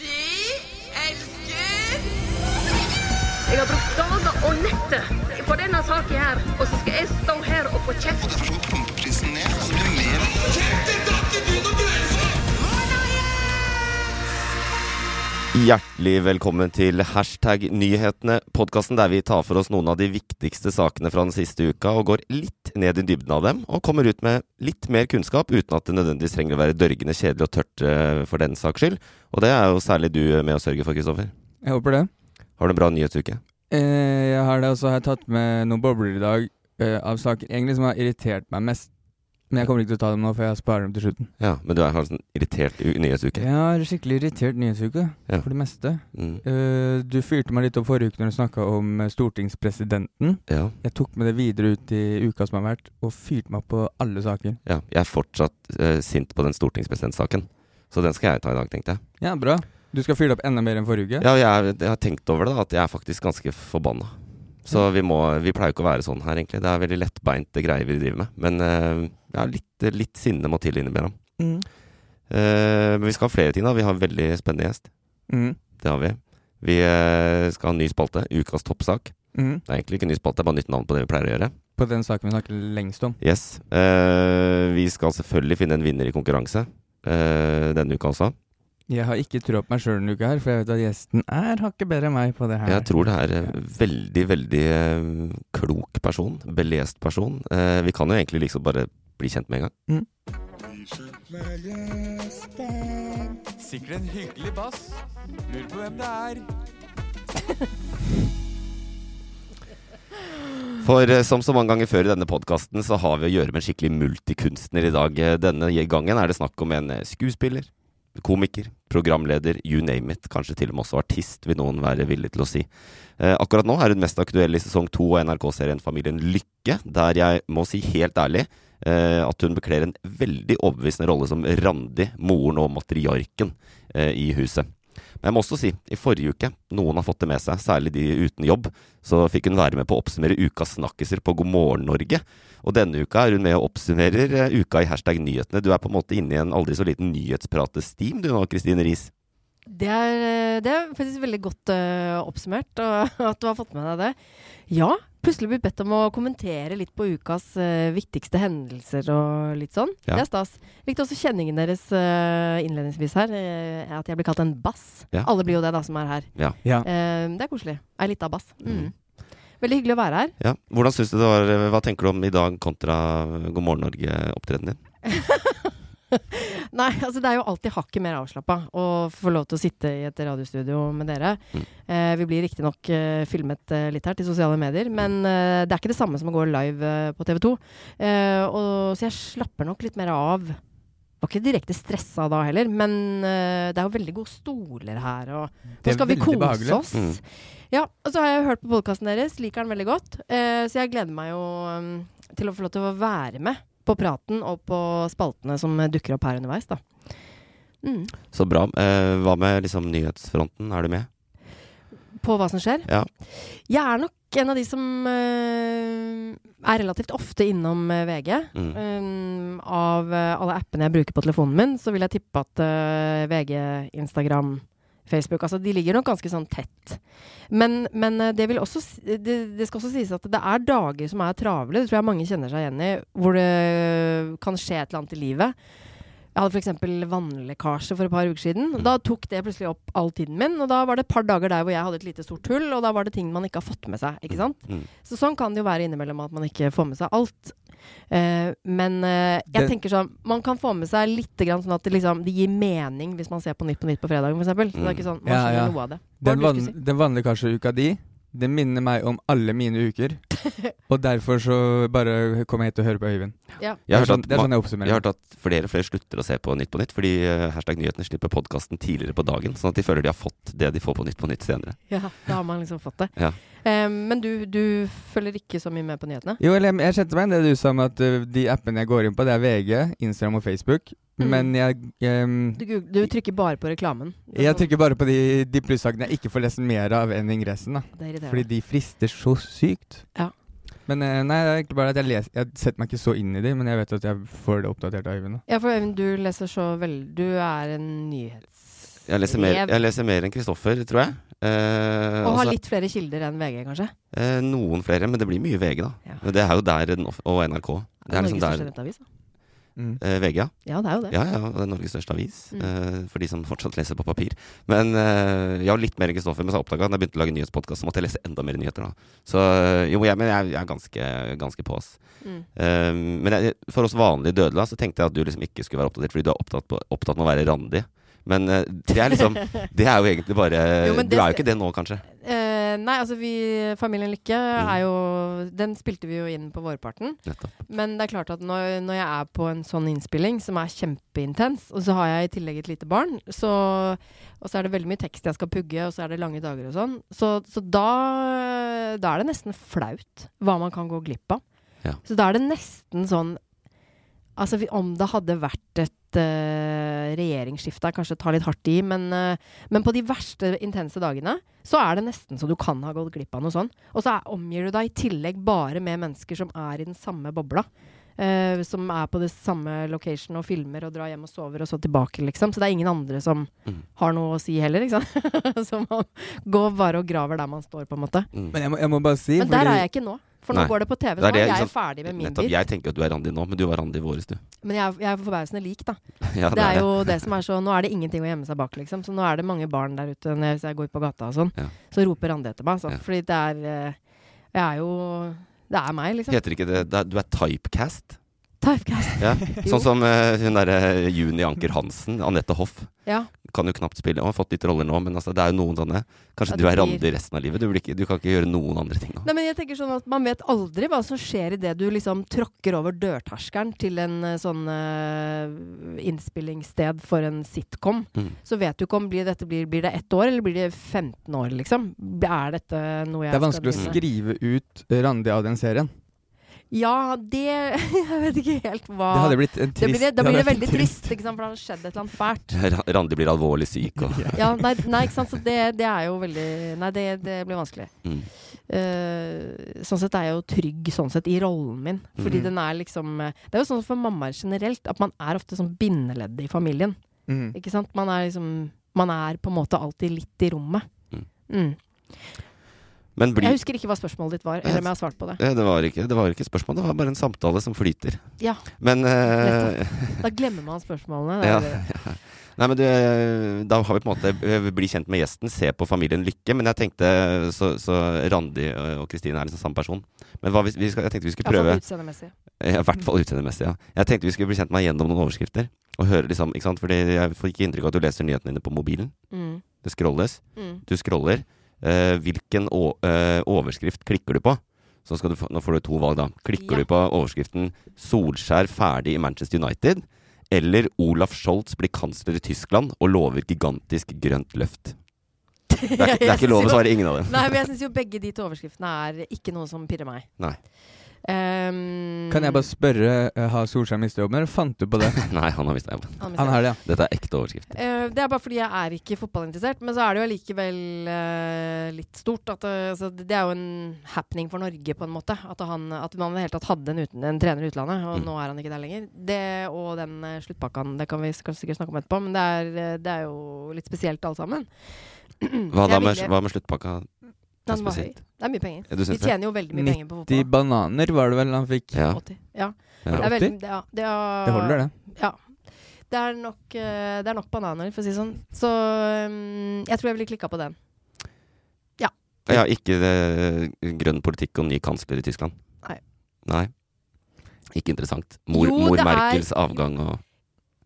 Vi elsker Jeg har brukt dager og netter på denne saken her, og så skal jeg stå her og få kjeft. Derfor så pumper prisen ned, og så blir det mer Hjertelig velkommen til Hashtag nyhetene, podkasten der vi tar for oss noen av de viktigste sakene fra den siste uka, og går litt ned i dybden av dem, og kommer ut med litt mer kunnskap, uten at det nødvendigvis trenger å være dørgende kjedelig og tørt eh, for den saks skyld. Og det er jo særlig du eh, med å sørge for, Kristoffer. Jeg håper det. Har du en bra nyhetsuke? Eh, jeg har det også jeg har tatt med noen bobler i dag eh, av saker egentlig som har irritert meg mest. Men jeg kommer ikke til å ta dem nå, for jeg sparer dem til slutten. Ja, men du er kanskje en sånn irritert u- nyhetsuke? Jeg har skikkelig irritert nyhetsuke, Ja. for det meste. Mm. Eh, du fyrte meg litt opp forrige uke når du snakka om eh, stortingspresidenten. Ja. Jeg tok med det videre ut i uka som har vært, og fyrte meg på alle saker. ja. Jeg er fortsatt eh, sint på den stortingspresidentsaken, så den skal jeg ta i dag, tenkte jeg. Ja, bra. Du skal fyre det opp enda mer enn forrige uke? Ja, jeg, er- jeg har tenkt over det, da, at jeg er faktisk ganske forbanna. Så vi, må, vi pleier jo ikke å være sånn her, egentlig. Det er veldig lettbeinte greier vi driver med. Men eh, ja, litt, litt sinne må til innimellom. Mm. Eh, men vi skal ha flere ting, da. Vi har en veldig spennende gjest. Mm. Det har vi. Vi eh, skal ha en ny spalte. Ukas toppsak. Mm. Det er egentlig ikke en ny spalte, det er bare nytt navn på det vi pleier å gjøre. På den saken vi snakker lengst om. Yes. Eh, vi skal selvfølgelig finne en vinner i konkurranse eh, denne uka også. Jeg har ikke trua på meg sjøl denne uka, her, for jeg vet at gjesten er hakket bedre enn meg på det her. Jeg tror det er eh, veldig, veldig eh, klok person. Belest person. Eh, Vi kan jo egentlig liksom bare bli kjent med en gang. Sikkert en hyggelig bass. Lurer på hvem det er. For eh, som så mange ganger før i denne podkasten, så har vi å gjøre med en skikkelig multikunstner i dag. Eh, Denne gangen er det snakk om en eh, skuespiller, komiker, programleder, you name it. Kanskje til og med også artist, vil noen være villig til å si. Eh, Akkurat nå er hun mest aktuell i sesong to av NRK-serien Familien Lykke, der jeg må si helt ærlig eh, at hun bekler en veldig overbevisende rolle som Randi, moren og matriarken eh, i huset. Men jeg må også si, i forrige uke, noen har fått det med seg, særlig de uten jobb, så fikk hun være med på å oppsummere ukas snakkiser på God morgen Norge. Og denne uka er hun med og oppsummerer eh, uka i hashtag nyhetene. Du er på en måte inne i en aldri så liten nyhetspratestim du nå, Kristine Riis. Det er, eh, det er faktisk veldig godt eh, oppsummert, og at du har fått med deg det. Ja, plutselig blitt bedt om å kommentere litt på ukas eh, viktigste hendelser og litt sånn. Ja. Det er stas. Likte også kjenningen deres eh, innledningsvis her, eh, at jeg blir kalt en bass. Ja. Alle blir jo det da som er her. Ja. Eh, det er koselig. Ei lita bass. Mm. Mm. Veldig hyggelig å være her. Ja. Hvordan synes du det var, eh, hva tenker du om i dag kontra eh, God morgen Norge-opptredenen din? Nei, altså det er jo alltid hakket mer avslappa å få lov til å sitte i et radiostudio med dere. Mm. Eh, vi blir riktignok eh, filmet eh, litt her til sosiale medier, men eh, det er ikke det samme som å gå live eh, på TV 2. Eh, og, så jeg slapper nok litt mer av. Var ikke direkte stressa da heller, men eh, det er jo veldig gode stoler her. Og nå er skal vi veldig kose behagelig. Mm. oss. Ja, og så har jeg hørt på podkasten deres, liker den veldig godt. Eh, så jeg gleder meg jo mm, til å få lov til å være med på praten og på spaltene som eh, dukker opp her underveis, da. Mm. Så bra. Eh, hva med liksom nyhetsfronten, er du med? På hva som skjer. Ja. Jeg er nok en av de som eh, er relativt ofte innom eh, VG. Mm. Um, av eh, alle appene jeg bruker på telefonen min, så vil jeg tippe at eh, VG, Instagram, Facebook Altså, de ligger nok ganske sånn tett. Men, men eh, det, vil også, s- det, det skal også sies at det er dager som er travle, det tror jeg mange kjenner seg igjen i, hvor det kan skje et eller annet i livet. Jeg hadde f.eks. vannlekkasje for et par uker siden. Da tok det plutselig opp all tiden min. Og da var det et par dager der hvor jeg hadde et lite sort hull, og da var det ting man ikke har fått med seg. ikke sant? Mm. Så sånn kan det jo være innimellom at man ikke får med seg alt. Eh, men eh, jeg Det- tenker sånn Man kan få med seg litt grann sånn at det, liksom, det gir mening hvis man ser på Nytt på Nytt på fredagen, f.eks. Så det er ikke sånn, man Ja, skjønner ja. noe av det. Hva Den, var van, det du skulle den vannlekkasjeuka di, den minner meg om alle mine uker. og derfor så bare kommer jeg til å høre på Øyvind. si? Ja. Jeg har det, er hørt sånn, at det er ma- sånn jeg Jeg oppsummerer. har hørt at flere og flere slutter å se på Nytt på Nytt fordi eh, hashtag nyhetene slipper podkasten tidligere på dagen, sånn at de føler de har fått det de får på Nytt på Nytt senere. ja, da har man liksom fått det. Ja. Eh, men du, du følger ikke så mye med på nyhetene? Jo, eller jeg, jeg kjente meg igjen i det du sa om at ø, de appene jeg går inn på, det er VG, Instagram og Facebook. Mm. Men jeg, em, Du, goog- du trykker bare på reklamen? sånn- jeg trykker bare på de, de plussakene jeg ikke får lest mer av enn ingressen. da Det irriterer Fordi meg. de frister så sykt. Ja. Men eh, nei, det er egentlig bare at jeg leser Jeg setter meg ikke så inn i de, men jeg vet at jeg får det oppdatert av Øyvind. da. Ja, for Øyvind, du leser så vel Du er en nyhets... Jeg leser mer, Rev. jeg leser mer enn Kristoffer, tror jeg. Eh, Og har også- litt flere kilder enn VG, kanskje? eh, noen flere, men det blir mye VG, da. Ja. Men Det er jo der den off- Og NRK. Det er Norges liksom største der nettavis. da. eh, VG, ja. Ja, det er jo det. Ja, ja, og det er Norges største avis, Mm. eh, for de som fortsatt leser på papir. Men eh, ja, litt mer enn Kristoffer, men så oppdaga jeg da jeg begynte å lage nyhetspodkast, så måtte jeg lese enda mer nyheter, da. Så eh, jo, jeg, men jeg, jeg er ganske, ganske på, ass. Mm. Eh, men jeg, for oss vanlige dødelige, så tenkte jeg at du liksom ikke skulle være oppdatert, fordi du er opptatt, på, opptatt med å være randig. Men eh, det er liksom Det er jo egentlig bare Jo, men Du det er jo skal- ikke det nå, kanskje. Eh, nei, altså vi Familien Lykke er jo Den spilte vi jo inn på vårparten. Nettopp. Men det er klart at når, når jeg er på en sånn innspilling som er kjempeintens, og så har jeg i tillegg et lite barn, så, og så er det veldig mye tekst jeg skal pugge, og så er det lange dager og sånn, så, så da, da er det nesten flaut hva man kan gå glipp av. Ja. Så da er det nesten sånn Altså vi- om det hadde vært et eh, regjeringsskifte her, kanskje ta litt hardt i, men, eh, men på de verste intense dagene så er det nesten så du kan ha gått glipp av noe sånn. Og så er, omgir du deg i tillegg bare med mennesker som er i den samme bobla. eh, som er på det samme location og filmer og drar hjem og sover og så tilbake, liksom. Så det er ingen andre som Mm. har noe å si heller, ikke sant. så man går bare og graver der man står, på en måte. Mm. Men jeg må, jeg må bare si Men der er jeg ikke nå. For nå Nei. går det på TV, Det så er nå det, er ikke sant? jeg ferdig med min Nettopp. bit. Jeg tenker jo at du er randig nå, men du var randig i våres, du. Men jeg, er- jeg er forbausende lik, da. Ja, Det er jo det som er så Nå er det ingenting å gjemme seg bak, liksom. Så nå er det mange barn der ute når jeg- hvis jeg går ut på gata og sånn. Ja. Så roper Randi etter meg, altså. Ja. Fordi det er eh, Jeg er jo Det er meg, liksom. Heter ikke det, det er, Du er typecast? Typecast. Ja. Jo. Sånn som eh, hun derre Juni Anker Hansen, Anette Hoff. Ja. Kan jo knapt spille. Og har fått litt roller nå, men altså, det er jo noen sånne. Ja, Kanskje det du er blir- Randi resten av livet. Du, blir ikke, du kan ikke gjøre noen andre ting nå. Nei, men jeg tenker sånn at Man vet aldri hva som skjer idet du liksom tråkker over dørterskelen til en eh, sånn eh, innspillingssted for en sitcom. Mm. Så vet du ikke om blir dette blir, blir det ett år, eller blir det 15 år, liksom. Er dette noe jeg Det er vanskelig å skal begynne- skrive ut eh, Randi av den serien. Ja, det Jeg vet ikke helt hva Det hadde blitt en Ah. Det trist blir, da blir det hadde vært veldig en trist, ikke sant? for det har skjedd et eller annet fælt. Ra- Randi blir alvorlig syk og Ja, nei, nei, ikke sant? Så det, det er jo veldig Nei, det, det blir vanskelig. mm. Eh, sånn sett er jeg jo trygg sånn sett i rollen min. Fordi Mhm. den er liksom eh, Det er jo sånn for mammaer generelt at man er ofte sånn bindeleddet i familien. Mm. Ikke sant? Man er liksom Man er på en måte alltid litt i rommet. Mhm. Mm. Men bli Jeg husker ikke hva spørsmålet ditt var, eller om jeg har svart på det. Eh, det var, ikke, det var ikke et spørsmål, det var bare en samtale som flyter. Ja. Men, eh, Da glemmer man spørsmålene. Det ja, er- ja. Nei, men du, eh, da har vi på en måte eh, bli kjent med gjesten, se på familien Lykke. Men jeg tenkte så, så Randi eh, og Kristine er liksom samme person. Men hva hvis, vi skal, jeg tenkte vi skulle Iallfall prøve utseendemessig. Ja, Eh, I hvert fall utseendemessig, ja. Jeg tenkte vi skulle bli kjent med deg gjennom noen overskrifter. Og høre liksom, ikke sant? Fordi jeg får ikke inntrykk av at du leser nyhetene dine på mobilen. Mm. Det scrolles. Mm. Du scroller. Eh, hvilken å, eh, overskrift klikker du på? Så skal du, få- nå får du to valg, da. Klikker Ja. du på overskriften 'Solskjær ferdig i Manchester United'? Eller 'Olaf Scholz blir kansler i Tyskland og lover gigantisk grønt løft'? Det er, ikke- det er ikke lov å svare ingen av dem. Nei, men jeg syns jo begge de to overskriftene er ikke noe som pirrer meg. Nei. Ehm, Kan jeg bare spørre, eh, har Solskjær mistet jobben, eller fant du på det? Nei, han har mista jobben. han mister Han det. har det, ja. Dette er ekte overskrift. Eh, det er bare fordi jeg er ikke fotballinteressert, men så er det jo allikevel eh, litt stort. At, eh, altså, det det er jo en happening for Norge, på en måte. At, han, at man i det hele tatt hadde en, uten, en trener i utlandet, og Mm. nå er han ikke der lenger. Det, og den eh, sluttpakka, det kan vi s- kanskje sikkert snakke om etterpå, men det er, eh, det er jo litt spesielt alle sammen. Hva da Jeg med, ville- hva med sluttpakka? Det er Den var høy. spesielt. Det er mye penger. Ja, Du Vi syns det? tjener jo veldig mye penger på De fotball. bananer var det vel han fikk? Ja. 80. Ja. Ja. Det er veldig, 80? ja, det, er, Det holder, det. Det er nok, eh, det er nok bananer, for å si det sånn. Så mm, jeg tror jeg ville klikka på den. Ja, ikke eh, grønn politikk og ny kansler i Tyskland. Nei. Nei. Ikke interessant. Mor, Jo, mor det er- Merkels avgang og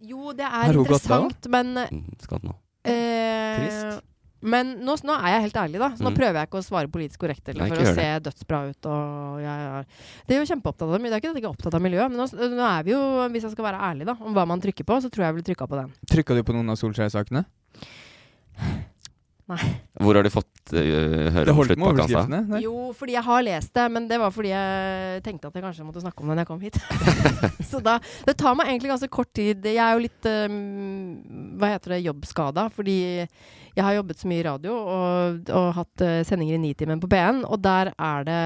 Jo, det Har er hun gått av? interessant, men eh, Mm, Skal nå. Eh, Trist. men nå, nå er jeg helt ærlig, da. Så nå Mm. prøver jeg ikke å svare politisk korrekt eller, Nei, for ikke gjør å se dødsbra ut. Og jeg er, det er jo kjempeopptatt av miljø. Det er ikke at jeg ikke er opptatt av miljø, men nå, nå er vi jo, hvis jeg skal være ærlig da, om hva man trykker på, så tror jeg jeg ville trykka på den. Trykka du på noen av Solskjær-sakene? Hvor har du fått eh, høre Det om holdt med sluttpakka? sa? overskriftene? Nei. Jo, fordi jeg har lest det, men det var fordi jeg tenkte at jeg kanskje måtte snakke om det når jeg kom hit. så da, det tar meg egentlig ganske kort tid. Jeg er jo litt eh, hva heter det, jobbskada, fordi jeg har jobbet så mye i radio og, og hatt eh, sendinger i Nitimen på P1, og der er det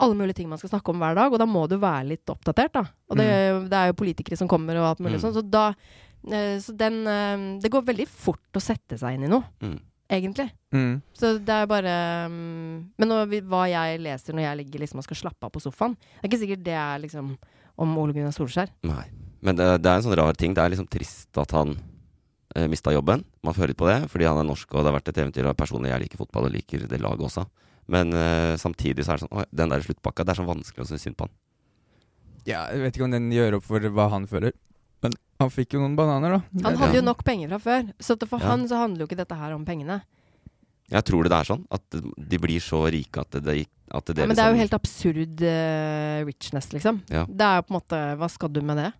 alle mulige ting man skal snakke om hver dag, og da må du være litt oppdatert, da. Og det, det er jo politikere som kommer og alt mulig Mm. sånn, så da eh, så den, eh, Det går veldig fort å sette seg inn i noe, Mm. egentlig. Mm. Så det er bare um, Men nå, vi- hva jeg leser når jeg ligger liksom, og skal slappe av på sofaen, det er ikke sikkert det er liksom om Ole Gunnar Solskjær. Nei. Men det, det er en sånn rar ting. Det er liksom trist at han eh, mista jobben. Man føler litt på det, fordi han er norsk, og det har vært et eventyr. Og personlig, jeg liker fotball og liker det laget også. Men eh, samtidig så er det sånn «Åh, Den der sluttpakka, det er så vanskelig å synes synd på han. Ja, jeg vet ikke om den gjør opp for hva han føler. Men han fikk jo noen bananer, da. Han Ja, hadde ja. jo nok penger fra før, så at for Ja. han så handler jo ikke dette her om pengene. Jeg tror det det er sånn. At de blir så rike at det, at det, Ja, men det er jo liksom- helt absurd eh, richness, liksom. Ja. Det er jo på en måte Hva skal du med det?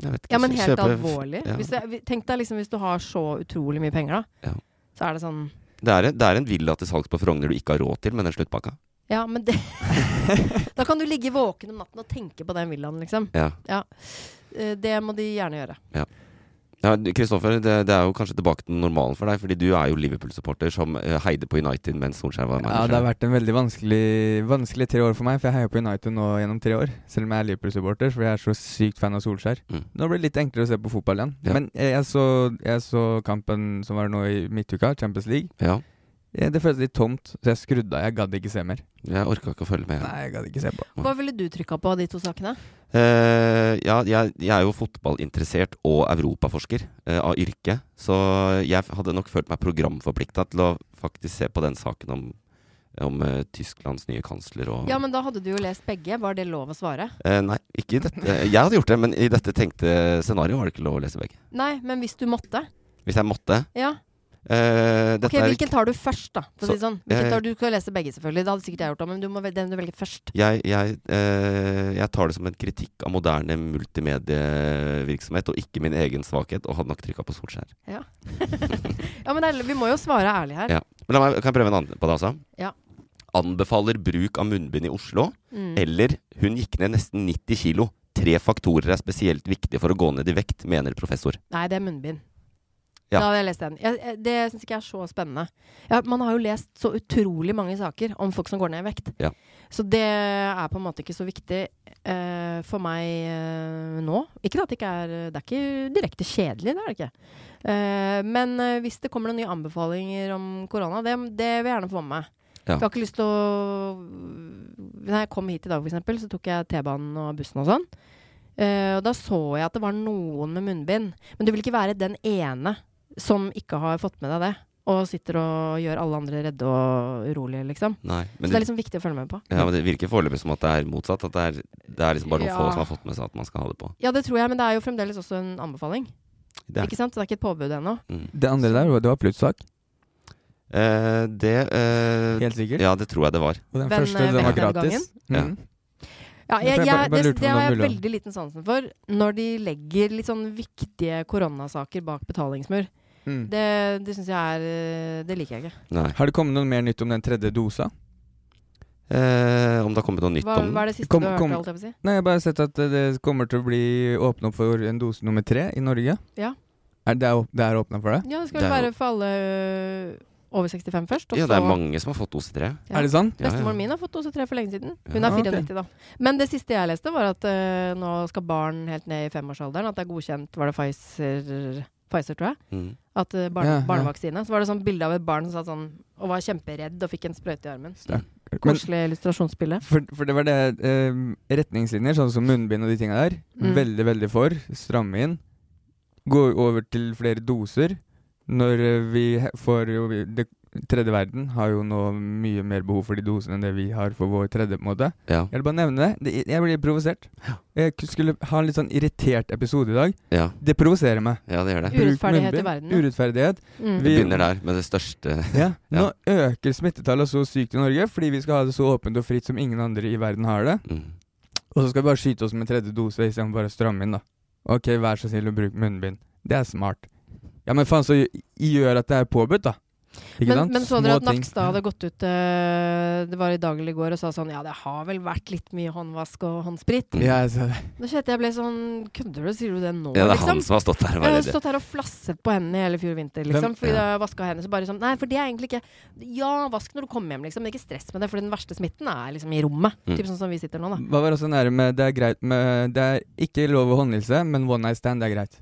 Jeg vet ikke, Ja, men helt kjøpe- alvorlig. ja. Hvis du, tenk deg liksom hvis du har så utrolig mye penger, da. Ja. Så er det sånn Det er, en- det er en villa til salgs på Frogner du ikke har råd til med den sluttpakka. Ja, men det Da kan du ligge våken om natten og tenke på den villaen, liksom. Ja. Eh, Det må de gjerne gjøre. Ja, du, Kristoffer, det, det er jo kanskje tilbake til normalen for deg, fordi du er jo Liverpool-supporter som eh, heide på United mens Solskjær var Ja, det har manager. vært en veldig vanskelig, vanskelig tre år for meg, for jeg heier på United nå gjennom tre år. Selv om jeg er Liverpool-supporter, for jeg er så sykt fan av Solskjær. Mm. Nå blir det litt enklere å se på fotball igjen. Ja. Men jeg, jeg, så, jeg så kampen som var nå i midtuka, Champions League. ja, Eh, Det føltes litt tomt, så jeg skrudde av. Jeg gadd ikke se mer. jeg orka ikke å følge med. Nei, jeg gadd ikke se på. Hva ville du trykka på av de to sakene? Eh, ja, jeg, jeg er jo fotballinteressert og europaforsker eh, av yrke, så jeg hadde nok følt meg programforplikta til å faktisk se på den saken om, om eh, Tysklands nye kansler og Ja, men da hadde du jo lest begge. Var det lov å svare? Eh, Nei, ikke i dette. Jeg hadde gjort det, men i dette tenkte scenarioet var det ikke lov å lese begge. Nei, men hvis du måtte. Hvis jeg måtte. Ja. Eh, dette Ok, er Hvilken tar du først, da? For å si det sånn. eh, Hvilken tar du skal lese begge, selvfølgelig. Det hadde sikkert jeg gjort òg, men du må velge den du velger først. jeg, jeg, eh, jeg tar det som en kritikk av moderne multimedievirksomhet, og ikke min egen svakhet, og hadde nok trykka på Solskjær. Ja, men det er, vi må jo svare ærlig her. Ja. Men la meg, kan jeg prøve en annen på det, altså? Ja. Anbefaler bruk av munnbind i Oslo, Mm. eller hun gikk ned nesten 90 kilo. Tre faktorer er spesielt viktige for å gå ned i vekt, mener professor. Nei, det er munnbind. Ja. Da hadde jeg lest den. Jeg, jeg, det syns ikke jeg er så spennende. Ja, man har jo lest så utrolig mange saker om folk som går ned i vekt. Ja. Så det er på en måte ikke så viktig eh, for meg eh, nå. Ikke at det ikke er Det er ikke direkte kjedelig, det er det ikke. Eh, men eh, hvis det kommer noen nye anbefalinger om korona, det, det vil jeg gjerne få med meg. Ja. Jeg har ikke lyst til å Da jeg kom hit i dag, f.eks., så tok jeg T-banen og bussen og sånn. Eh, og da så jeg at det var noen med munnbind. Men du vil ikke være den ene som ikke har fått med deg det. Og sitter og gjør alle andre redde og urolige, liksom. Nei, så men det det, er liksom viktig å følge med på. ja, men det virker foreløpig som at det er motsatt. At det er, det er liksom bare noen Ja. få som har fått med seg at man skal ha det på. Ja, det tror jeg, men det er jo fremdeles også en anbefaling. Det er Ikke sant? Så det er ikke et påbud ennå. Mm. Det andre der, var- det var plutssak. Eh, det eh, Helt sikkert. Ja, det tror jeg det var. Og den Den, første, eh, den var vektnedgangen. gratis. Ja. Mm. Ja, Men jeg, for jeg bare- bare jeg, det, lurte på det om har det jeg var mulig, veldig liten sansen for. Når de legger litt sånn viktige koronasaker bak betalingsmur. Mm. Det, det syns jeg er eh, Det liker jeg ikke. Nei. Har det kommet noe mer nytt om den tredje dosa? Eh, om det har kommet noe nytt Hva, om den? hva er det siste Kom- du har kom- hørt? Holdt jeg på å si? Nei, jeg har bare sett at eh, det kommer til å bli åpne opp for en dose nummer tre i Norge. Ja. Er det, åp- det er åpna for det? Ja, det skal Det vel er jo- være for alle ø, over 65 først. og Ja, det er så- mange som har fått dose tre. Ja. Er det sant? Ja, ja. Bestemoren min har fått dose tre for lenge siden. Hun Ja, er ok. 94 da. Men det siste jeg leste, var at ø, nå skal barn helt ned i femårsalderen. At det er godkjent Var det Pfizer, Pfizer tror jeg? Mm. At ø, barn, Ja, ja. Barnevaksine. Så var det sånn bilde av et barn som satt sånn og var kjemperedd og fikk en sprøyte i armen. Sterk. Men Koselig illustrasjonsbilde. for, for det var det eh, Retningslinjer, sånn som munnbind og de tinga der. Mm. Veldig, veldig for. Stramme inn. går over til flere doser når eh, vi he- får jo vi- det, Tredje verden har jo nå mye mer behov for de dosene enn det vi har for vår tredje, på en måte. Ja. Jeg vil bare nevne det. det. Jeg blir provosert. Jeg k- skulle ha en litt sånn irritert episode i dag. Ja. Det provoserer meg. ja, det gjør det. Bruk Urettferdighet i munnbind. verden, ja. Urettferdighet. Mm. Vi Vi- begynner der med det største Ja. Nå Ja. øker smittetallet så sykt i Norge fordi vi skal ha det så åpent og fritt som ingen andre i verden har det. Mm. Og så skal vi bare skyte oss med tredje dose istedenfor bare å stramme inn, da. Ok, vær så snill å bruke munnbind. Det er smart. Ja, men faen, så gjø- gjør at det er påbudt, da. Ikke Men, sant? men så dere at Små ting. Nakstad hadde gått ut eh, Det var i dag eller i går og sa sånn Ja, det har vel vært litt mye håndvask og håndsprit. Ja, jeg ser det. Da kjente jeg ble sånn Kødder du? Sier du det nå, Ja, det er han liksom? som har stått der og Jeg vært har redd. stått her og flasset på hendene i hele fjor vinter, liksom. Hvem- Fordi Ja. da jeg vaska hendene, så bare sånn Nei, for det er egentlig ikke Ja, vask når du kommer hjem, liksom. Men ikke stress med det, for den verste smitten er liksom i rommet. Mm. Typ sånn som vi sitter nå, da. Hva var også nære med Det er greit med Det er ikke lov å håndhilse, men one night stand det er greit.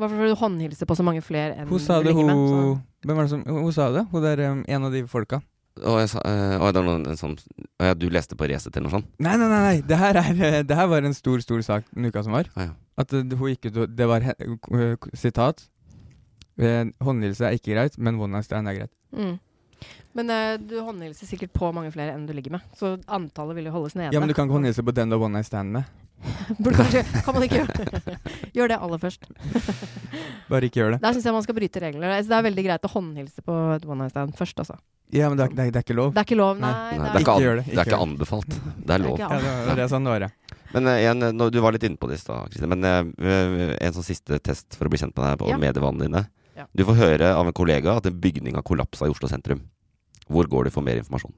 Hvorfor får du håndhilse på så mange flere enn Hun sa det, ligger hun med, så- Hvem var det som Hun sa det, hun der um, en av de folka. Og jeg sa eh, å, det var noen en sånn Å ja, du leste på Resett eller noe sånt? Nei, nei, nei, nei. Det, her er, eh, det her var en stor, stor sak den uka som var. Ah, ja. At eh, hun gikk ut og Det var he- eh, sitat. Eh, Håndhilse er ikke greit, men one night stand er greit. Mm. Men eh, du håndhilser sikkert på mange flere enn du ligger med. Så antallet vil jo holdes nede. Ja, men du kan ikke håndhilse på den du har one night stand med. Burde kanskje, kan man ikke gjøre Gjør det aller først. Bare ikke gjør det. Der syns jeg man skal bryte regler. Altså, Det er veldig greit å håndhilse på et one night stand først, altså. Ja, men det er, det er, det er ikke lov. Det er ikke lov, nei. Nei, Nei, det det, er er ikke Ikke an, gjør det, det, er ikke ikke gjør anbefalt. Det er det er lov. ikke Ja, an. det var det jeg sa nå, ja. Men eh, igjen, eh, nå- du var litt inne på det i stad, Kristin. Men eh, en sånn siste test for å bli kjent med deg på Ja. medievanene dine. Ja. Du får høre av en kollega at en bygning har kollapsa i Oslo sentrum. Hvor går du for mer informasjon?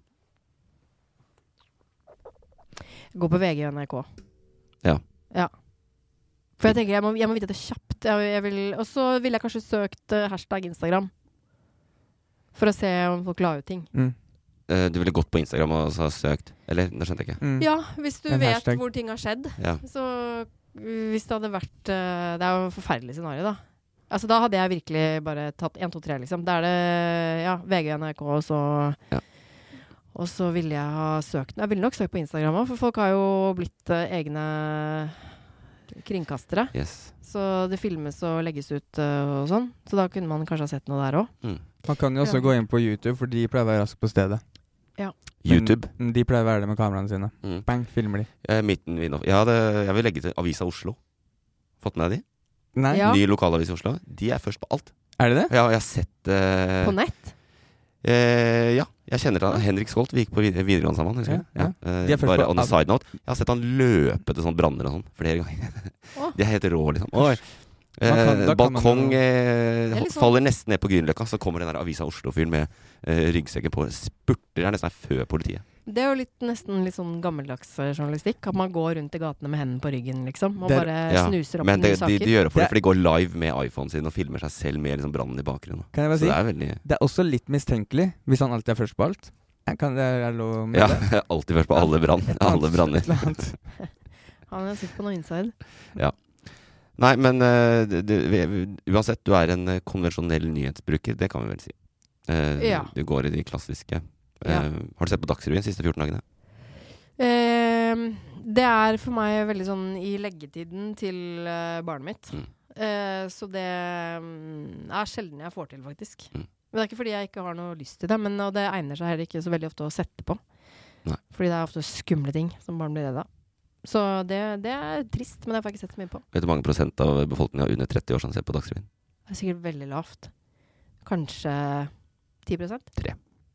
Gå på VG og NRK. Ja. ja. For jeg tenker, jeg må, jeg må vite det kjapt. Jeg, jeg vil, og så ville jeg kanskje søkt eh, hashtag Instagram. For å se om folk la ut ting. Mm. Eh, Du ville gått på Instagram og så søkt Eller, det skjønte jeg ikke. Mm. Ja, hvis du En vet hashtag. hvor ting har skjedd. Ja. Så uh, hvis det hadde vært uh, Det er jo et forferdelig scenario, da. Altså, da hadde jeg virkelig bare tatt 1, 2, 3, liksom. Da er det ja, VG og NRK, og så Ja. Og så ville jeg ha søkt Jeg ville nok søkt på Instagram òg, for folk har jo blitt uh, egne kringkastere. Yes. Så det filmes og legges ut uh, og sånn. Så da kunne man kanskje ha sett noe der òg. Mm. Man kan jo også Ja. gå inn på YouTube, for de pleier å være raskt på stedet. Men mm, YouTube. De pleier å være det med kameraene sine. Mm. Bang, filmer de. Eh, midten vi nå- ja, det, jeg vil legge til Avisa Oslo. Fått med deg de? Nei, Ja. Ny lokalavis i Oslo. De er først på alt. er det det? Ja, jeg har sett eh, På nett. Eh, ja, jeg kjenner da Henrik Skolt. Vi gikk på vid- videregående sammen. husker jeg. Ja, ja. Eh, De er først bare på on a alt. side note. Jeg har sett han løpe til sånne branner og sånn flere ganger. Å. De er helt rå, liksom. Oi. Man kan- Eh, da kan man balkong jo- eh, Det er litt sånn- faller nesten ned på Grünerløkka, så kommer den der Avisa Oslo-fyren med eh, ryggsekken på. Spurter er nesten her før politiet. Det er jo litt, nesten litt sånn gammeldags eh, journalistikk. At man går rundt i gatene med hendene på ryggen, liksom. Og Det er- bare Ja, snuser opp Men det, nye de, saker. de gjør det for det, Det- for de går live med iPhonen sin og filmer seg selv med liksom brannen i bakgrunnen. Kan jeg bare Så si? det er veldig Det er også litt mistenkelig, hvis han alltid er først på alt. Jeg kan, det er lov med Ja, det. alltid først på alle brann. Alle branner. Et eller annet. Han har sett på noe inside. Nei, men eh, det, det, vi- uansett, du er en eh, konvensjonell nyhetsbruker, det kan vi vel si. Eh, Ja. Du går i de klassiske. Eh, Ja. Har du sett på Dagsrevyen de siste 14 dagene? Ehm, det er for meg veldig sånn i leggetiden til eh, barnet mitt. Mm. Eh, så det mm, er sjelden jeg får til, faktisk. Mm. Men det er ikke fordi jeg ikke har noe lyst til det, men og det egner seg heller ikke så veldig ofte å sette på. Nei. Fordi det er ofte skumle ting som barn blir redd av. Så det, det er trist, men det har jeg ikke sett så mye på. Vet du hvor mange prosent av befolkninga under 30 år som ser på Dagsrevyen? Det er sikkert veldig lavt. Kanskje 10 Tre.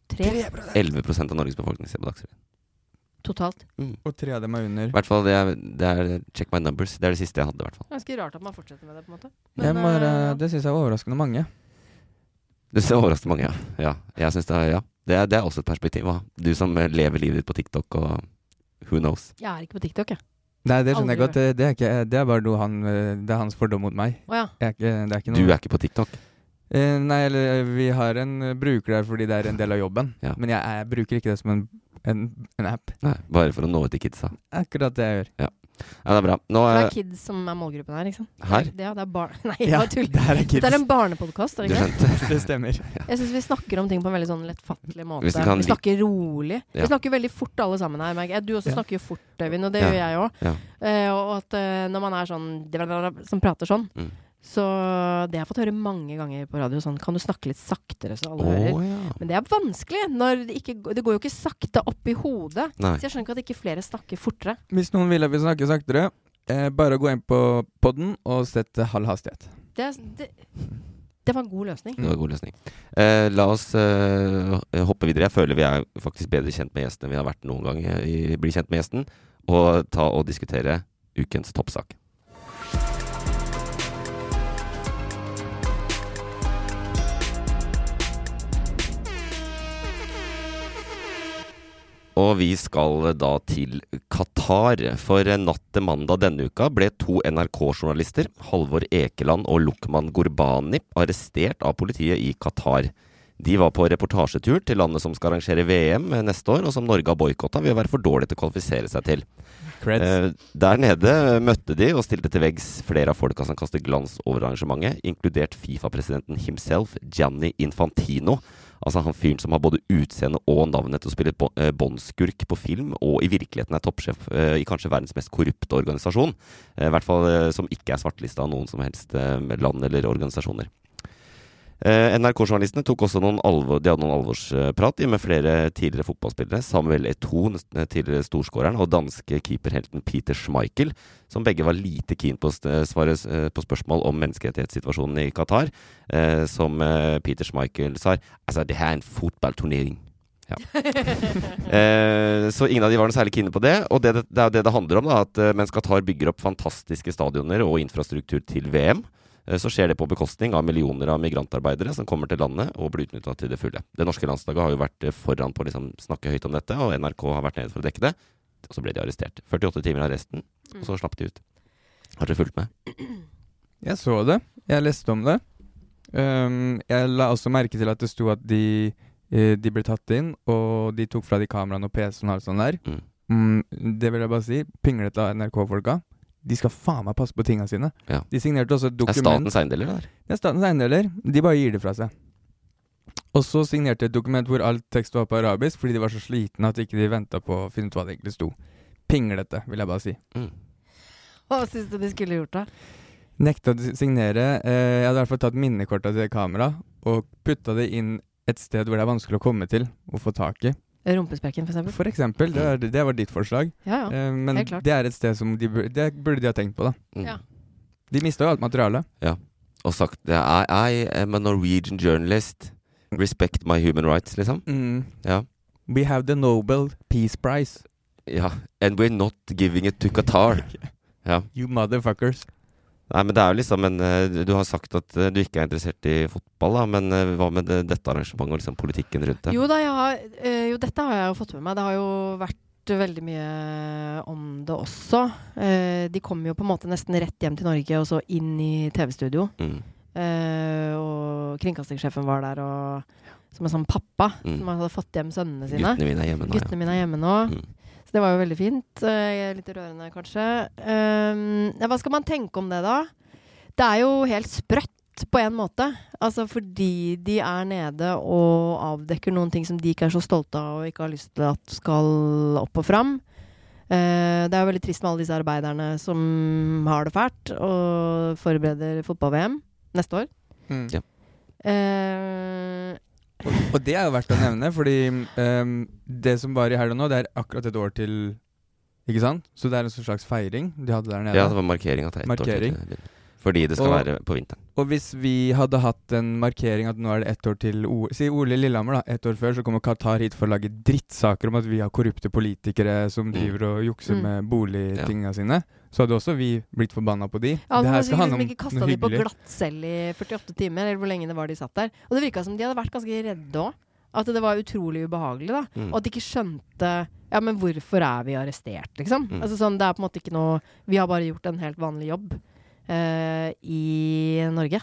Tre 11 av Norges befolkning ser på Dagsrevyen. Mm. totalt. Og tre av dem er I under. hvert fall, det er, det er check my numbers. Det er det siste jeg hadde, i hvert fall. Ganske rart at man fortsetter med det, på en måte. Jeg må, eh, eh, det syns jeg var overraskende mange. Det ser overraskende mange, ja. ja. Jeg synes det, er, ja. Det, er, det er også et perspektiv å ha. Du som eh, lever livet ditt på TikTok og who knows. jeg er ikke på TikTok, jeg. Nei, det skjønner Aldri jeg godt. Det, det, er ikke, det er bare noe han eh, Det er hans fordom mot meg. Å ja. Jeg er ikke, det er ikke Du noe er ikke på TikTok. Eh, Nei, eller eh, vi har en eh, bruker der fordi det er en del av jobben. Ja. Men jeg, eh, bruker ikke det som en, en, en app. Nei, bare for å nå ut til kidsa. Akkurat det jeg gjør. Ja, det er bra. Nå, For det eh, er kids som er målgruppen her, ikke sant? her. Ja, det er barn... Nei, jeg Ja, bare tuller. det her er Dette er kids. en barnepodkast, er Du det ikke? skjønte. Det stemmer. det? Jeg syns vi snakker om ting på en veldig sånn lettfattelig måte. Hvis vi kan Vi li- snakker rolig. Ja. Vi snakker veldig fort alle sammen her, merker jeg. Du også Ja. snakker jo fort, Øyvind, og det Ja. gjør jeg òg. Ja. og at eh, når man er sånn som prater sånn, Mm. så Det har jeg fått høre mange ganger på radio, sånn Kan du snakke litt saktere, så alle Å hører? ja. Men det er vanskelig. Når det, ikke, det går jo ikke sakte opp i hodet. Nei. Så jeg skjønner ikke at ikke flere snakker fortere. Hvis noen vil at vi snakker saktere, eh, bare gå inn på podden og sett eh, halv hastighet. Det, er- det, det var en god løsning. Det var en god løsning. Eh, la oss eh, hoppe videre. Jeg føler vi er faktisk bedre kjent med gjesten enn vi har vært noen gang. eh, i Bli kjent med gjesten, og ta og diskutere ukens toppsak. Og vi skal eh, da til Qatar. For eh, natt til mandag denne uka ble to NRK-journalister, Halvor Ekeland og Lukman Gurbani, arrestert av politiet i Qatar. De var på reportasjetur til landet som skal arrangere VM neste år, og som Norge har boikotta ved å være for dårlig til å kvalifisere seg til. Eh, Eh, der nede møtte de og stilte til veggs flere av folka som kaster glans over arrangementet, inkludert Fifa-presidenten himself, Gianni Infantino. Altså han fyren som har både utseende og navnet til å spille bo- eh, båndskurk på film, og i virkeligheten er toppsjef eh, i kanskje verdens mest korrupte organisasjon. Eh, I hvert fall eh, som ikke er svartelista av noen som helst eh, land eller organisasjoner. Eh, NRK-journalistene tok også noen alvor, de hadde noen alvorsprat de, med flere tidligere fotballspillere. Samuel Eto'o, den st- tidligere storskåreren, og danske keeperhelten Peter Schmeichel, som begge var lite keen på å st- svare s- eh, på spørsmål om menneskerettighetssituasjonen i Qatar. Eh, som eh, Peter Schmeichel sa Altså, det her er en fotballturnering. Ja. eh, så ingen av de var noe særlig kine på det. Og det, det, det er jo det det handler om, da, at eh, mens Qatar bygger opp fantastiske stadioner og infrastruktur til VM, eh, så skjer det på bekostning av millioner av migrantarbeidere som kommer til landet og blir utnytta til det fulle. Det norske landslaget har jo vært eh, foran på å liksom snakke høyt om dette, og NRK har vært nede for å dekke det. Og så ble de arrestert. 48 timer i arresten, og så slapp de ut. Har dere fulgt med? Jeg så det. Jeg leste om det. Ehm, jeg la også merke til at det sto at de, eh, de ble tatt inn, og de tok fra de kameraene og PC-en og alt sånt der. Mm. Mm, det vil jeg bare si. Pinglete av NRK-folka. De skal faen meg passe på tinga sine. Ja. De signerte også et Det er dokument statens eiendeler, det der. Det er statens eiendeler. De bare gir det fra seg. Og så signerte jeg et dokument hvor all tekst var på arabisk, fordi de var så slitne at ikke de venta på å finne ut hva det egentlig sto. Pinglete, vil jeg bare si. Mm. Hva syns du de skulle gjort, da? Nekta å signere. Eh, jeg hadde i hvert fall tatt minnekortet til kamera og putta det inn et sted hvor det er vanskelig å komme til og få tak i. Rumpesprekken, for eksempel? For eksempel. Det, er, det var ditt forslag. Ja, ja. Eh, men helt klart. det er et sted som de burde, det burde de ha tenkt på, da. Mm. Ja. De mista jo alt materialet. og sagt I, I am a Norwegian journalist. Respect my human rights, liksom. Ja. Mm. We have the Nobel Peace Prize, Ja. And we're not giving it to Qatar. Ja. you motherfuckers. Nei, men det er jo liksom en eh, Du har sagt at eh, du ikke er interessert i fotball, da, men eh, hva med det, dette arrangementet og liksom politikken rundt det? Jo da, jeg har, eh, jo, dette har jeg jo fått med meg. Det har jo vært veldig mye eh, om det også. Eh, de kom jo på en måte nesten rett hjem til Norge, og så inn i TV-studio. Mm. Eh, og kringkastingssjefen var der, og, som en sånn pappa Mm. som hadde fått hjem sønnene sine. Guttene mine er hjemme nå, ja. Guttene mine er hjemme nå. Mm. Så det var jo veldig fint. Eh, litt rørende, kanskje. Um, ja, hva skal man tenke om det, da? Det er jo helt sprøtt på en måte. Altså fordi de er nede og avdekker noen ting som de ikke er så stolte av og ikke har lyst til at skal opp og fram. Eh, det er jo veldig trist med alle disse arbeiderne som har det fælt og forbereder fotball-VM neste år. Ja. Eh, Og, Mm. og det er jo verdt å nevne, fordi ehm, det som var i helga nå, det er akkurat et år til Ikke sant? Så det er en slags feiring de hadde der nede. Ja, det var markering at det er ett år Markering. til. Fordi det skal Og- være på vinteren. Og hvis vi hadde hatt en markering at nå er det ett år til O- Si Ole Lillehammer, da. Ett år før så kommer Qatar hit for å lage drittsaker om at vi har korrupte politikere som driver og jukser Mm. med boligtinga sine. Så hadde også vi blitt forbanna på de. Ja, det man her sikkert skal handle liksom om ikke kasta noe de på hyggelig. glattcelle i 48 timer, eller hvor lenge det var de satt der. Og det virka som de hadde vært ganske redde òg. At det var utrolig ubehagelig, da. Mm. Og at de ikke skjønte Ja, men hvorfor er vi arrestert, liksom? Mm. Altså sånn, det er på en måte ikke noe Vi har bare gjort en helt vanlig jobb eh, i Norge.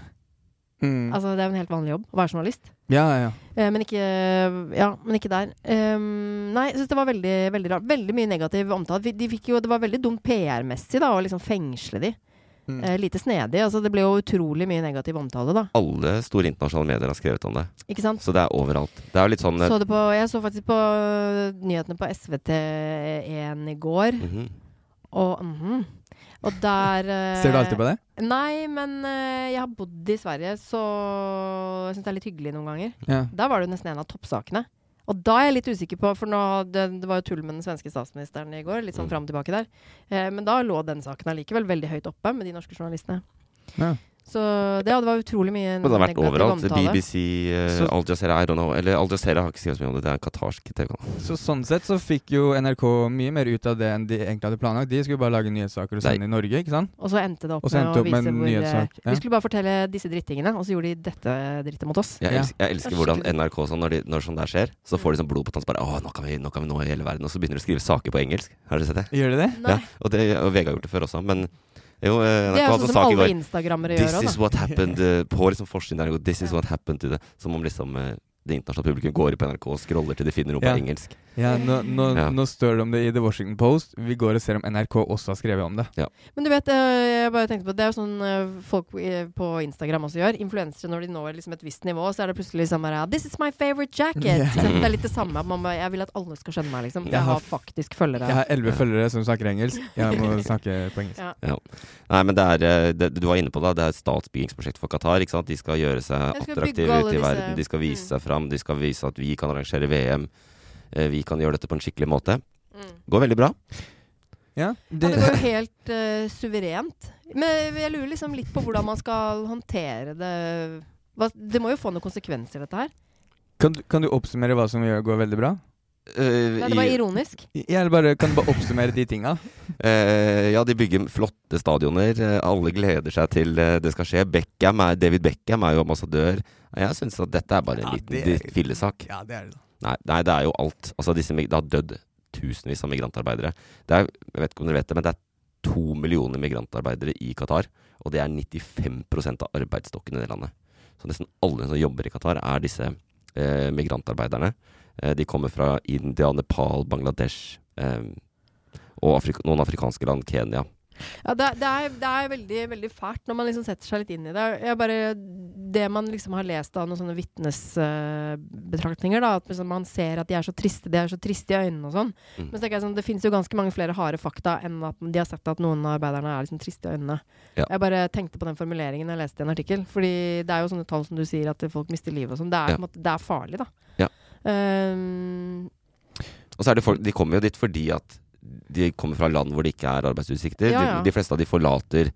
Mm. Altså, det er jo en helt vanlig jobb å være journalist. ja, ja, ja. Eh, men, ikke, ja, men ikke der. Ehm, nei, jeg syns det var veldig, veldig rart. Veldig mye negativ omtale. Vi- De fikk jo, det var veldig dumt PR-messig da, å liksom fengsle de. Mm. Eh, lite snedig. Altså, det ble jo utrolig mye negativ omtale, da. Alle store internasjonale medier har skrevet om det. Ikke sant? Så det er overalt. Det er jo litt sånn eh, Så det på, jeg så faktisk på øh, nyhetene på SVT1 i går, mhm. Mm, og mhm. Og der eh, Ser du alltid på det? Nei, men øh, jeg har bodd i Sverige, så jeg syns det er litt hyggelig noen ganger. Ja. Der var det jo nesten en av toppsakene. Og da er jeg litt usikker på, for nå, det, det var jo tull med den svenske statsministeren i går. litt sånn Mm. frem og tilbake der. Eh, men da lå den saken allikevel veldig høyt oppe med de norske journalistene. Ja. Så det, ja, det var utrolig mye Men det har vært negativ overalt. omtale. BBC, eh, Så- Al Jazeera, I don't know. Eller Al Jazeera har ikke skrevet så mye om det, det er en katarsk TV-kanal. Så sånn sett så fikk jo NRK mye mer ut av det enn de egentlig hadde planlagt. De skulle bare lage nyhetssaker og sende i Norge, ikke sant? Og så endte det opp Og så endte med å det opp vise med en hvor eh, nyhetssak, ja. Vi skulle bare fortelle disse drittingene, og så gjorde de dette drittet mot oss. Jeg, Ja. elsker, jeg elsker Det er hvordan skikkelig- NRK sånn, når, de, når sånn der skjer, så får de sånn blod på tann. så Bare, Åh, nå kan, vi, nå kan vi nå hele verden. Og så begynner de å skrive saker på engelsk. Har dere sett det? Gjør de det? Nei, Ja, og det og VG har gjort det før også. Men jo, eh, NRK Det er jo hadde en sånn som sak i alle går. instagrammere This gjør òg, is da. what happened eh, på liksom forsiden der. This is what happened to det. Som om liksom eh, det internasjonale publikum går på NRK og scroller til de finner noe Ja. på engelsk. Ja, nå, nå, Ja. nå står det om det i The Washington Post. Vi går og ser om NRK også har skrevet om det. Men du vet, eh, jeg bare tenkte på det er jo sånn eh, folk eh, på Instagram også gjør. Influensere, når de når liksom et visst nivå, så er det plutselig sånn her This is my favorite jacket! Ja. Ikke sant? Det er litt det samme. at Man bare, jeg vil at alle skal skjønne meg, liksom. Jeg For jeg har har faktisk følgere. Jeg har elleve følgere som snakker engelsk. Jeg må snakke på engelsk. Ja. Nei, men det er, eh, det, du var inne på det, det er et statsbyggingsprosjekt for Qatar. ikke sant? De skal gjøre seg Jeg skal attraktive bygge alle ute i disse- verden. De skal vise Mm. seg fram. De skal vise at vi kan arrangere VM. Eh, Vi kan gjøre dette på en skikkelig måte. Mm. Går veldig bra. Ja, Ja, det, det går jo helt eh, suverent. Men jeg lurer liksom litt på hvordan man skal håndtere det. Hva, det må jo få noen konsekvenser, dette her. kan, du- kan du oppsummere hva som gjør- går veldig bra? Eh, Nei, det var i- ironisk. Jeg vil bare, kan du bare oppsummere de tinga? Eh, ja, de bygger flotte stadioner. Eh, Alle gleder seg til eh, det skal skje. Beckham er, David Beckham er jo ambassadør. Jeg syns at dette er bare en Ja, liten det er- dritt- fillesak. Ja, det er det. Nei, nei, det er jo alt. Altså, disse, mig- det har dødd tusenvis av migrantarbeidere. Det er, jeg vet ikke om dere vet det, men det er to millioner migrantarbeidere i Qatar. Og det er 95 av arbeidsstokken i det landet. Så nesten alle som jobber i Qatar, er disse eh, migrantarbeiderne. Eh, de kommer fra India, Nepal, Bangladesh eh, og Afrik noen afrikanske land, Kenya. Ja, det, er- det, er, det er veldig, veldig fælt når man liksom setter seg litt inn i det. Jeg bare, det man liksom har lest av noen sånne vitnesbetraktninger, da, at liksom man ser at de er så triste, de er så triste i øynene og sånn. Mm. Men så tenker jeg sånn, det finnes jo ganske mange flere harde fakta enn at de har sett at noen av arbeiderne er liksom triste i øynene. Ja. Jeg bare tenkte på den formuleringen jeg leste i en artikkel. Fordi det er jo sånne tall som du sier, at folk mister livet og sånn. Det, er Ja. på en måte- det er farlig, da. Ja. Ehm, Og så er det folk, de kommer jo dit fordi at de kommer fra land hvor det ikke er arbeidsutsikter. Ja, ja. De, de fleste av de forlater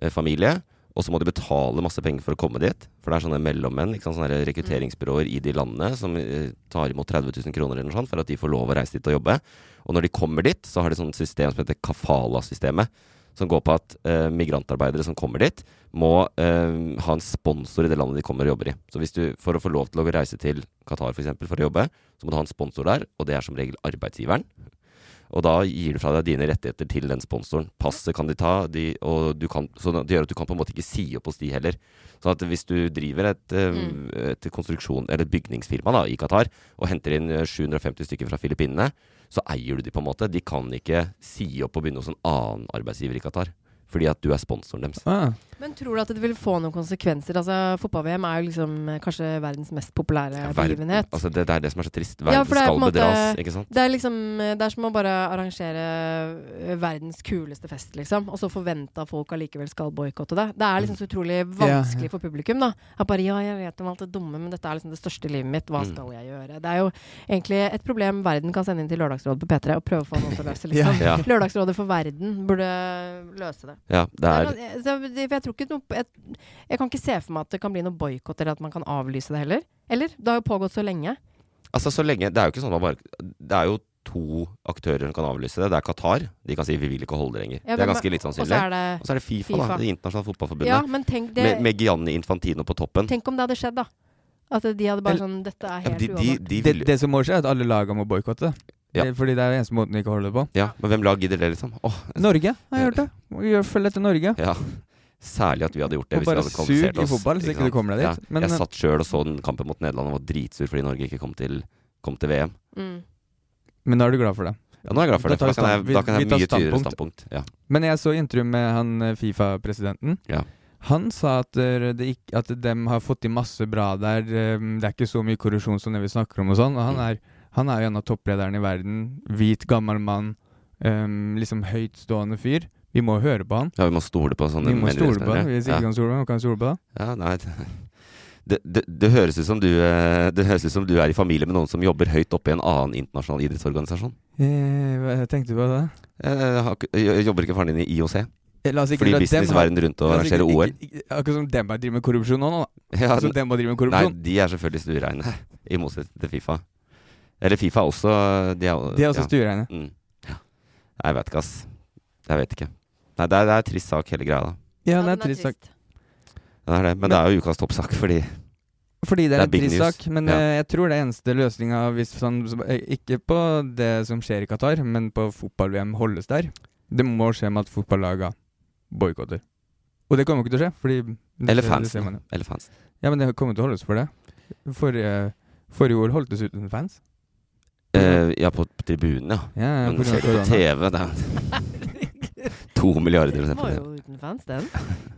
eh, familie, og så må de betale masse penger for å komme dit. For det er sånne mellommenn, ikke sant? sånne her rekrutteringsbyråer i de landene som eh, tar imot 30 000 kroner eller noe sånt for at de får lov å reise dit og jobbe. Og når de kommer dit, så har de sånn system som heter kafala-systemet. Som går på at eh, migrantarbeidere som kommer dit, må eh, ha en sponsor i det landet de kommer og jobber i. Så hvis du, for å få lov til å reise til Qatar f.eks. for å jobbe, så må du ha en sponsor der, og det er som regel arbeidsgiveren. Og da gir du fra deg dine rettigheter til den sponsoren. Passet kan de ta, de, og du kan, så det gjør at du kan på en måte ikke si opp hos de heller. Sånn at hvis du driver et, eh, et konstruksjon, eller et bygningsfirma da, i Qatar, og henter inn eh, 750 stykker fra Filippinene, så eier du de på en måte. De kan ikke si opp og begynne hos en annen arbeidsgiver i Qatar. Fordi at du er sponsoren deres. Ah, Men tror du at det vil få noen konsekvenser? Altså, Fotball-VM er jo liksom eh, kanskje verdens mest populære Verden, begivenhet. altså det, det er det som er så trist. Verden Ja, for det er på skal en måte- bedras, ikke sant? Det er liksom eh, Det er som å bare arrangere eh, verdens kuleste fest, liksom. Og så forvente at folk allikevel skal boikotte det. Det er liksom så utrolig Ja, ja. vanskelig for publikum, da. At bare ja, jeg vet om alt det dumme, men dette er liksom det største i livet mitt. Hva Mm. skal jeg gjøre? Det er jo egentlig et problem verden kan sende inn til Lørdagsrådet på P3 og prøve å få noen til å løse, liksom. Ja, Lørdagsrådet for verden burde løse det. ja, det er Nei, men, eh, det- for jeg, tror ikke noe, jeg, jeg kan ikke se for meg at det kan bli noe boikott, eller at man kan avlyse det heller. Eller? Det har jo pågått så lenge. Altså så lenge, Det er jo ikke sånn at bare, det er jo to aktører som kan avlyse det. Det er Qatar. De kan si 'vi vil ikke holde det lenger'. Ja, det men- er ganske litt Og sannsynlig. så er det Og så er det FIFA, da. FIFA. Det internasjonale fotballforbundet. Ja, men tenk, det, med, med Gianni Infantino på toppen. tenk om det hadde skjedd, da. At de hadde bare Eller- sånn Dette er Ja, men helt de, de, uholdbart. de det, vil, det som må skje, er at alle laga må boikotte. Ja. Det- Fordi det er eneste måten de ikke holder det på. ja, men hvem lag gidder det, liksom? Åh, Norge har jeg hørt det. Gjør- Følg etter Norge. ja. Særlig at vi hadde gjort det. Og hvis vi bare hadde sug kvalifisert i oss, fotball, så ikke du sant? kommer deg dit. Ja. Men- eh, jeg satt sjøl og så den kampen mot Nederland og var dritsur fordi Norge ikke kom til, kom til VM. Mm. Men da er du glad for det. Ja, nå er jeg glad for Da det. tar vi for Da kan jeg, stand- vi- da kan jeg vi tar ha mye tydeligere standpunkt. standpunkt. Ja. Men jeg så intervju med han eh, Fifa-presidenten. Ja. Han sa at, eh, det ikk- at dem har fått til masse bra der. eh, Det er ikke så mye korrupsjon som det vi snakker om og sånn. Og han Mm. er, han er jo en av topplederne i verden. Hvit, gammel mann. em, liksom høytstående fyr. Vi må høre på han. ja, vi må stole på sånne Vi må stole på han. mennesker. Hvis Ja. ikke kan stole på han, kan vi stole på han. Ja, nei det- det, det, det, høres ut som du, eh, det høres ut som du er i familie med noen som jobber høyt oppe i en annen internasjonal idrettsorganisasjon. Eh, Hva tenkte du på da? Eh, har ikke- jobber ikke faren din i IOC? Eh, La oss ikke Fly la dem business ha- verden rundt og la oss ikke- arrangere OL? ikke- ikke- Akkurat som dem bare driver med korrupsjon nå, nå. Ja, Så dem må drive med nei, korrupsjon. de er selvfølgelig stuereine, i motsetning til Fifa. Eller Fifa er også De er, De er også ja. stuereine. Mm. Ja. Nei, Jeg vet ikke, ass. Jeg vet ikke. Nei, det er, det er en trist sak, hele greia. da Ja, Ja, det er den trist sak. Det er det. Men det er jo ukas toppsak, fordi Fordi det er, Det er big en trist news. sak, men Ja. eh, jeg tror det er eneste løsninga hvis sånn som- eh, Ikke på det som skjer i Qatar, men på fotball-VM holdes der. Det må skje med at fotballaga boikotter. Og det kommer jo ikke til å skje, fordi det- Eller det fansen. ser man jo. Eller fans. Ja, men det kommer til å holdes for det. Forrige, forrige OL holdt det uten fans. Eh, ja, på tribunen, ja. Ja, Men på grunn du ser av ikke på korona. TV. Det er to milliarder å se på Den var TV. jo uten fans, den.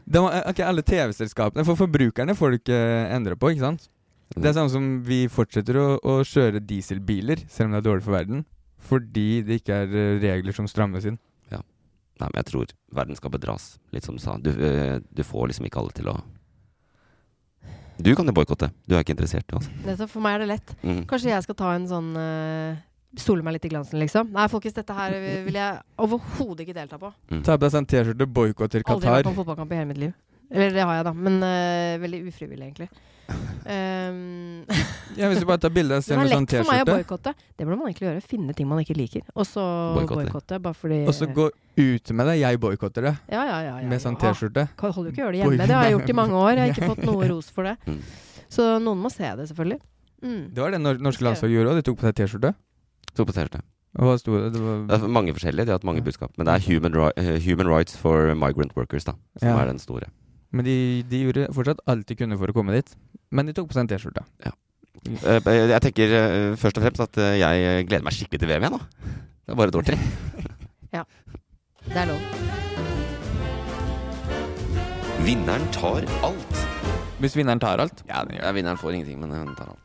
Det var, eh, ok, alle TV-selskapene For forbrukerne får du ikke eh, endre på, ikke sant? Det er samme som vi fortsetter å, å kjøre dieselbiler, selv om det er dårlig for verden. Fordi det ikke er eh, regler som strammes inn. Nei, men jeg tror verden skal bedras, litt som du sa. Du, eh, du får liksom ikke alle til å Du kan jo boikotte. Du er ikke interessert, du, altså. Nettopp, For meg er det lett. Mm. Kanskje jeg skal ta en sånn eh, Stole meg litt i glansen, liksom. Nei, folkens, dette her vil jeg overhodet ikke delta på. Ta på deg sånn T-skjorte, boikotter Aldri vært på Qatar. en fotballkamp i hele mitt liv. Eller det har jeg, da, men eh, veldig ufrivillig, egentlig. Ehm, Ja, hvis du bare tar bilde av deg det selv var med sånn lett for meg å T-skjorte, boikotte. Det burde man egentlig gjøre. Finne ting man ikke liker, og så Boykotte. boikotte. Bare fordi og så gå ut med det. Jeg boikotter det Ja, ja, ja. ja, Ah. med sånn ja. T-skjorte. Kan- Holder jo ikke å gjøre det Boy- hjemme. Det har jeg gjort i mange år. Jeg har ikke fått noe ros for det. Mm. Så noen må se det, selvfølgelig. Mm. Det var det nor norske landslaget gjorde òg. De tok på seg T-skjorte. To på T-skjorte. Og hva sto det? Det Det var er mange forskjellige. De har hatt mange budskap. Men det er human, ri- eh, human rights for migrant workers, da. Som Ja. er den store. Men de, de gjorde fortsatt alt de kunne for å komme dit. Men de tok på seg en T-skjorte. Eh, eh, jeg tenker eh, først og fremst at eh, jeg gleder meg skikkelig til VM igjen, nå. Det er bare et år til. Det er lov. Vinneren tar alt. Hvis vinneren tar alt. Ja, vinneren får ingenting, men hun tar alt.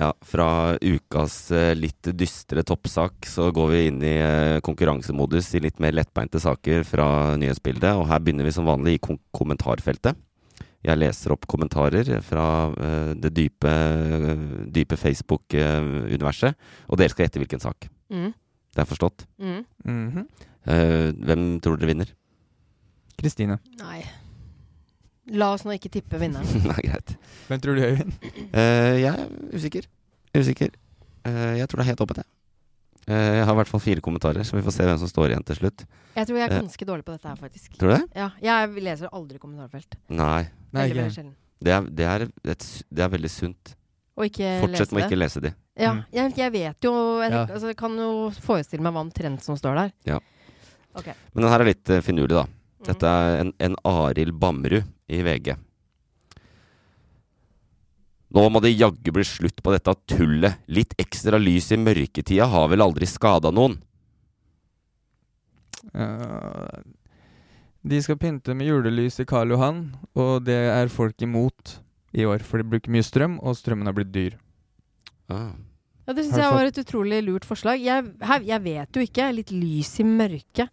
Ja, fra ukas eh, litt dystre toppsak så går vi inn i eh, konkurransemodus i litt mer lettbeinte saker fra nyhetsbildet, og her begynner vi som vanlig i kon kommentarfeltet. Jeg leser opp kommentarer fra eh, det dype, eh, dype Facebook-universet, og dere skal gjette hvilken sak. Mm. Det er forstått. Mm. Mhm. Eh, hvem tror dere vinner? Kristine. Nei. La oss nå ikke tippe vinneren. Nei, greit. Hvem tror du gjør Eh, jeg er usikker. Usikker. Eh, jeg tror det er helt åpent, jeg. Eh, jeg har i hvert fall fire kommentarer, så vi får se hvem som står igjen til slutt. Jeg tror jeg er Eh. ganske dårlig på dette her, faktisk. Tror du det? Ja, jeg leser aldri kommentarfelt. Nei. Nei, veldig, ikke. veldig sjelden. Det er, det er, et, s- det er veldig sunt. Og ikke Fortsett med å Eh, lese ikke det. lese de. Ja, Mm. jeg, jeg vet jo jeg, Ja. altså, jeg kan jo forestille meg hva omtrent som står der. Men den her er litt eh, finurlig, da. Mm. Dette er en, en Arild Bammerud i VG. Nå må det jaggu bli slutt på dette tullet. Litt ekstra lys i mørketida har vel aldri skada noen? Eh, de skal pynte med julelys i Karl Johan, og det er folk imot i år. For de bruker mye strøm, og strømmen har blitt dyr. Ah. Ja, det syns Har du jeg var et utrolig lurt forslag. Jeg, her, jeg vet jo ikke. Litt lys i mørket.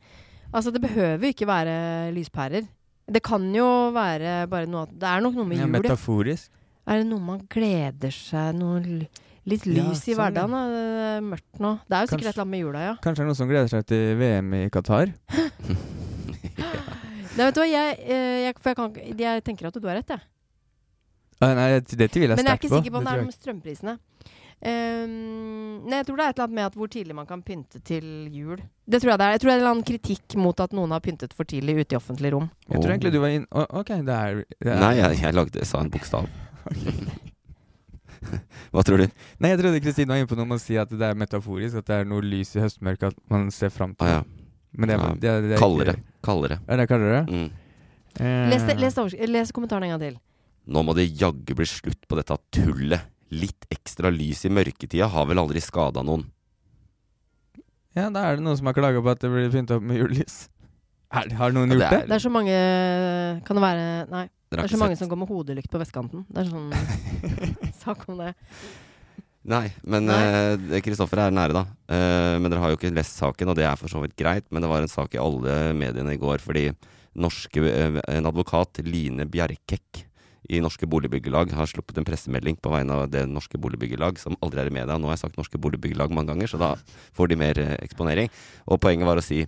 Altså, det behøver jo ikke være lyspærer. Det kan jo være bare noe at Det er nok noe med Ja, jul, ja. metaforisk. Er det noe man gleder seg noe l- Litt Ja, lys i sånn, ja. hverdagen. da. Det er mørkt nå. Det er jo Kanskje- sikkert et eller annet med jula, ja. Kanskje det er noen som gleder seg til VM i Qatar? Nei, vet du hva, jeg, eh, jeg, for jeg, kan, ikke- jeg tenker at du har rett, jeg. Ah, nei, det- det tviler jeg Men jeg er sterkt ikke på. sikker på om det tror er jeg noe med strømprisene. Ehm, nei, jeg tror det er et eller annet med at hvor tidlig man kan pynte til jul. Det tror jeg det er. Jeg tror det er en eller annen kritikk mot at noen har pyntet for tidlig ute i offentlige rom. Jeg tror egentlig du var inn... Å, ok, det er, det er Nei, jeg, jeg lagde, sa en bokstav. Hva tror du? Nei, jeg trodde Kristine var inne på noe med å si at det er metaforisk, at det er noe lys i høstmørket, at man ser fram til Ah, ja. Men det, Ja, er- det, er- det er Kaldere. ikke- Kaldere. Er det kaldere? Mm. Eh, Les, det- les, det overs- les kommentaren en gang til. Nå må det jaggu bli slutt på dette tullet. Litt ekstra lys i mørketida har vel aldri skada noen. Ja, da er det noen som har klaga på at det blir pynta opp med julelys. Er, det- har noen Ja, gjort det? Det er så mange Kan det være Nei. Dere Det har er så ikke mange sett- som går med hodelykt på vestkanten. Det er sånn sak om det. Nei, men Nei. eh, det- Kristoffer er nære, da. Eh, men dere har jo ikke lest saken, og det er for så vidt greit. Men det var en sak i alle mediene i går fordi norske, eh, en advokat, Line Bjerkek, i Norske Boligbyggelag har sluppet en pressemelding på vegne av det Norske Boligbyggelag, som aldri er i media. Nå har jeg sagt Norske Boligbyggelag mange ganger, så da får de mer eh, eksponering. Og poenget var å si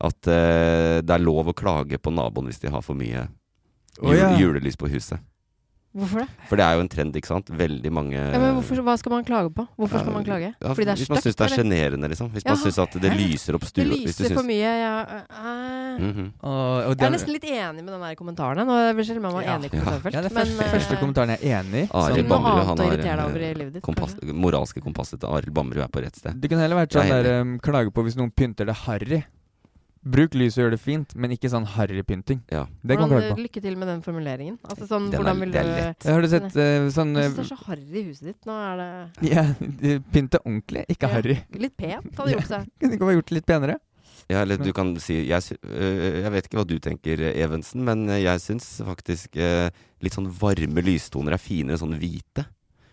at eh, det er lov å klage på naboen hvis de har for mye Å, jul, ja. julelys på huset. Hvorfor det? For det er jo en trend, ikke sant. Veldig mange Ja, men hvorfor, hva skal man klage på? Hvorfor skal man klage? Eh, ja, Fordi det er Hvis man stygt? syns det er eller? sjenerende, liksom. Hvis man Jaha, syns at det hæ? lyser opp Det stua hvis du lyser for syns- mye. Ja, eh, Mhm. Og, og Jeg er den- nesten litt enig med den der kommentaren. her. Nå er det selv om jeg var Ja. enig i ja, det kommentarfelt. eh, er første, første kommentaren jeg er enig i. Ari Sånn- noe Bamberud, han annet å har irritere deg eh, over i livet ditt. kompass, kanskje. moralske kompasset til Arild Bamberud er på rett sted. Det kunne heller vært Jeg sånn er der um, klage på hvis noen pynter det harry. Bruk lys og gjør det fint, men ikke sånn harrypynting. Ja. Det kan man klage Hvordan- på. Lykke til med den formuleringen. Altså sånn, Den er- hvordan vil du det er lett. Har du sett eh, sånn Jeg synes det eh, er så harry i huset ditt. Nå er det Ja, de pynte ordentlig, ikke Ja. harry. litt pent, hadde gjort seg. Kunne ikke vært gjort litt penere? Ja, eller du kan si jeg, sy- øh, jeg vet ikke hva du tenker, Evensen, men jeg syns faktisk eh, litt sånn varme lystoner er finere enn sånn hvite.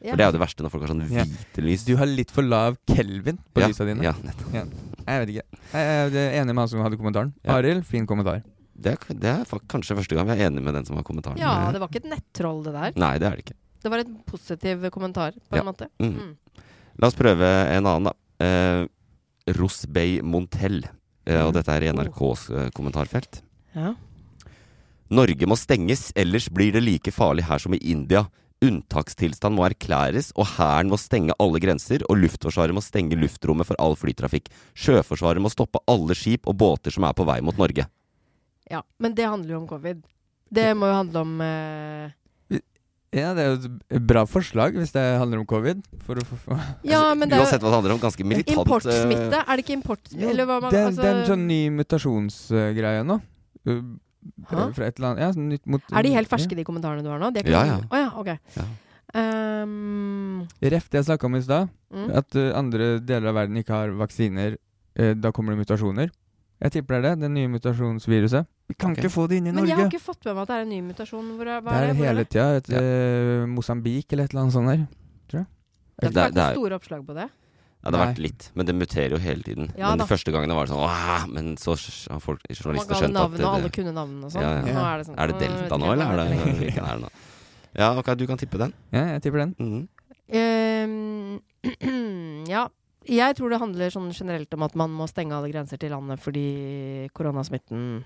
Ja. For det er jo det verste når folk har sånn Ja. hvite lys. Du har litt for lav kelvin på ja, lysa dine. Ja, nettopp. Jeg vet ikke. Jeg er enig med han som hadde kommentaren. Ja. Arild, fin kommentar. Det er, det er fak- kanskje første gang jeg er enig med den som har kommentaren. Ja, det var ikke et nettroll, det der. Nei, det er det ikke. Det var et positiv kommentar, på Ja. en måte. Mm. Mm. La oss prøve en annen, da. Eh, Ros Bay Montel. Eh, og dette er i NRKs eh, kommentarfelt. Ja. Norge må stenges, ellers blir det like farlig her som i India. Unntakstilstand må erklæres, og hæren må stenge alle grenser, og Luftforsvaret må stenge luftrommet for all flytrafikk. Sjøforsvaret må stoppe alle skip og båter som er på vei mot Norge. ja. Men det handler jo om covid. Det må jo handle om eh, Ja, det er jo et bra forslag hvis det handler om covid. For å få få- Ja, Altså, men det er Uansett hva det handler om, ganske jo militant eh, importsmitte. Er det ikke importsmitte? Eller hva man det, er- altså, det er en sånn ny mutasjonsgreie nå. Uh, Hæ? Fra et eller annet ja, sånn nytt mot, Er de helt ferske, de kommentarene du har nå? De er ikke Ja, ja. noe- Å ja, ok. Ja. Ehm, Ja. Ref det jeg snakka om i stad, mm. at uh, andre deler av verden ikke har vaksiner. eh, da kommer det mutasjoner. Jeg tipper det er det. Det nye mutasjonsviruset. Vi kan Ok. ikke få det inn i Men jeg har Norge. ikke fått med meg at det er en ny mutasjon. Hvor, er- hva Det er er det? Hvor er hele det? tida et eh, Mosambik eller et eller annet sånt der. Det Det har er- ikke det er- vært store oppslag på det. Ja, det har Nei. vært litt, men det muterer jo hele tiden. Ja men da. de første gangene var det sånn Åh! Men så sk- har folk, Og Man journalister ga alle liksom skjønt at navnene, og alle det, kunne navnene og sånn. Ja, ja. Nå er det sånn Er det «Åh, vet Delta nå, ikke hva eller det er det heter lenger». hvilken er det nå? Ja, ok, du kan tippe den. Ja, jeg tipper den. Mhm. Ehm, ja. Jeg tror det handler sånn generelt om at man må stenge alle grenser til landet fordi koronasmitten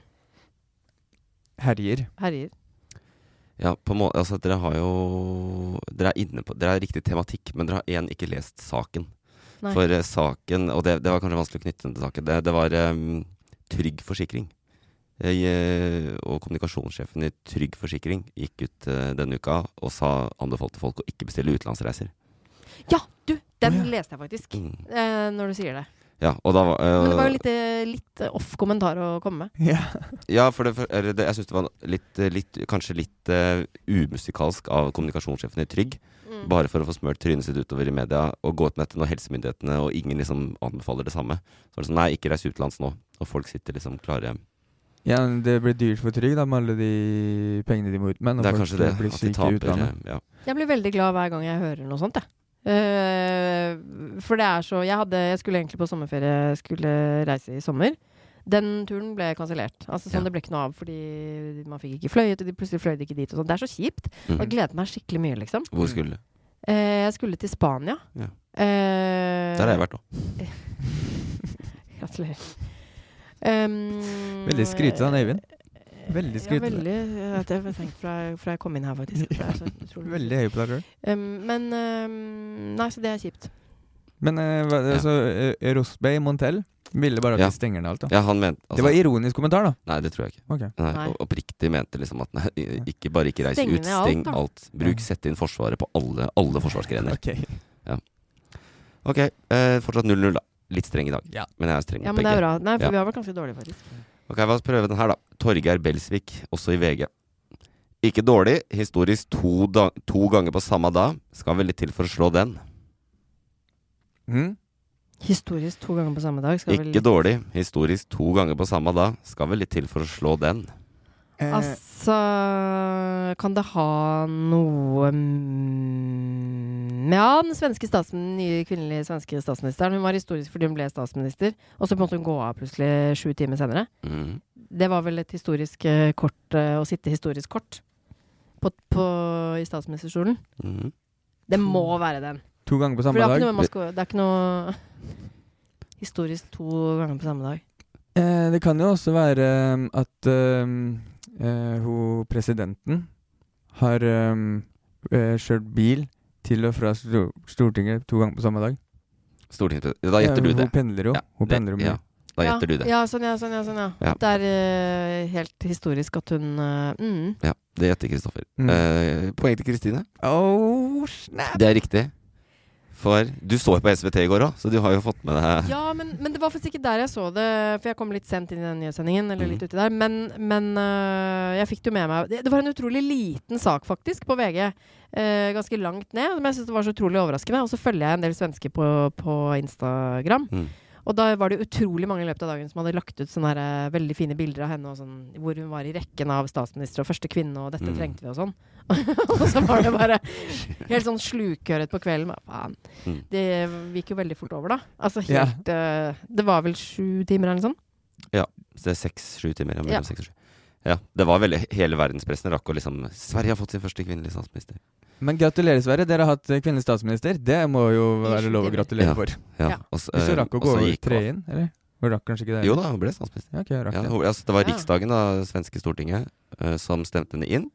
Herjer. herjer. Ja, på en må altså dere har jo Dere er inne på Dere har riktig tematikk, men dere har én ikke lest saken. Nei. For eh, saken Og det, det var kanskje vanskelig å knytte den til saken. Det, det var em, Trygg Forsikring. Jeg, eh, og kommunikasjonssjefen i Trygg Forsikring gikk ut eh, denne uka og sa, anbefalte folk å ikke bestille utenlandsreiser. Ja, du! Å, Den ja. leste jeg faktisk. Mm. eh, når du sier det. Ja, og da var, eh, Men det var jo litt, eh, litt off kommentar å komme med. Ja. Ja, for det, for, eller det, jeg syns det var litt, eh, litt Kanskje litt eh, umusikalsk av kommunikasjonssjefen i Trygg. Mm. Bare for å få smørt trynet sitt utover i media og gå ut med dette når helsemyndighetene og ingen liksom anbefaler det samme. Så er det sånn Nei, ikke reis utenlands nå. Og folk sitter liksom klare. Ja, men det blir dyrt for Trygg da, med alle de pengene de må ut med. når Det er folk kanskje det. blir At syke de i taper utlandet. eh, ja. Jeg blir veldig glad hver gang jeg hører noe sånt, jeg. Eh, for det er så jeg, hadde, jeg skulle egentlig på sommerferie, skulle reise i sommer. Den turen ble kansellert. Altså, sånn Ja. Det ble ikke noe av fordi man fikk ikke fløyet, og de plutselig fløy de ikke dit. Og sånn. det er så kjipt. Og jeg mm. gleder meg skikkelig mye, liksom. Hvor skulle du? Eh, jeg skulle til Spania. Ja. Eh, Der har jeg vært òg. Gratulerer. Um, Veldig skrytete av Øyvind. Veldig skrytete. Ja, veldig. eh, at Jeg har tenkt fra, jeg- fra jeg kom inn her, faktisk. Det er så utrolig. Veldig høy på deg sjøl. Um, men um, Nei, så det er kjipt. Men eh, hva, Ja. altså, eh, Rosbay Montel Ville bare at Ja. vi stenger ned alt, da. Ja, han mente altså, Det var ironisk kommentar, da. Nei, det tror jeg ikke. Ok. Nei, Nei. og- Oppriktig mente liksom at nei, i- ikke bare ikke reis Steng ut, ned alt, steng da. alt. Bruk, sett inn Forsvaret på alle, alle forsvarsgrener. Ok. Ok, eh, fortsatt 0-0, da. Litt streng i dag, Ja. men jeg er streng Ja, med men det er begge. bra. Nei, for Ja. vi har vært ganske dårlige, faktisk. Ok, La oss prøve den her, da. Torgeir Belsvik, også i VG. Ikke dårlig, historisk to, da to ganger på samme dag. Skal vel litt til for å slå den. Mm? Historisk to ganger på samme dag. Skal Ikke vel... dårlig, historisk to ganger på samme dag. Skal vel litt til for å slå den. Altså Kan det ha noe mm, Ja, den svenske statsministeren, nye kvinnelige svenske statsministeren. Hun var historisk fordi hun ble statsminister, og så måtte hun gå av plutselig sju timer senere. Mm. Det var vel et historisk eh, kort, eh, å sitte historisk kort på, på, i statsministerstolen. Mm. Det må være den. To ganger på For samme det er ikke dag. noe, man skal, det er ikke noe historisk to ganger på samme dag. Eh, det kan jo også være um, at um, eh, hun presidenten har um, eh, kjørt bil til og fra Stor- Stortinget to ganger på samme dag. Stortingspresident. Da gjetter du Eh, det. Hun pendler jo. Ja, Hun det- pendler jo mye. ja. Da gjetter du det. Ja, sånn ja, sånn ja. Sånn, ja. Ja. Det er eh, helt historisk at hun eh, mm. Ja, det gjetter Kristoffer. Mm. Eh, poeng til Kristine. Oh, snap! Det er riktig. For du så jo på SVT i går òg, så du har jo fått med deg Ja, men, men det var faktisk ikke der jeg så det, for jeg kom litt sent inn i den nyhetssendingen. Eller litt Mhm. uti der Men, men øh, jeg fikk det jo med meg. Det, det var en utrolig liten sak, faktisk, på VG. øh, ganske langt ned. Men jeg syns det var så utrolig overraskende. Og så følger jeg en del svensker på, på Instagram. Mhm. Og da var det utrolig mange i løpet av dagen som hadde lagt ut sånne her, øh, veldig fine bilder av henne, og sånn, hvor hun var i rekken av statsminister og første kvinne, og dette Mhm. trengte vi, og sånn. og så var det bare helt sånn slukøret på kvelden. Hva faen? Mm. Det gikk jo veldig fort over, da. Altså Ja. helt eh, Det var vel sju timer eller noe sånt? Det er seks-sju timer. Ja, Ja. mellom seks og sju. Ja, det var veldig Hele verdenspressen rakk å liksom Sverige har fått sin første kvinnelige statsminister. Men gratulerer, Sverre. Dere har hatt eh, kvinnelig statsminister. Det må jo være sju lov å timer. gratulere Ja. for. Ja, Ja. Og så, Hvis du eh, rakk å og gå så over gikk- tre inn, eller? Hun rakk kanskje ikke det? Jo da, hun ble statsminister. Ja, ok, hun rakk Ja, det. hun, altså, det var Ja. Riksdagen, da, svenske Stortinget, eh, som stemte henne inn.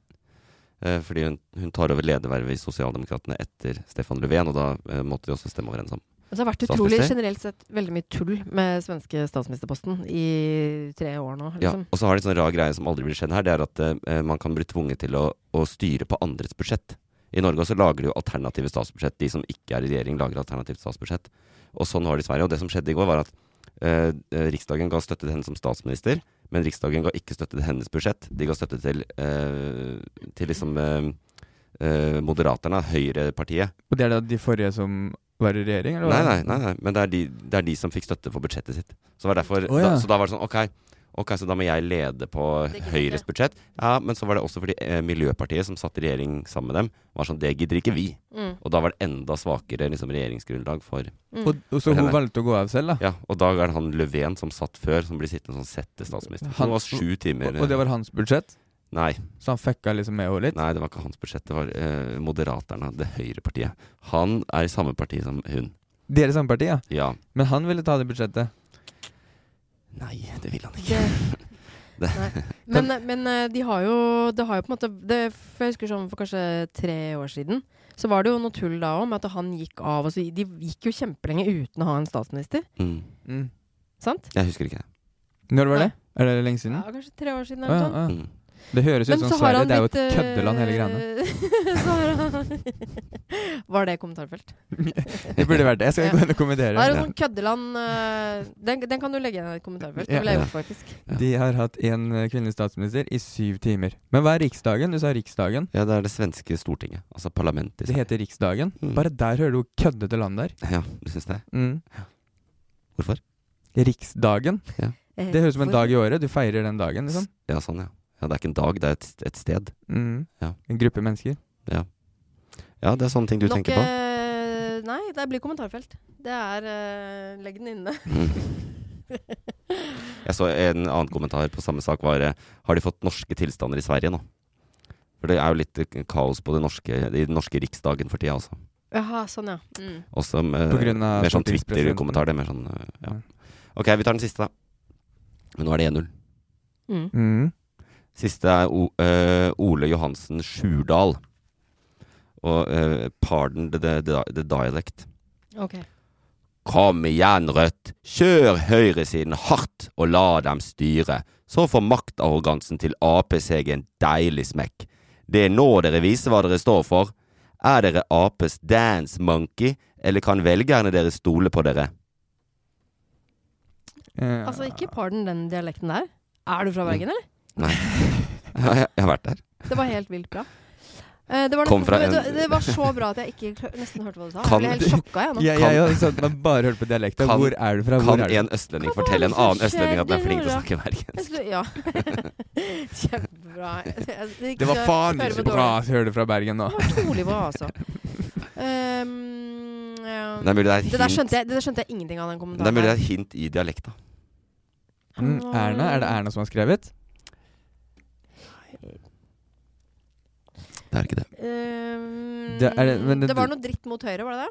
eh, fordi hun, hun tar over ledervervet i Sosialdemokratene etter Stefan Löfven, og da eh, måtte de også stemme overens om. Og så har det vært utrolig Statsminister? generelt sett veldig mye tull med svenske statsministerposten i tre år nå, Ja, liksom. og så har de en sånn rar greie som aldri blir skjedd her, det er at eh, man kan bli tvunget til å, å styre på andres budsjett. I Norge også lager de jo alternative statsbudsjett. De som ikke er i regjering, lager alternativt statsbudsjett. Og sånn var det i Sverige. Og det som skjedde i går, var at eh, eh, Riksdagen ga støtte til henne som statsminister, men Riksdagen ga ikke støtte til hennes budsjett. De ga støtte til, eh, til liksom eh, eh, Moderaterna, Høyrepartiet. Og det er da de forrige som var i regjering, eller? Nei, hva? nei, nei, nei. men det er, de, det er de som fikk støtte for budsjettet sitt. Så, det var derfor, Å, ja. da, så da var det sånn ok, ok, så da må jeg lede på Det gidder Høyres ikke. budsjett. Ja, Men så var det også fordi eh, Miljøpartiet, som satt i regjering sammen med dem, var sånn det gidder ikke vi. Mm. Og da var det enda svakere liksom, regjeringsgrunnlag for Og, og så Nei, hun nei. valgte å gå av selv, da? Ja, og da er det han Löfven som satt før, som blir sittende som sette statsminister. Han- Han var sju timer Og, og det var hans budsjett? Nei, Så han fucka liksom med henne litt? eh, nei, det var ikke hans budsjett. Det var eh, Moderaterna, det Høyrepartiet. Han er i samme parti som hun. Dere samme parti, ja. Ja. Men han ville ta det budsjettet. Nei, det vil han ikke. Det, Det- Nei. men, men eh, de har jo Det har jo på en måte det, For jeg husker sånn for kanskje tre år siden, så var det jo noe tull da òg med at han gikk av. Og så, de gikk jo kjempelenge uten å ha en statsminister, Mm. Mm. sant? Jeg husker ikke det. Når var Nei. det? Er det lenge siden? Ja, kanskje tre år Mm. siden Å, eller noe ja, sånt. ja. Mm. Det høres ut Men som så har Sverige. han Det er jo et blitt, køddeland, hele greiene. eh, så har han Var det kommentarfelt? Det burde vært det. Jeg skal Ja. gå inn og Det kommentere. er jo sånn køddeland eh, den, den kan du legge igjen i et kommentarfelt. Ja. Det ville jeg gjort, faktisk. De har hatt én eh, kvinnelig statsminister i syv timer. Men hva er Riksdagen? Du sa Riksdagen. Ja, det er det svenske stortinget. Altså parlamentet. i Det heter Riksdagen. Mm. Bare der hører du hvor køddete land det er. Sverige. Ja, du syns det? Mm. Hvorfor? Riksdagen. Eh, Det høres ut som en hvorfor- dag i året. Du feirer den dagen, liksom. Ja, sånn, ja. ja. Det er ikke en dag, det er et, et sted. Mm. Ja. En gruppe mennesker. Ja, det er sånne ting du Nok, tenker på. eh, Nei, det blir kommentarfelt. Det er eh, Legg den inne. Mm. Jeg så en annen kommentar på samme sak var eh, Har de fått norske tilstander i Sverige nå? For det er jo litt eh, kaos på det norske, i den norske riksdagen for tida også. Jaha, sånn, ja. Mm. også eh, På grunn av mer sånn stortingspresidenten. Twitter-kommentar. Det er mer sånn eh, ja. Ok, vi tar den siste, da. Men nå er det 1-0. Mm. Mm. Siste er o, eh, Ole Johansen Sjurdal. Og eh, 'Pardon the, the, the dialect'. Ok. Kom igjen, Rødt, kjør høyresiden hardt og la dem styre, så får maktarrogansen til Ap seg en deilig smekk. Det er nå dere viser hva dere står for. Er dere Aps dance monkey, eller kan velgerne deres stole på dere? Eh, Altså, ikke pardon den dialekten der. Er Mm. du fra Bergen, eller? Nei, jeg har vært der. Det var helt vilt bra. Eh, Det var, Kom fra nesten- en- det var så bra at jeg ikke kl- nesten hørte hva du sa. Kan- Jeg ble helt sjokka, jeg nå. jeg, jeg, har satt meg bare hørt på dialekta. Kan- Hvor er du fra? Hvor Kan er du? en østlending Hva var fortelle det en som annen østlending at den er skjedde flink til å nå, snakke Jeg bergensk? slu- Ja. Kjempebra. Altså, Jeg- jeg- Det var faen hører ikke på bra dårlig. at jeg hører det fra Bergen nå. Det var utrolig bra, altså. Um, ja. Det er mulig det er det, et der hint, skjønte jeg, det der skjønte jeg ingenting av, den det er kommentaren. mulig det er et hint i dialekta. Mm, Erna? Er det Erna som har skrevet? Det er ikke det. Um, Det det, er det- men det- var noe dritt mot høyre, var det det?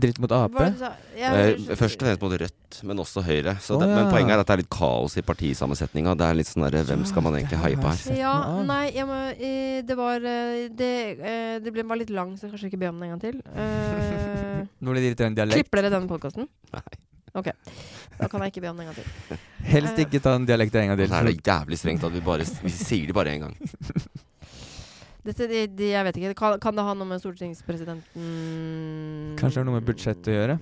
Dritt mot Hva var Ap? det du sa? Jeg- Eh, Først og fremst mot Rødt, men også Høyre. Så Å, det, men ja. poenget er at det er litt kaos i partisammensetninga. Det er litt sånn derre Hvem skal man egentlig haie på her? Sett Ja, meg av. nei, jeg må, eh, det var eh, Det, eh, det ble var litt lang, så jeg kanskje ikke be om den en gang til. Eh, Nå blir det irriterende dialekt. klipper dere denne podkasten? Nei. Ok. Da kan jeg ikke be om den en gang til. Helst ikke ta en dialekt en gang Det til. er det jævlig strengt at vi bare vi sier det bare én gang. Dette, de, de, jeg vet ikke. Kan, kan det ha noe med stortingspresidenten Kanskje det har noe med budsjettet å gjøre?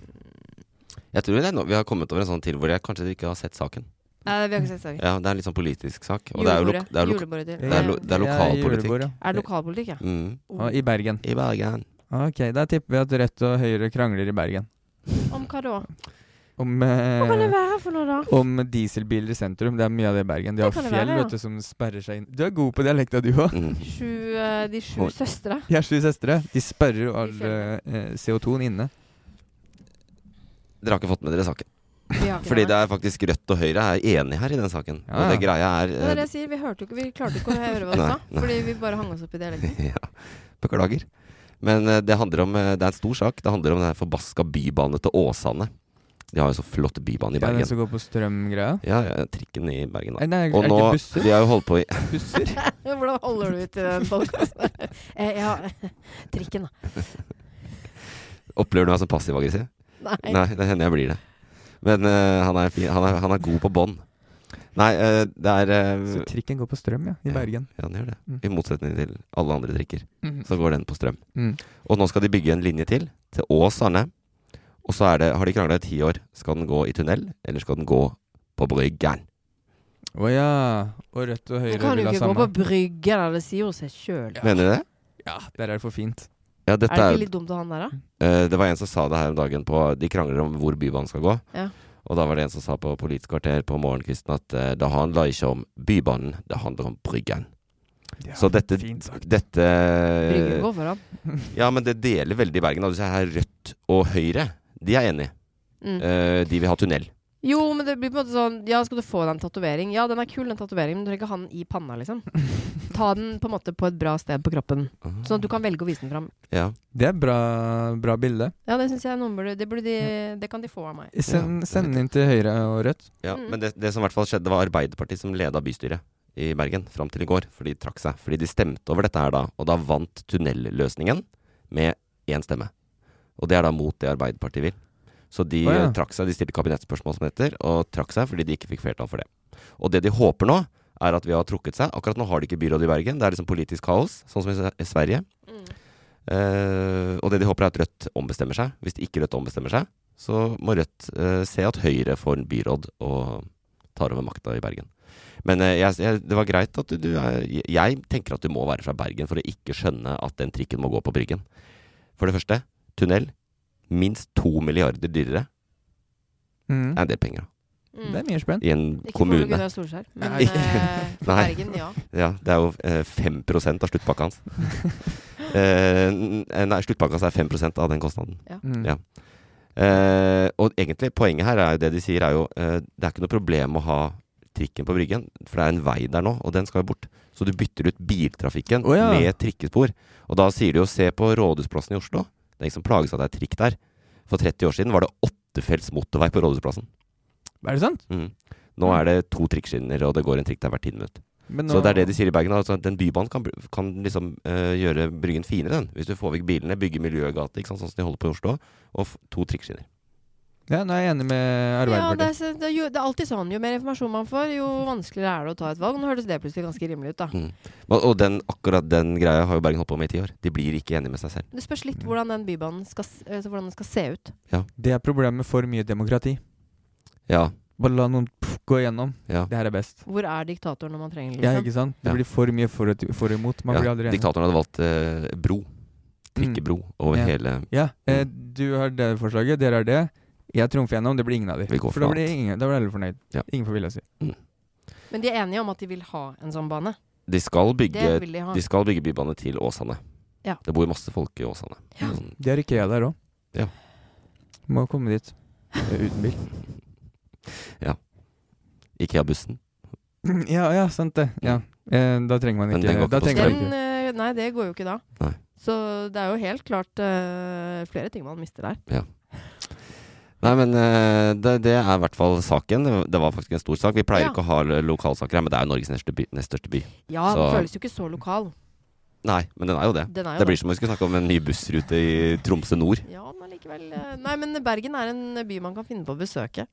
Jeg tror det er nå, Vi har kommet over en sånn til hvor jeg kanskje ikke har sett saken. Nei, vi har ikke sett saken. Ja, Det er en litt sånn politisk sak. Og det er jo lo- det er jo lo- Julebordet til. det er lo- det er lokalpolitikk. julebord, ja. Er det lokalpolitikk, ja? mm, Og I Bergen. I Bergen. Ok, da tipper vi at Rødt og Høyre krangler i Bergen. Oh. Om hva da? Eh, Om, Hva kan det eh, være for noe, da? om dieselbiler i sentrum. Det er mye av det i Bergen. De Det har kan det fjell være, ja. vet du, som sperrer seg inn. Du er god på dialekta, du òg. Mm. Sju, eh, de sju Oi. søstre. Jeg er sju søstre. De sperrer jo all I fjellet. eh, CO2-en inne. Dere har ikke fått med dere saken. Vi har ikke Fordi det er faktisk Rødt og Høyre er enige her i den saken. Ja. Og det greia er eh, Det er det jeg sier. Vi, hørte jo ikke, vi klarte jo ikke å høre hva du Nei, sa, nei. fordi vi bare hang oss opp i dialekten. eh, ja, Beklager. Men eh, det handler om eh, Det er en stor sak. Det handler om den her forbaska bybanen til Åsane. De har jo så flott bybane i Ja, den Bergen. som går på strømgreia. Ja, ja, trikken i Bergen, da. Nei, det er, Og er nå ikke busser? De har jo holdt på i Busser? Hvordan holder du ut i den podkasten? eh, ja, trikken, da. Opplever du meg som passiv-aggressiv? Nei. Nei, det hender jeg blir det. Men eh, han, er fin, han, er, han er god på bånd. Nei, eh, det er eh, Så trikken går på strøm, ja. I Ja. Bergen. Ja, den gjør det. Mm. I motsetning til alle andre drikker. Mm. Så går den på strøm. Mm. Og nå skal de bygge en linje til, til Åsane. Og så er det, har de krangla i ti år. Skal den gå i tunnel, eller skal den gå på Bryggeren? Å ja. Og Rødt og Du Høyre kan jo vil ha ikke gå på samme. bryggen, eller det sier jo seg sjøl. Ja. Mener du det? Ja, der er det for fint. Ja, Er dette det er, ikke litt dumt av han der, da? eh, det var en som sa det her om dagen på De krangler om hvor Bybanen skal gå. Ja. Og da var det en som sa på Politisk kvarter på morgenkvisten at eh, det handler ikke om Bybanen, det handler om Bryggeren. Ja, Så dette- Fint sagt. Dette Eh, Bryggen går foran. Ja, men det deler veldig Bergen. da. Du ser her Rødt og Høyre, de er enige. Mm. Eh, de vil ha tunnel. Jo, men det blir på en måte sånn Ja, skal du få deg en tatovering? Ja, den er kul, den tatoveringen, men du trenger ikke ha den i panna, liksom. Ta den på en måte på et bra sted på kroppen, sånn at du kan velge å vise den fram. Ja. Det er bra, bra bilde. Ja, det syns jeg noen burde Det, burde de, det kan de få av meg. Send, Ja, send inn til Høyre og Rødt. Ja, Mm. Men det, det som i hvert fall skjedde, var Arbeiderpartiet som leda bystyret i Bergen fram til i går. For de trakk seg. Fordi de stemte over dette her da, og da vant tunnelløsningen med én stemme. Og det er da mot det Arbeiderpartiet vil. Så de Å, ja. eh, trakk seg, de stilte kabinettspørsmål som det heter, og trakk seg fordi de ikke fikk flertall for det. Og det de håper nå, er at vi har trukket seg. Akkurat nå har de ikke byråd i Bergen. Det er liksom politisk kaos, sånn som i S- i Sverige. Eh, og det de håper er at Rødt ombestemmer seg. Hvis ikke Rødt ombestemmer seg, så må Rødt eh, se at Høyre får en byråd og tar over makta i Bergen. Men eh, jeg, jeg, det var greit at du, du er, Jeg tenker at du må være fra Bergen for å ikke skjønne at den trikken må gå på Bryggen. For det første, tunnel. Minst to milliarder dyrere Mm. er en del penger da, Mm. Det er mye spenn. i en Ikke for kommune. Gunnar Solskjær, men Nei. eh, for Nei. Bergen, ja. Ja, det er jo eh, 5 av sluttpakka hans. eh, n- nei, sluttpakka hans er 5 av den kostnaden. Mm. Ja. Eh, og egentlig, poenget her er jo det de sier er jo eh, Det er ikke noe problem å ha trikken på Bryggen, for det er en vei der nå, og den skal jo bort. Så du bytter ut biltrafikken Å, ja. med trikkespor. Og da sier de jo se på Rådhusplassen i Oslo. Det er ingen som plages av at det er trikk der. For 30 år siden var det åttefelts motorvei på Rådhusplassen. Er det sant? Mm. Nå er det to trikkskinner, og det går en trikk der hvert tiende minutt. Men Så nå- det er det de sier i Bergen. Altså, at den bybanen kan, br- kan liksom eh, gjøre Bryggen finere, den. Hvis du får vekk bilene, bygger miljøgate, ikke sant, sånn som de holder på i Oslo, og f to trikkskinner. Ja, nå er jeg enig med Ja, det, Arbeiderpartiet. er, så- det, er jo, det er alltid sånn. Jo mer informasjon man får, jo vanskeligere er det å ta et valg. Nå høres det plutselig ganske rimelig ut, da. Og, og den, akkurat den greia har jo Bergen holdt på med i ti år. De blir ikke enige med seg selv. Det spørs litt hvordan den bybanen skal, s- altså, hvordan den skal se ut. det, er problemet med for mye demokrati. Ja, Bare la noen pff, gå igjennom. ja. Det her er best. Hvor er diktatoren når man trenger den? Ja, Liksom? ikke sant? Det Ja. blir for mye for og, for og imot. Man ja. blir aldri enig. Diktatoren hadde valgt eh, bro. Trikkebro over Ja. hele Ja, eh, du har det forslaget, dere har det. Jeg trumfer gjennom, det blir ingen av de. Vi går for da noe blir, ingen, da blir alle fornøyd. Ja. Ingen får vilja si. Men de er enige om at de vil ha en sånn bane. De skal Det bygge, vil de ha. de skal bygge bybane til Åsane. Ja. Det bor masse folk i Åsane. Sånn, Det har IKEA der òg. Ja. Må komme dit. Eh, Uten bil. Ikea-bussen. Ja, ja, sant det. Ja. Eh, da trenger man Mm. Men den ikke går Da ikke på trenger man strøm. ikke. Den, eh, nei, det går jo ikke da. Nei. Så det er jo helt klart eh, flere ting man mister der. Nei, men eh, det, det er i hvert fall saken. Det var faktisk en stor sak. Vi pleier Ja. ikke å ha lokalsaker her, men det er jo Norges neste by, nest største by. Ja, Så- den føles jo ikke så lokal. Nei, men den er jo det. Den er jo Det blir som om vi skulle snakke om en ny bussrute i Tromsø nord. Ja, men likevel eh, Nei, men Bergen er en by man kan finne på å besøke.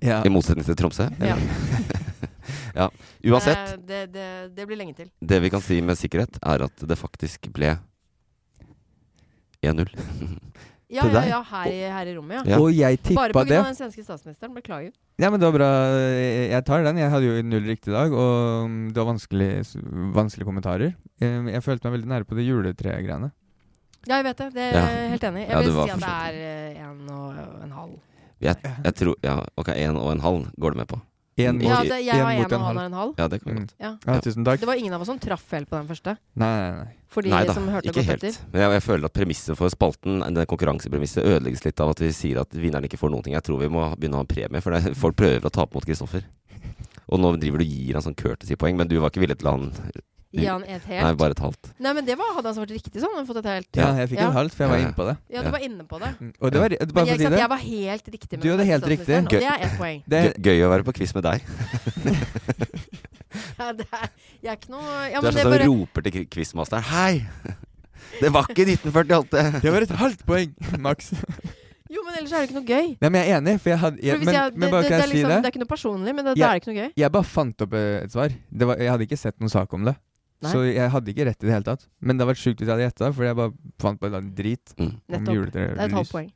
Ja. I motsetning til Tromsø. Ja. Eh. Ja. Uansett, Det, det, det, det blir lenge til. det vi kan si med sikkerhet, er at det faktisk ble 1-0. Ja, Til ja, deg? ja, her i, her i rommet, ja. Ja. Og jeg tippa Bare pga. det. den svenske statsministeren. Beklager. Ja, men det var bra. Eh, Jeg tar den. Jeg hadde jo null riktig i dag, og mm, det var vanskelig, s- vanskelige kommentarer. Eh, Jeg følte meg veldig nære på det juletregreiene. Ja, jeg vet det. Det er Ja. jeg helt enig. i. Jeg Ja, vil det var si at det forstått. er eh, en og en halv. Jeg, jeg tror Ja, ok, 1,5 går det med på. Én Mm. mot Ja, i- det, en jeg var mot en en og han halv. var en halv. Ja, det kan vi Mm. godt. Ja. Ja, tusen takk. Det var ingen av oss som traff helt på den første. Nei, nei, nei. For de Nei da, som hørte ikke godt helt. etter. Men jeg, jeg føler at premisset for spalten, det konkurransepremisset, ødelegges litt av at vi sier at vinneren ikke får noen ting. Jeg tror vi må begynne å ha en premie, for det, folk prøver å tape mot Kristoffer. Og nå driver du og gir han sånn courtesy-poeng, men du var ikke villig til å ha han Gi han et Nei, helt. bare et halvt. Nei, men det var, hadde han svart riktig sånn, hadde han fått et helt. Ja, Ja. jeg fikk Ja. en halvt, for jeg var Ja, ja. inne på det. Ja, du var inne på det. Mm. Og det var bare for å Men jeg, ikke si sant, det. jeg var helt riktig. med Du hadde den helt statsministeren, riktig. Og det er ett poeng. det Gøy, gøy å være på quiz med deg. Ja, det er, jeg er ikke noe ja, du er men det sånn som bare, roper til quizmasteren Hei! Det var ikke 1948! Det var et halvt poeng, maks. Jo, men ellers er det ikke noe gøy. Nei, men jeg er enig, for jeg hadde For jeg, hvis men, jeg, det, men bare det, kan det, jeg er si liksom, det det? er ikke noe personlig, men det, Ja. da er det ikke noe gøy. Jeg bare fant opp eh, et svar. Det var, jeg hadde ikke sett noen sak om det. Nei. Så jeg hadde ikke rett i det hele tatt. Men det hadde vært sjukt hvis jeg hadde gjetta, for jeg bare fant på et eller annet drit. Mm. om Nettopp. juletre- Det er et lys. halvt poeng.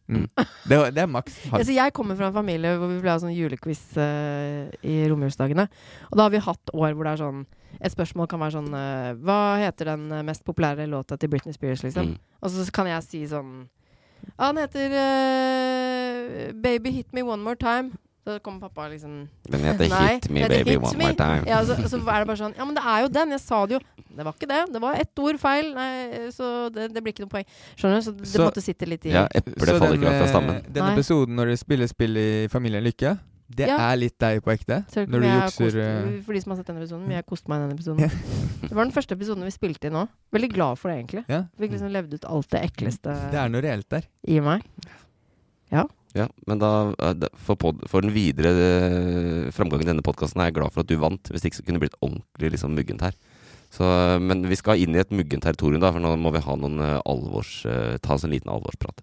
Det, var- det er maks. Altså, jeg kommer fra en familie hvor vi ble ha sånn julequiz eh, i romjulsdagene. Og da har vi hatt år hvor det er sånn Et spørsmål kan være sånn eh, Hva heter den eh, mest populære låta til Britney Spears, liksom? Mm. Og så kan jeg si sånn Ja, den heter eh, Baby Hit Me One More Time. Så kommer pappa liksom Den heter Nei, Hit Me heter Baby Hit One Me. More Time. Ja, så, så er det bare sånn Ja, men det er jo den! Jeg sa det jo! Det var ikke det. Det var ett ord feil. Nei, så det, det blir ikke noe poeng. Skjønner du? Så det Så- måtte sitte litt i Ja, Eplet faller ikke langt fra den, stammen. eh, den Nei. episoden når du spiller spill i Familien Lykke, det Ja. er litt deg på ekte. Ser Når du du ikke om jeg har jukser eh, kost, For de som har sett denne episoden, men jeg koste meg i denne episoden. Det var den første episoden vi spilte inn nå. Veldig glad for det, egentlig. Ja. Fikk liksom levd ut alt det ekleste Mm. Det er noe reelt der. i meg. Ja, men da, eh, da- for, pod, for den videre eh, framgangen i denne podkasten er jeg glad for at du vant. Hvis ikke så kunne det blitt ordentlig liksom, muggent her. Så, eh, men vi skal inn i et muggent territorium, da, for nå må vi ha noen eh, alvors, eh, ta oss en liten alvorsprat.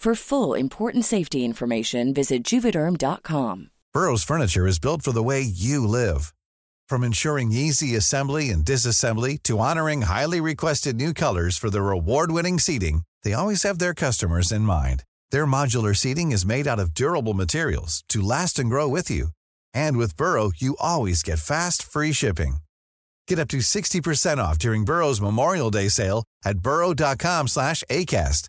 For full important safety information, visit juvederm.com. Burrow's furniture is built for the way you live. From ensuring easy assembly and disassembly to honoring highly requested new colors for their award-winning seating, they always have their customers in mind. Their modular seating is made out of durable materials to last and grow with you. And with Burrow, you always get fast, free shipping. Get up to 60% off during Burrow's Memorial Day sale at burrow.com slash ACAST.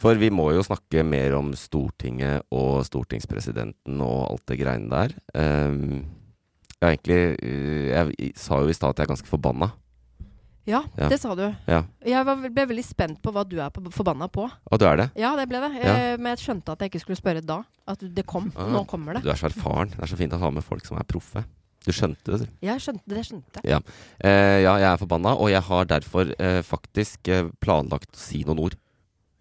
For vi må jo snakke mer om Stortinget og stortingspresidenten og alt det greiene der. Ehm, jeg er egentlig eh, Jeg i- sa jo i stad at jeg er ganske forbanna. Ja, Ja. det sa du. Ja. Jeg var, ble veldig spent på hva du er på, forbanna på. Å, du er det? Ja, det ble det. Ja. Eh, men jeg skjønte at jeg ikke skulle spørre da. At det kom. Ah, Nå kommer det. Du er så erfaren. Det er så fint å ha med folk som er proffe. Du skjønte det, du. Jeg skjønte det. skjønte jeg. Ja. Eh, ja, jeg er forbanna, og jeg har derfor eh, faktisk eh, planlagt å si noen ord.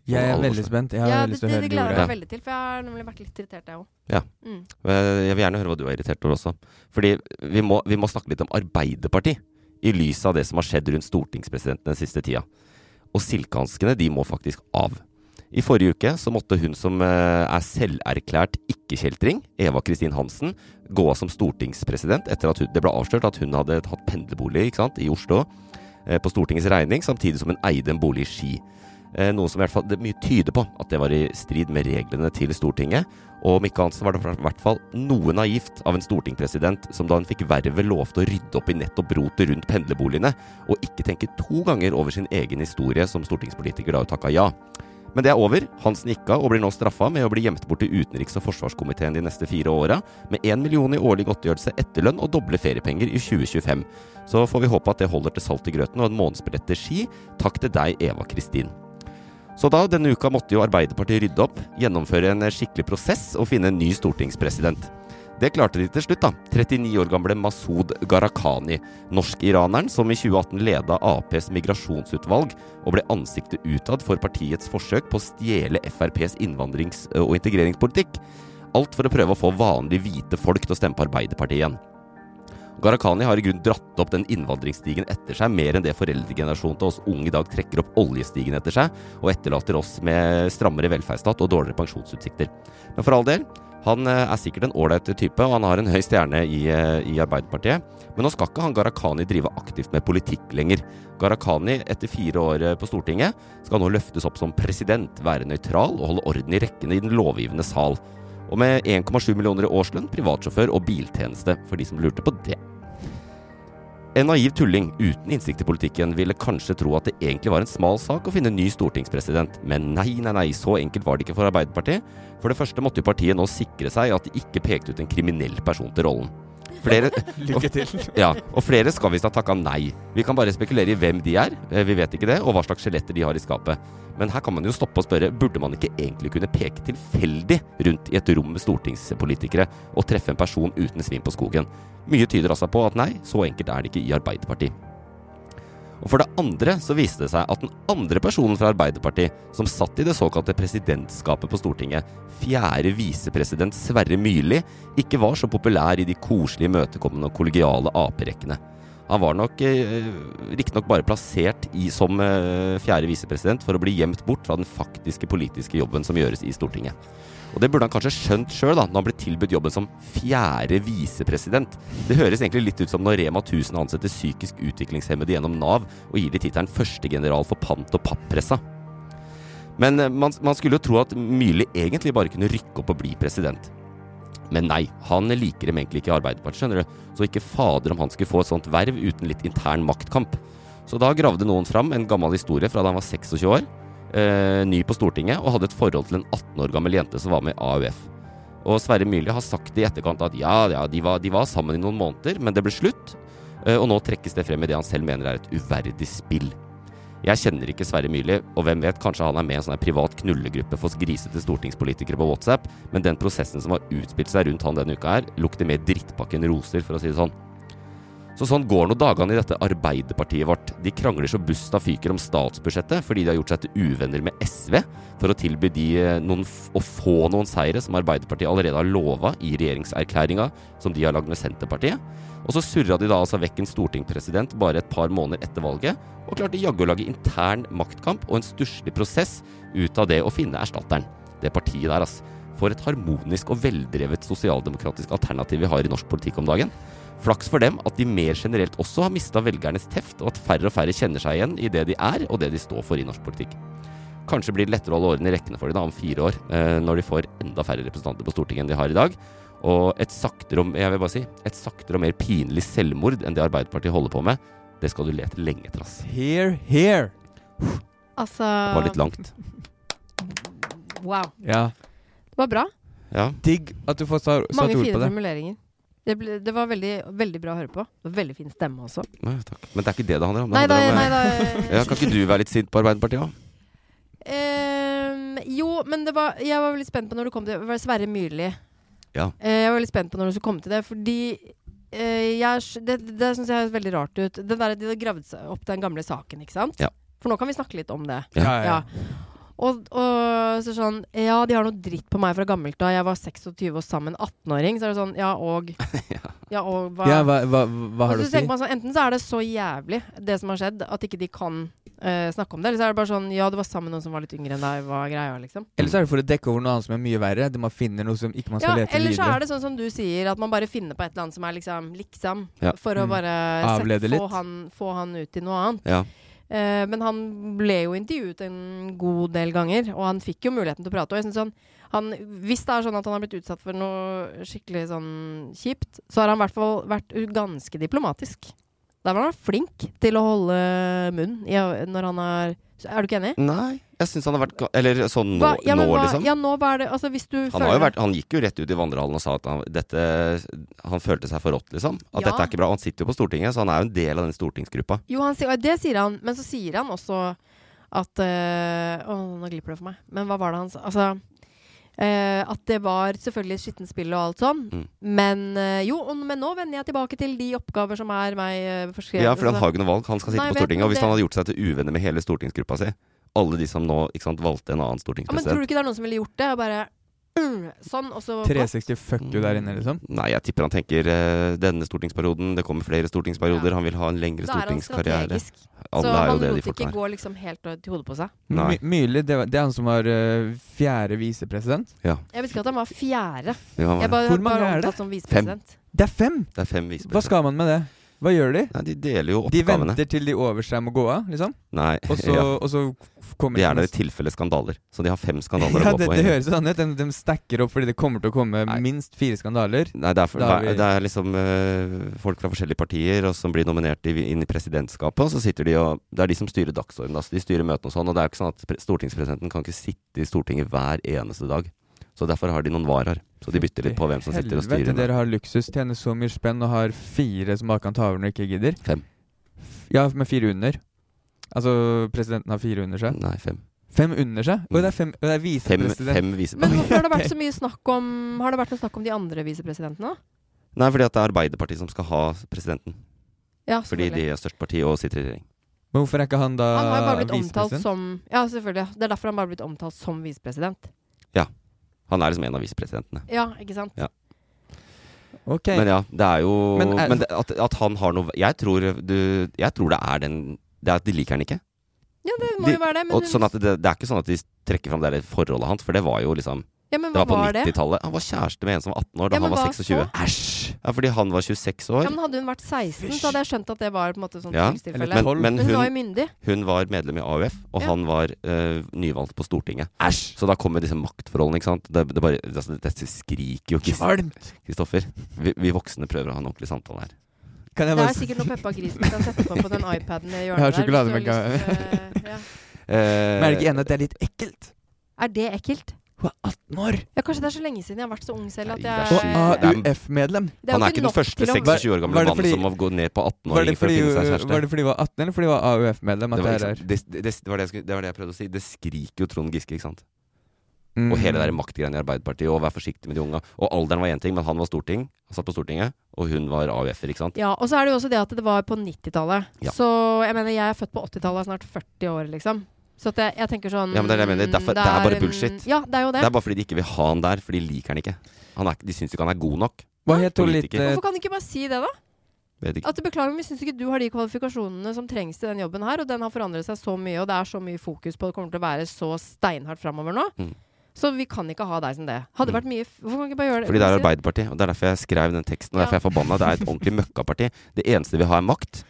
Jeg er Om alle veldig forslag. spent. Jeg har Ja, veldig det, lyst til å det, høre det de gleder jeg meg ordene. veldig til, for jeg har nemlig vært litt irritert, jeg òg. Ja. Mm. Eh, Jeg vil gjerne høre hva du er irritert over også. Fordi vi må, vi må snakke litt om Arbeiderpartiet i lys av det som har skjedd rundt stortingspresidenten den siste tida. Og silkehanskene, de må faktisk av. I forrige uke så måtte hun som eh, er selverklært ikke-kjeltring, Eva Kristin Hansen, gå av som stortingspresident etter at hun, det ble avslørt at hun hadde hatt pendlerbolig ikke sant, i Oslo eh, på Stortingets regning, samtidig som hun eide en bolig i Ski. Eh, Noe som i hvert fall, det mye tyder på at det var i strid med reglene til Stortinget. Og om ikke annet så var det i hvert fall noe naivt av en stortingspresident som da hun fikk vervet lovte å rydde opp i nettopp rotet rundt pendlerboligene, og ikke tenke to ganger over sin egen historie som stortingspolitiker da hun takka ja. Men det er over. Hansen gikk av og blir nå straffa med å bli gjemt bort til utenriks- og forsvarskomiteen de neste fire åra, med én million i årlig godtgjørelse, etterlønn og doble feriepenger i 2025. Så får vi håpe at det holder til salt i grøten og en månedsbillett til Ski. Takk til deg, Eva Kristin. Så da, denne uka måtte jo Arbeiderpartiet rydde opp, gjennomføre en eh, skikkelig prosess og finne en ny stortingspresident. Det klarte de til slutt, da. 39 år gamle Masud Gharahkhani, norsk-iraneren som i 2018 leda Aps migrasjonsutvalg og ble ansiktet utad for partiets forsøk på å stjele FrPs innvandrings- og integreringspolitikk. Alt for å prøve å få vanlige hvite folk til å stemme på Arbeiderpartiet igjen. Gharahkhani har i grunn dratt opp den innvandringsstigen etter seg mer enn det foreldregenerasjonen til oss unge i dag trekker opp oljestigen etter seg, og etterlater oss med strammere velferdsstat og dårligere pensjonsutsikter. Men for all del, han eh, er sikkert en ålreit type, og han har en høy stjerne i, eh, i Arbeiderpartiet. Men nå skal ikke han Gharahkhani drive aktivt med politikk lenger. Gharahkhani, etter fire år eh, på Stortinget, skal nå løftes opp som president, være nøytral og holde orden i rekkene i den lovgivende sal. Og med 1,7 millioner i årslønn, privatsjåfør og biltjeneste, for de som lurte på det. En naiv tulling uten innsikt i politikken ville kanskje tro at det egentlig var en smal sak å finne en ny stortingspresident, men nei, nei, nei, så enkelt var det ikke for Arbeiderpartiet. For det første måtte jo partiet nå sikre seg at de ikke pekte ut en kriminell person til rollen. Flere, Lykke til. ja, og flere skal visst ha takka nei. Vi kan bare spekulere i hvem de er, eh, vi vet ikke det, og hva slags skjeletter de har i skapet. Men her kan man jo stoppe og spørre, burde man ikke egentlig kunne peke tilfeldig rundt i et rom med stortingspolitikere og treffe en person uten svin på skogen? Mye tyder altså på at nei, så enkelt er det ikke i Arbeiderpartiet. Og for det andre så viste det seg at den andre personen fra Arbeiderpartiet, som satt i det såkalte presidentskapet på Stortinget, fjerde visepresident Sverre Myrli, ikke var så populær i de koselige, imøtekommende og kollegiale aperekkene. Han var nok eh, riktignok bare plassert i, som eh, fjerde visepresident for å bli gjemt bort fra den faktiske politiske jobben som gjøres i Stortinget. Og det burde han kanskje skjønt sjøl, da, når han ble tilbudt jobben som fjerde visepresident. Det høres egentlig litt ut som når Rema 1000 ansetter psykisk utviklingshemmede gjennom Nav og gir de tittelen førstegeneral for pant- og pappressa. Men eh, man, man skulle jo tro at Myrli egentlig bare kunne rykke opp og bli president. Men nei, han liker dem egentlig ikke i Arbeiderpartiet, skjønner du. Så ikke fader om han skulle få et sånt verv uten litt intern maktkamp. Så da gravde noen fram en gammel historie fra da han var 26 år, eh, ny på Stortinget, og hadde et forhold til en 18 år gammel jente som var med i AUF. Og Sverre Myrli har sagt i etterkant at ja, ja, de var, de var sammen i noen måneder, men det ble slutt. eh, Og nå trekkes det frem i det han selv mener er et uverdig spill. Jeg kjenner ikke Sverre Myrli, og hvem vet, kanskje han er med i en sånn her privat knullegruppe for grisete stortingspolitikere på WhatsApp, men den prosessen som har utspilt seg rundt han denne uka her, lukter mer drittpakke enn roser, for å si det sånn. Så sånn går nå dagene i dette Arbeiderpartiet vårt. De krangler så busta fyker om statsbudsjettet fordi de har gjort seg til uvenner med SV for å tilby de eh, noen, f- å få noen seire som Arbeiderpartiet allerede har lova i regjeringserklæringa som de har lagd med Senterpartiet. Og så surra de da altså vekk en stortingspresident bare et par måneder etter valget, og klarte jaggu å lage intern maktkamp og en stusslig prosess ut av det å finne erstatteren. Det partiet der, ass. For et harmonisk og veldrevet sosialdemokratisk alternativ vi har i norsk politikk om dagen. Flaks for dem at de mer generelt også har mista velgernes teft, og at færre og færre kjenner seg igjen i det de er, og det de står for i norsk politikk. Kanskje blir det lettere å holde årene i rekkene for de da om fire år, eh, når de får enda færre representanter på Stortinget enn de har i dag. Og et saktere og, jeg vil bare si, et saktere og mer pinlig selvmord enn det Arbeiderpartiet holder på med, det skal du lete lenge etter, ass. Here, here! Altså Det var litt langt. Wow. Ja. Det var bra. Ja. Digg at du får sa- satt Mange ord fine på det. formuleringer. Det, ble, det var veldig, veldig bra å høre på. Det var veldig fin stemme også. Nei, takk. Men det er ikke det det handler om. Det Nei da, handler om, nei eh, da. ja, kan ikke du være litt sint på Arbeiderpartiet òg? Ehm, jo, men det var, jeg var veldig spent på når du kom til det. var Sverre Myrli. Ja. Eh, jeg var veldig spent på når du skulle komme til det, fordi eh, jeg, er s- det, det syns jeg høres veldig rart ut. Den der, de har gravd seg opp den gamle saken, ikke sant? Ja. For nå kan vi snakke litt om det. Ja, ja, ja. Og, og så sånn Ja, de har noe dritt på meg fra gammelt da. Jeg var 26 og sammen 18-åring. Så er det sånn Ja, og Ja, og hva, Ja, hva- hva- hva har Og du å så si? tenker man sånn, Enten så er det så jævlig, det som har skjedd, at ikke de kan eh, snakke om det. Eller så er det bare sånn Ja, du var sammen med noen som var litt yngre enn deg. Hva er greia, liksom? Eller Mm. så er det for å dekke over noe annet som er mye verre. Det man finner noe som ikke man Ja, skal lete eller så videre. er det sånn som du sier, at man bare finner på et eller annet som er liksom liksom, Ja. for å Mm. bare Avlede sette, litt. få, han, få han ut i noe annet. Ja. Eh, men han ble jo intervjuet en god del ganger, og han fikk jo muligheten til å prate. Og jeg synes sånn, han, hvis det er sånn at han har blitt utsatt for noe skikkelig sånn kjipt, så har han i hvert fall vært u- ganske diplomatisk. Der var han flink til å holde munn i, når han har Er du ikke enig? Nei. Jeg syns han har vært ga- Eller sånn nå, Hva, ja, men nå hva, liksom. Ja, nå hva er det Altså, hvis du Han, har jo vært, han gikk jo rett ut i vandrehallen og sa at han, dette, han følte seg forrådt, liksom. At Ja. dette er ikke bra. Han sitter jo på Stortinget, så han er jo en del av den stortingsgruppa. Jo, han sier, og det sier han, men så sier han også at eh, Å, nå glipper det for meg. Men hva var det han sa? Altså eh, At det var selvfølgelig skittent spill og alt sånn. Mm. Men eh, jo, og, men nå vender jeg tilbake til de oppgaver som er meg uh, forskrevet. Ja, for han så- har jo ikke noe valg. Han skal sitte Nei, på vet du, Stortinget. Og hvis det- han hadde gjort seg til uvenner med hele stortingsgruppa si, alle de som nå ikke sant, valgte en annen ja, Men tror du stortingspresident ikke det er noen som ville gjort det? Og bare mm, sånn, og så 360 fuck you der inne, liksom. Nei, jeg tipper han tenker eh, denne stortingsperioden, det kommer flere stortingsperioder, han vil ha en lengre Da er han stortingskarriere. strategisk. Alle så er jo han det, de lot folka ikke her. gå liksom helt til hodet på seg. Mm. Nei. My- Myrli, det, var- det er han som var eh, fjerde visepresident? Ja. Jeg visste ikke at han var fjerde. Ja, han var jeg det. bare, Hvor mange bare er det? omtalt som visepresident. Det er fem! Det er fem Hva visepresidenter. skal man med det? Hva gjør de? Nei, de deler jo De oppgavene. venter til de over seg må gå av, liksom? Nei, Og så, ja. og så f- kommer De ikke er der i neste- tilfelle skandaler. Så de har fem skandaler Ja, å gå det, på. det hele- høres sånn ut. De, de stacker opp fordi det kommer til å komme minst fire skandaler. Nei, det er, for, Da er hver- vi- det er liksom eh, folk fra forskjellige partier og som blir nominert i, inn i presidentskapet. Og så sitter de og Det er de som styrer dagsordenen. Altså, de styrer møtene og sånn. Og det er jo ikke sånn at pre- stortingspresidenten kan ikke sitte i Stortinget hver eneste dag. Så derfor har de noen varaer. Så de bytter litt på hvem som sitter og Helvete, styrer. dere har luksus, tjener så mye spenn og har fire som bare kan ta over når de ikke gidder. Fem. F- Ja, med fire under. Altså, presidenten har fire under seg. Nei, fem. Fem under seg? Å, det er fem, å, det er Fem, visepresident. fem vice... Men hvorfor har det vært så mye snakk om Har det vært noe snakk om de andre visepresidentene? Nei, fordi at det er Arbeiderpartiet som skal ha presidenten. Ja, fordi de selvfølgelig. er størst parti og sitter i regjering. Men hvorfor er ikke han da Han har jo Ah, bare blitt omtalt visepresident? som Ja, selvfølgelig. Det er derfor han bare har blitt omtalt som visepresident. Ja. Han er liksom en av visepresidentene. Ja, ikke sant? Ja. Ok. Men ja, det er jo Men, Men eh, er- det, at, at han har noe Jeg tror, du, jeg tror det er den det er, at De liker han ikke. Ja, det må De- jo være det. og Men, sånn at det, det er ikke sånn at de trekker fram det der forholdet hans, for det var jo liksom Ja, men Det hva var på var det? 90-tallet. Han var kjæreste med en som var 18 år da Ja, men han var hva 26. så? Æsj! Ja, fordi han var 26 ja, år. men hadde hun vært 16, så hadde jeg skjønt at det var på en måte sånn Ja, tilfelle. men, men hun, var jo myndig. hun var medlem i AUF, og Ja. han var eh, nyvalgt på Stortinget. Så da kommer disse maktforholdene, ikke sant. Det, det bare, det, altså, dette skriker jo Krist- Kvalmt. Kristoffer. Vi, vi voksne prøver å ha en ordentlig samtale her. Kan Det jeg bare er sikkert noe Peppa Gris man kan sette på på den iPaden i Jeg har hjørnet der. hvis du har lyst sjokolademelk. til, eh, Men er det Eh, ikke enig at det er litt ekkelt? ja. Er det ekkelt? Hun er 18 år! Ah, Ja, kanskje det er så lenge siden jeg har vært så ung selv at jeg Og AUF-medlem. Det er jo Han er ikke ikke den nok første til å- 26 år gamle Var det mannen fordi- som må gå ned på Var det 18-åring for fordi å finne seg hun- var kjæreste. det fordi hun var 18, eller fordi hun var AUF-medlem? at Det var, det liksom- ikke er sant? det, det, det, var det, jeg skulle, det var det jeg prøvde å si. Det skriker jo Trond Giske, ikke sant. Mm. Og hele Mhm. det der maktgreiene i Arbeiderpartiet, og vær forsiktig med de unga. Og alderen var én ting, men han var storting, han satt på Stortinget, og hun var AUF-er, ikke sant. Ja, og så er det jo også det at det var på 90-tallet. Ja. Så jeg mener, jeg er født på 80-tallet, er snart 40 år, liksom. Så at jeg, jeg tenker sånn Ja, men det er det jeg mener. Derfor, det er bare en- bullshit. Ja, det er jo det. Det er bare fordi de ikke vil ha han der, for de liker han ikke. Han er, ikke- de syns ikke han er god nok. Hva het hun litt Politiker. eh, Hvorfor kan du ikke bare si det, da? Vet ikke. At du Beklager, men vi syns ikke du har de kvalifikasjonene som trengs til den jobben her, og den har forandret seg så mye, og det er så mye fokus på det kommer til å være så steinhardt framover nå. Mm. Så vi kan ikke ha deg som det. Hadde vært mye f- Hvorfor kan vi ikke bare gjøre det? Fordi det er Arbeiderpartiet, og det er derfor jeg skrev den teksten. Og derfor jeg er forbanna. Det er et ordentlig møkkaparti. Det eneste vi har, er makt.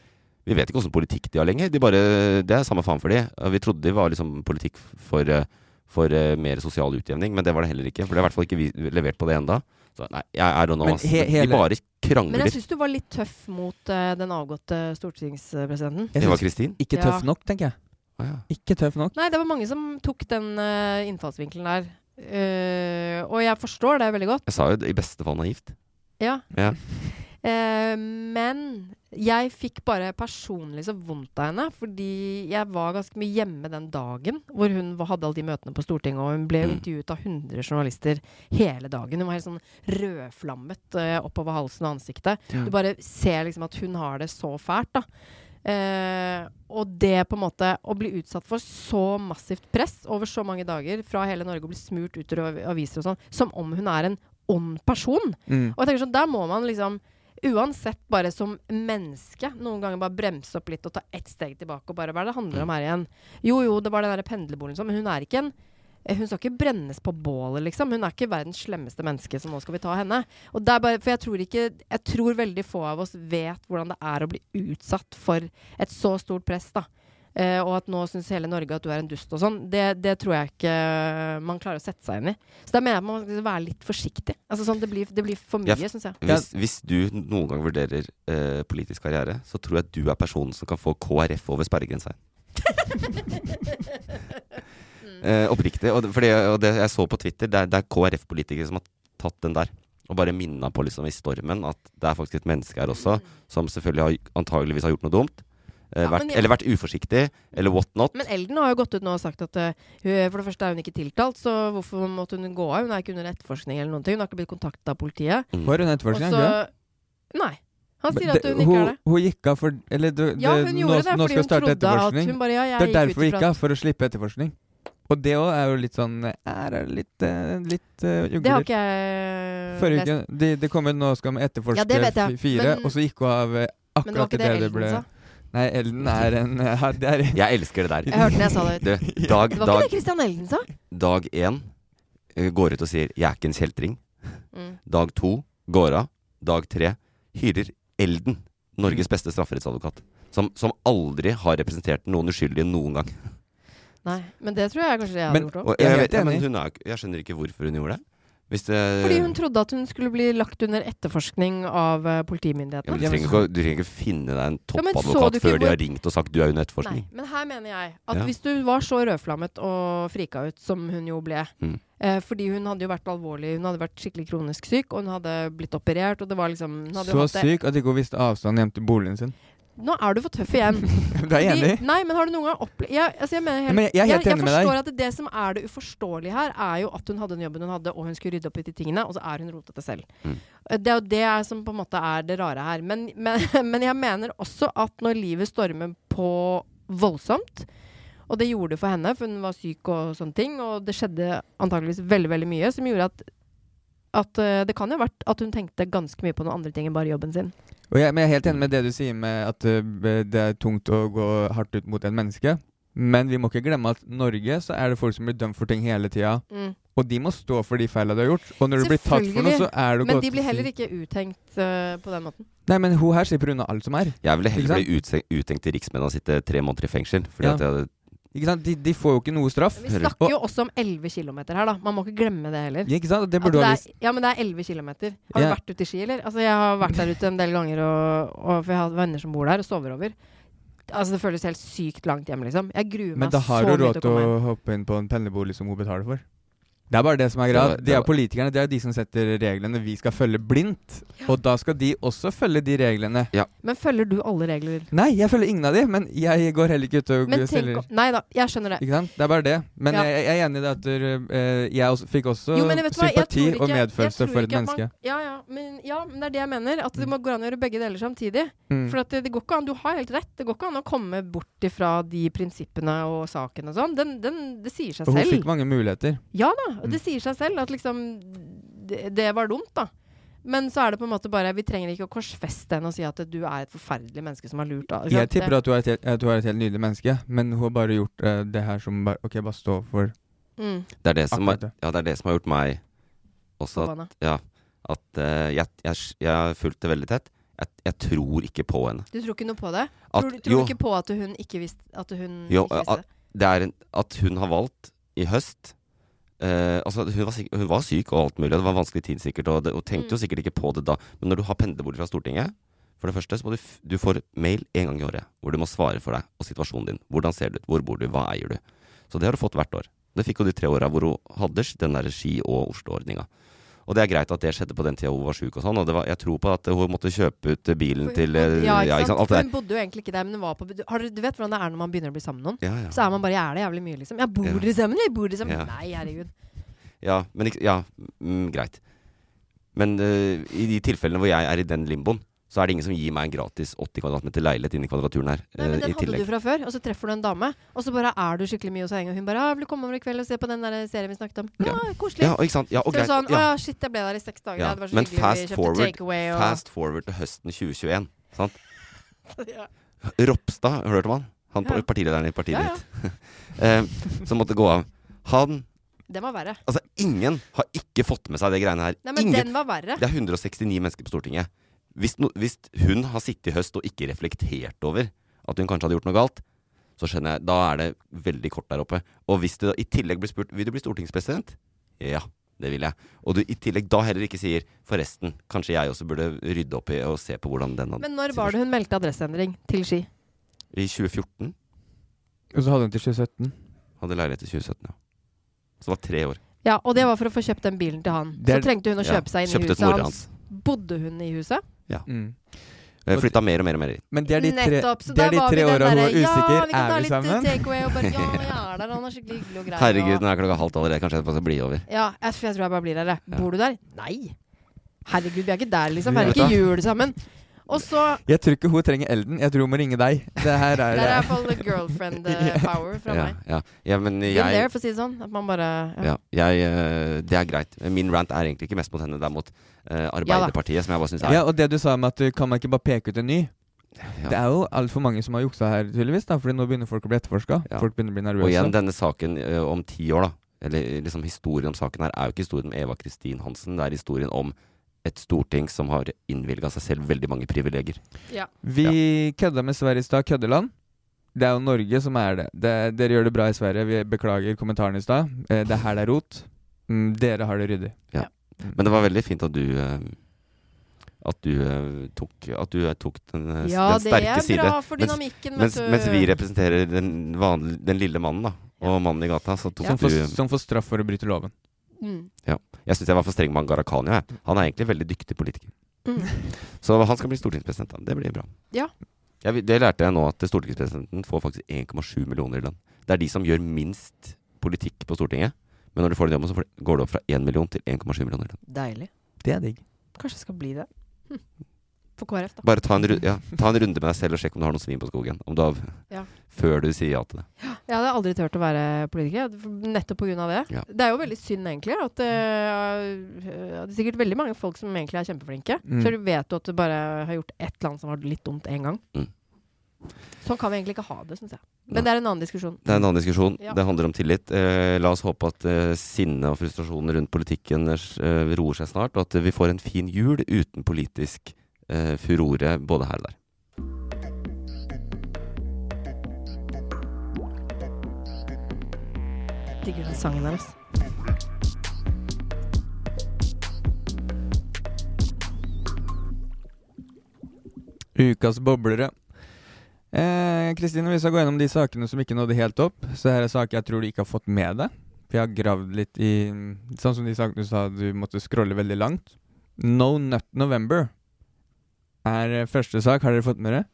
Vi vet ikke åssen politikk de har lenger. De bare, det er samme faen for de. Og Vi trodde de var liksom politikk for, eh, for eh, mer sosial utjevning, men det var det heller ikke. For det har i hvert fall ikke vi levert på det enda Så nei, jeg er don't know, Men ass. he- De hele- bare Men jeg krangler. syns du var litt tøff mot eh, den avgåtte stortingspresidenten. Jeg Eva synes- Kristin? Ikke Ja. tøff nok, tenker jeg. Ikke tøff nok. Nei, det var mange som tok den eh, innfallsvinkelen der. Eh, og jeg forstår det veldig godt. Jeg sa jo i beste fall naivt. Ja. Ja. Eh, men jeg fikk bare personlig så vondt av henne, fordi jeg var ganske mye hjemme den dagen hvor hun var- hadde alle de møtene på Stortinget, og hun ble Mm. intervjuet av 100 journalister hele dagen. Hun var helt sånn rødflammet eh, oppover halsen og ansiktet. Ja. Du bare ser liksom at hun har det så fælt, da. Eh, og det på en måte å bli utsatt for så massivt press over så mange dager fra hele Norge og bli smurt ut av aviser og sånn, som om hun er en ond person. Mm. Og jeg tenker sånn, der må man liksom Uansett, bare som menneske, noen ganger bare bremse opp litt og ta ett steg tilbake og bare Hva er det det handler om her igjen? Jo, jo, det var den derre pendlerboligen som Men hun er ikke en eh, hun skal ikke brennes på bålet, liksom. Hun er ikke verdens slemmeste menneske, så nå skal vi ta henne. Og det er bare, for jeg tror ikke Jeg tror veldig få av oss vet hvordan det er å bli utsatt for et så stort press, da. Eh, og at nå syns hele Norge at du er en dust og sånn. Det, det tror jeg ikke man klarer å sette seg inn i. Så da mener jeg at man skal være litt forsiktig. Altså sånn, Det blir, det blir for mye, Jeg- syns jeg. Hvis, hvis du noen gang vurderer eh, politisk karriere, så tror jeg du er personen som kan få KrF over sperregrensa. Eh, oppriktig. Og det, fordi, og det jeg så på Twitter, det er, det er KrF-politikere som har tatt den der. Og bare minna på liksom i stormen at det er faktisk et menneske her også, som selvfølgelig har, antageligvis har gjort noe dumt. eh, Mm. Ja, vært, men jeg- Eller vært uforsiktig, eller what not. Men Elden har jo gått ut nå og sagt at eh, hun, for det første er hun ikke tiltalt, så hvorfor måtte hun gå av? Hun er ikke under etterforskning eller noen ting. Hun har ikke blitt kontakta av politiet. Mm. Hun Mm. er under etterforskning, er Og hun så- Nei. Han sier Men at hun ikke er det. Hun gikk av for Eller du, Ja, det- hun nå, gjorde det, nå fordi skal hun starte trodde at etterforskning. hun bare, ja, jeg det er gikk ut derfor hun ifra gikk at- av, for å slippe etterforskning. Og det òg er jo litt sånn eh, Er det litt, eh, litt eh, Det ugler. har ikke jeg eh, Forrige uke lest. Det de kom ut 'Nå skal vi etterforske Ja, det vet jeg, fi- fire', men- og så gikk hun av eh, Men det var akkurat idet ikke det det, det Elden ble sa. Nei, Elden er en eh, ja, det er, Jeg elsker det der. Jeg hørte den, jeg sa det. Du, dag, Det var ikke det dag, Christian Elden sa? dag én eh, går ut og sier 'jeg er ikke en kjeltring'. Mm. Dag to går av. Dag tre hyrer Elden, Norges beste strafferettsadvokat. Som, som aldri har representert noen uskyldige noen gang. Nei. Men det tror jeg kanskje jeg hadde gjort og, òg. jeg, vet, ja, men hun er, jo ikke- jeg skjønner ikke hvorfor hun gjorde det. Hvis det Fordi hun trodde at hun skulle bli lagt under etterforskning av eh, ja, men politimyndighetene. du, trenger ikke, å- du trenger ikke finne deg en sånn. Ja, men så toppadvokat du ikke før de hvor- har ringt og sagt 'du er under etterforskning'. Nei, men her mener jeg at Ja. hvis du var så rødflammet og frika ut som hun jo ble Mm. eh, Fordi hun hadde jo vært alvorlig, hun hadde vært skikkelig kronisk syk, og hun hadde blitt operert, og det var liksom hun hadde jo så hatt det- syk at ikke hun visste avstanden hjem til boligen sin. Nå er du for tøff igjen. Du er Fordi- enig? Nei, men har du noen gang opplevd jeg, altså jeg, mener helt, Ja, men jeg- jeg er helt enig med deg. forstår at det, det som er det uforståelige her, er jo at hun hadde den jobben hun hadde, og hun skulle rydde opp i de tingene, og så er hun rotete selv. Mm. Eh, Det er jo det som på en måte er det rare her. Men, men, men jeg mener også at når livet stormer på voldsomt, og det gjorde det for henne, for hun var syk og sånne ting, og det skjedde antageligvis veldig, veldig mye som gjorde at at eh, det kan jo ha vært at hun tenkte ganske mye på noen andre ting enn bare jobben sin. Og jeg, men jeg er helt enig med det du sier med at eh, det er tungt å gå hardt ut mot et menneske. Men vi må ikke glemme at Norge så er det folk som blir dømt for ting hele tida. Mm. Og de må stå for de feila de har gjort. Og når du blir tatt for noe, så er det Men godt de å blir si- heller ikke uthengt eh, på den måten. Nei, men hun her slipper unna alt som er. Jeg ville heller Ikke bli utse- uttenkt til riksmenn og sitte tre måneder i fengsel. Fordi Ja. at jeg hadde Ikke sant? De, de får jo ikke noe straff. Vi snakker jo også om 11 km her, da. Man må ikke glemme det heller. Ja, ikke sant? Det At burde du ha er, ja, men det er 11 km. Har du Ja. vært ute i ski, eller? Altså, jeg har vært der ute en del ganger, og, og for jeg har venner som bor der og sover over. Altså, det føles helt sykt langt hjemme, liksom. Jeg gruer Men meg da så har hun mye råd til å til komme hjem. å hoppe inn på en pendlerbolig som hun betaler for. Det er bare det som er Det greia. var- det De er var- politikerne, det er de som setter reglene vi skal følge blindt. Og da skal de også følge de reglene. Men følger du alle regler? Nei, jeg følger ingen av de, men jeg går heller ikke ut og Men tenk selger. om Nei da, jeg skjønner det. Ikke sant? Det er bare det. Men Ja. jeg, jeg er enig i det at eh, jeg også, fikk også Jo, men vet du hva, jeg sympati tror ikke- og jeg medfølelse tror for et ikke at man- menneske. Ja, ja, men, ja, men det er det jeg mener. At det må gå an å gjøre begge deler samtidig. Mm. For at det, det går ikke an, du har helt rett. Det går ikke an å komme bort ifra de prinsippene og saken og sånn. Den, den, det sier seg Og hun selv. fikk mange muligheter. Ja da, og Mm. det sier seg selv at liksom det, det var dumt, da. Men så er det på en måte bare Vi trenger ikke å korsfeste henne og si at du er et forferdelig menneske som har lurt av. Jeg tipper at hun er et, helt- at hun er et helt nydelig menneske, men hun har bare gjort eh, det her som bare Ok, bare stå for Mm. Det er det som, Akkurat har, ja, det er det som har gjort meg også Forbanna. at, ja, at eh, jeg, jeg, jeg fulgte veldig tett. Jeg, jeg tror ikke på henne. Du tror ikke noe på det? At- tror du jo. tror du ikke på at hun ikke visste at hun Jo, ikke visste at, det er en, at hun har valgt i høst eh, altså hun, var syk, hun var syk og alt mulig, og det var en vanskelig tid sikkert, og det- hun tenkte Mm. jo sikkert ikke på det da. Men når du har pendlerbolig fra Stortinget, for det første så må du, f du får mail en gang i året hvor du må svare for deg og situasjonen din. Hvordan ser du ut, hvor bor du, hva eier du? Så det har du fått hvert år. Det fikk jo de tre åra hvor hun hadde den der Ski- og Oslo-ordninga. Og det er greit at det skjedde på den tida hun var sjuk og sånn, og det var, jeg tror på at hun måtte kjøpe ut bilen For hun til bodde- eh, ja, ikke sant? Alt For det der. hun bodde jo egentlig ikke der, men hun var på bedu- har, dere- Du vet hvordan det er når man begynner å bli sammen med noen? Ja, ja. Så er man bare Jeg er det jævlig mye, liksom. Jeg bor Ja. i sammen, jeg bor i sammen. Ja. Nei, herregud. Ja, men ikke, ja mm, greit. Men eh, i de tilfellene hvor jeg er i den limboen, så er det ingen som gir meg en gratis 80 kvadratmeter leilighet inni kvadraturen her. Nei, eh, men Den i hadde du tillegg. fra før, og så treffer du en dame, og så bare er du skikkelig mye hos henne, og hun bare «Ah, 'Vil du komme over i kveld og se på den der serien vi snakket om?' Ja, koselig. Ja, og ikke sant? Ja, og så er det greit, sånn, ja. 'Å ja, shit, jeg ble der i seks dager, Ja, det var så men hyggelig, vi fast kjøpte forward, takeaway og fast forward til høsten 2021. Sant? ja. Ropstad, har du hørt om han? Han Ja. ja. partilederen i partiet Ja, ja. ditt. Eh, som måtte gå av. Han Den var verre. Altså, ingen har ikke fått med seg det greiene her. Nei, men ingen, den var verre. Det er 169 mennesker på Stortinget. Hvis, no, hvis hun har sittet i høst og ikke reflektert over at hun kanskje hadde gjort noe galt, så skjønner jeg, da er det veldig kort der oppe. Og hvis du da i tillegg blir spurt vil du bli stortingspresident, ja, det vil jeg. Og du i tillegg da heller ikke sier forresten, kanskje jeg også burde rydde opp i og se på hvordan den Men når var det hun meldte adresseendring til Ski? I 2014 Og så hadde hun til 2017. hadde leilighet i 2017, ja. Så det var tre år. Ja, og det var for å få kjøpt den bilen til han. Det er- så trengte hun å ja, kjøpe seg inn kjøpte i huset til mora hans. Bodde hun i huset? Ja. Mm. Jeg flytta mer og mer og mer inn. Men det er de tre, Nettopp, så det er da de var vi tre den åra hun er derre, Ja, usikker. vi kan ta er vi litt eh, sammen? takeaway og bare Ja, jeg er der, han er skikkelig hyggelig og grei. Herregud, og- nå er klokka halvt allerede. Kanskje jeg bare skal bli over. Ja, jeg, for jeg tror jeg bare blir der. jeg. Bor du der? Nei. Herregud, vi er ikke der, Vi liksom. Vi er vet ikke det. jul sammen. Og så Jeg tror ikke hun trenger Elden, jeg tror hun må ringe deg. Det her Der er er i hvert fall litt girlfriend eh, power fra ja, meg. ja. ja, men jeg Been there, for å si det sånn. At man bare ja. Ja, jeg, eh, det er greit. Min rant er egentlig ikke mest mot henne, det er mot eh, Arbeiderpartiet, som jeg bare syns er Ja, og det du sa med at du, kan man ikke bare peke ut en ny? Ja. Det er jo altfor mange som har juksa her, tydeligvis. da Fordi nå begynner folk å bli etterforska. Ja. Folk begynner å bli Og nervøse. igjen, denne saken eh, om ti år, da. Eller liksom historien om saken her er jo ikke historien om Eva Kristin Hansen. Det er historien om et storting som har innvilga seg selv veldig mange privilegier. Vi kødda med Sverige i stad, køddeland. Det er jo Norge som er det. det. Dere gjør det bra i Sverige. Vi beklager kommentaren i stad. Eh, Det her det er rot. Mm, dere har det ryddig. Ja. Men det var veldig fint at du eh, At du eh, tok At du eh, tok den, eh, s- Ja, den det er sterke bra side. for dynamikken, vet mens, du. mens vi representerer den, vanlige, den lille mannen, da. Og mannen i gata. Så tok Som, får, du som får straff for å bryte loven. Mm. Ja. Jeg syns jeg var for streng med han Gharahkhani. jeg. Han er egentlig en veldig dyktig politiker. Mm. Så han skal bli stortingspresident. da. Det blir bra. Ja. Jeg, vil- det lærte jeg nå, at stortingspresidenten får faktisk 1,7 millioner i lønn. Det er de som gjør minst politikk på Stortinget. Men når du får den jobben, så får det- går det opp fra 1 million til 1,7 millioner i lønn. Deilig. Det er digg. Kanskje det skal bli det. Hm. For KrF, da. Bare ta en, ru- ja, ta en runde med deg selv og sjekk om du har noen svin på skogen. Om du har, Ja. Før du sier ja til det. Jeg hadde aldri turt å være politiker, nettopp pga. det. Ja. Det er jo veldig synd, egentlig. At eh, det er sikkert veldig mange folk som egentlig er kjempeflinke. Mm. Så vet du at du bare har gjort et eller annet som var litt dumt én gang. Mm. Sånn kan vi egentlig ikke ha det, syns jeg. Men det er en annen diskusjon. Det er en annen diskusjon. Ja. Det handler om tillit. Eh, la oss håpe at eh, sinnet og frustrasjonen rundt politikken eh, roer seg snart, og at vi får en fin jul uten politisk eh, furore både her og der. Digger den sangen der, altså. Ukas boblere. Eh, Kristine, vi skal gå gjennom de sakene som ikke nådde helt opp. Så her er saker jeg tror du ikke har fått med deg. For jeg har gravd litt i Sånn som de sakene du sa du måtte scrolle veldig langt. No Nut November er eh, første sak. Har dere fått med dere?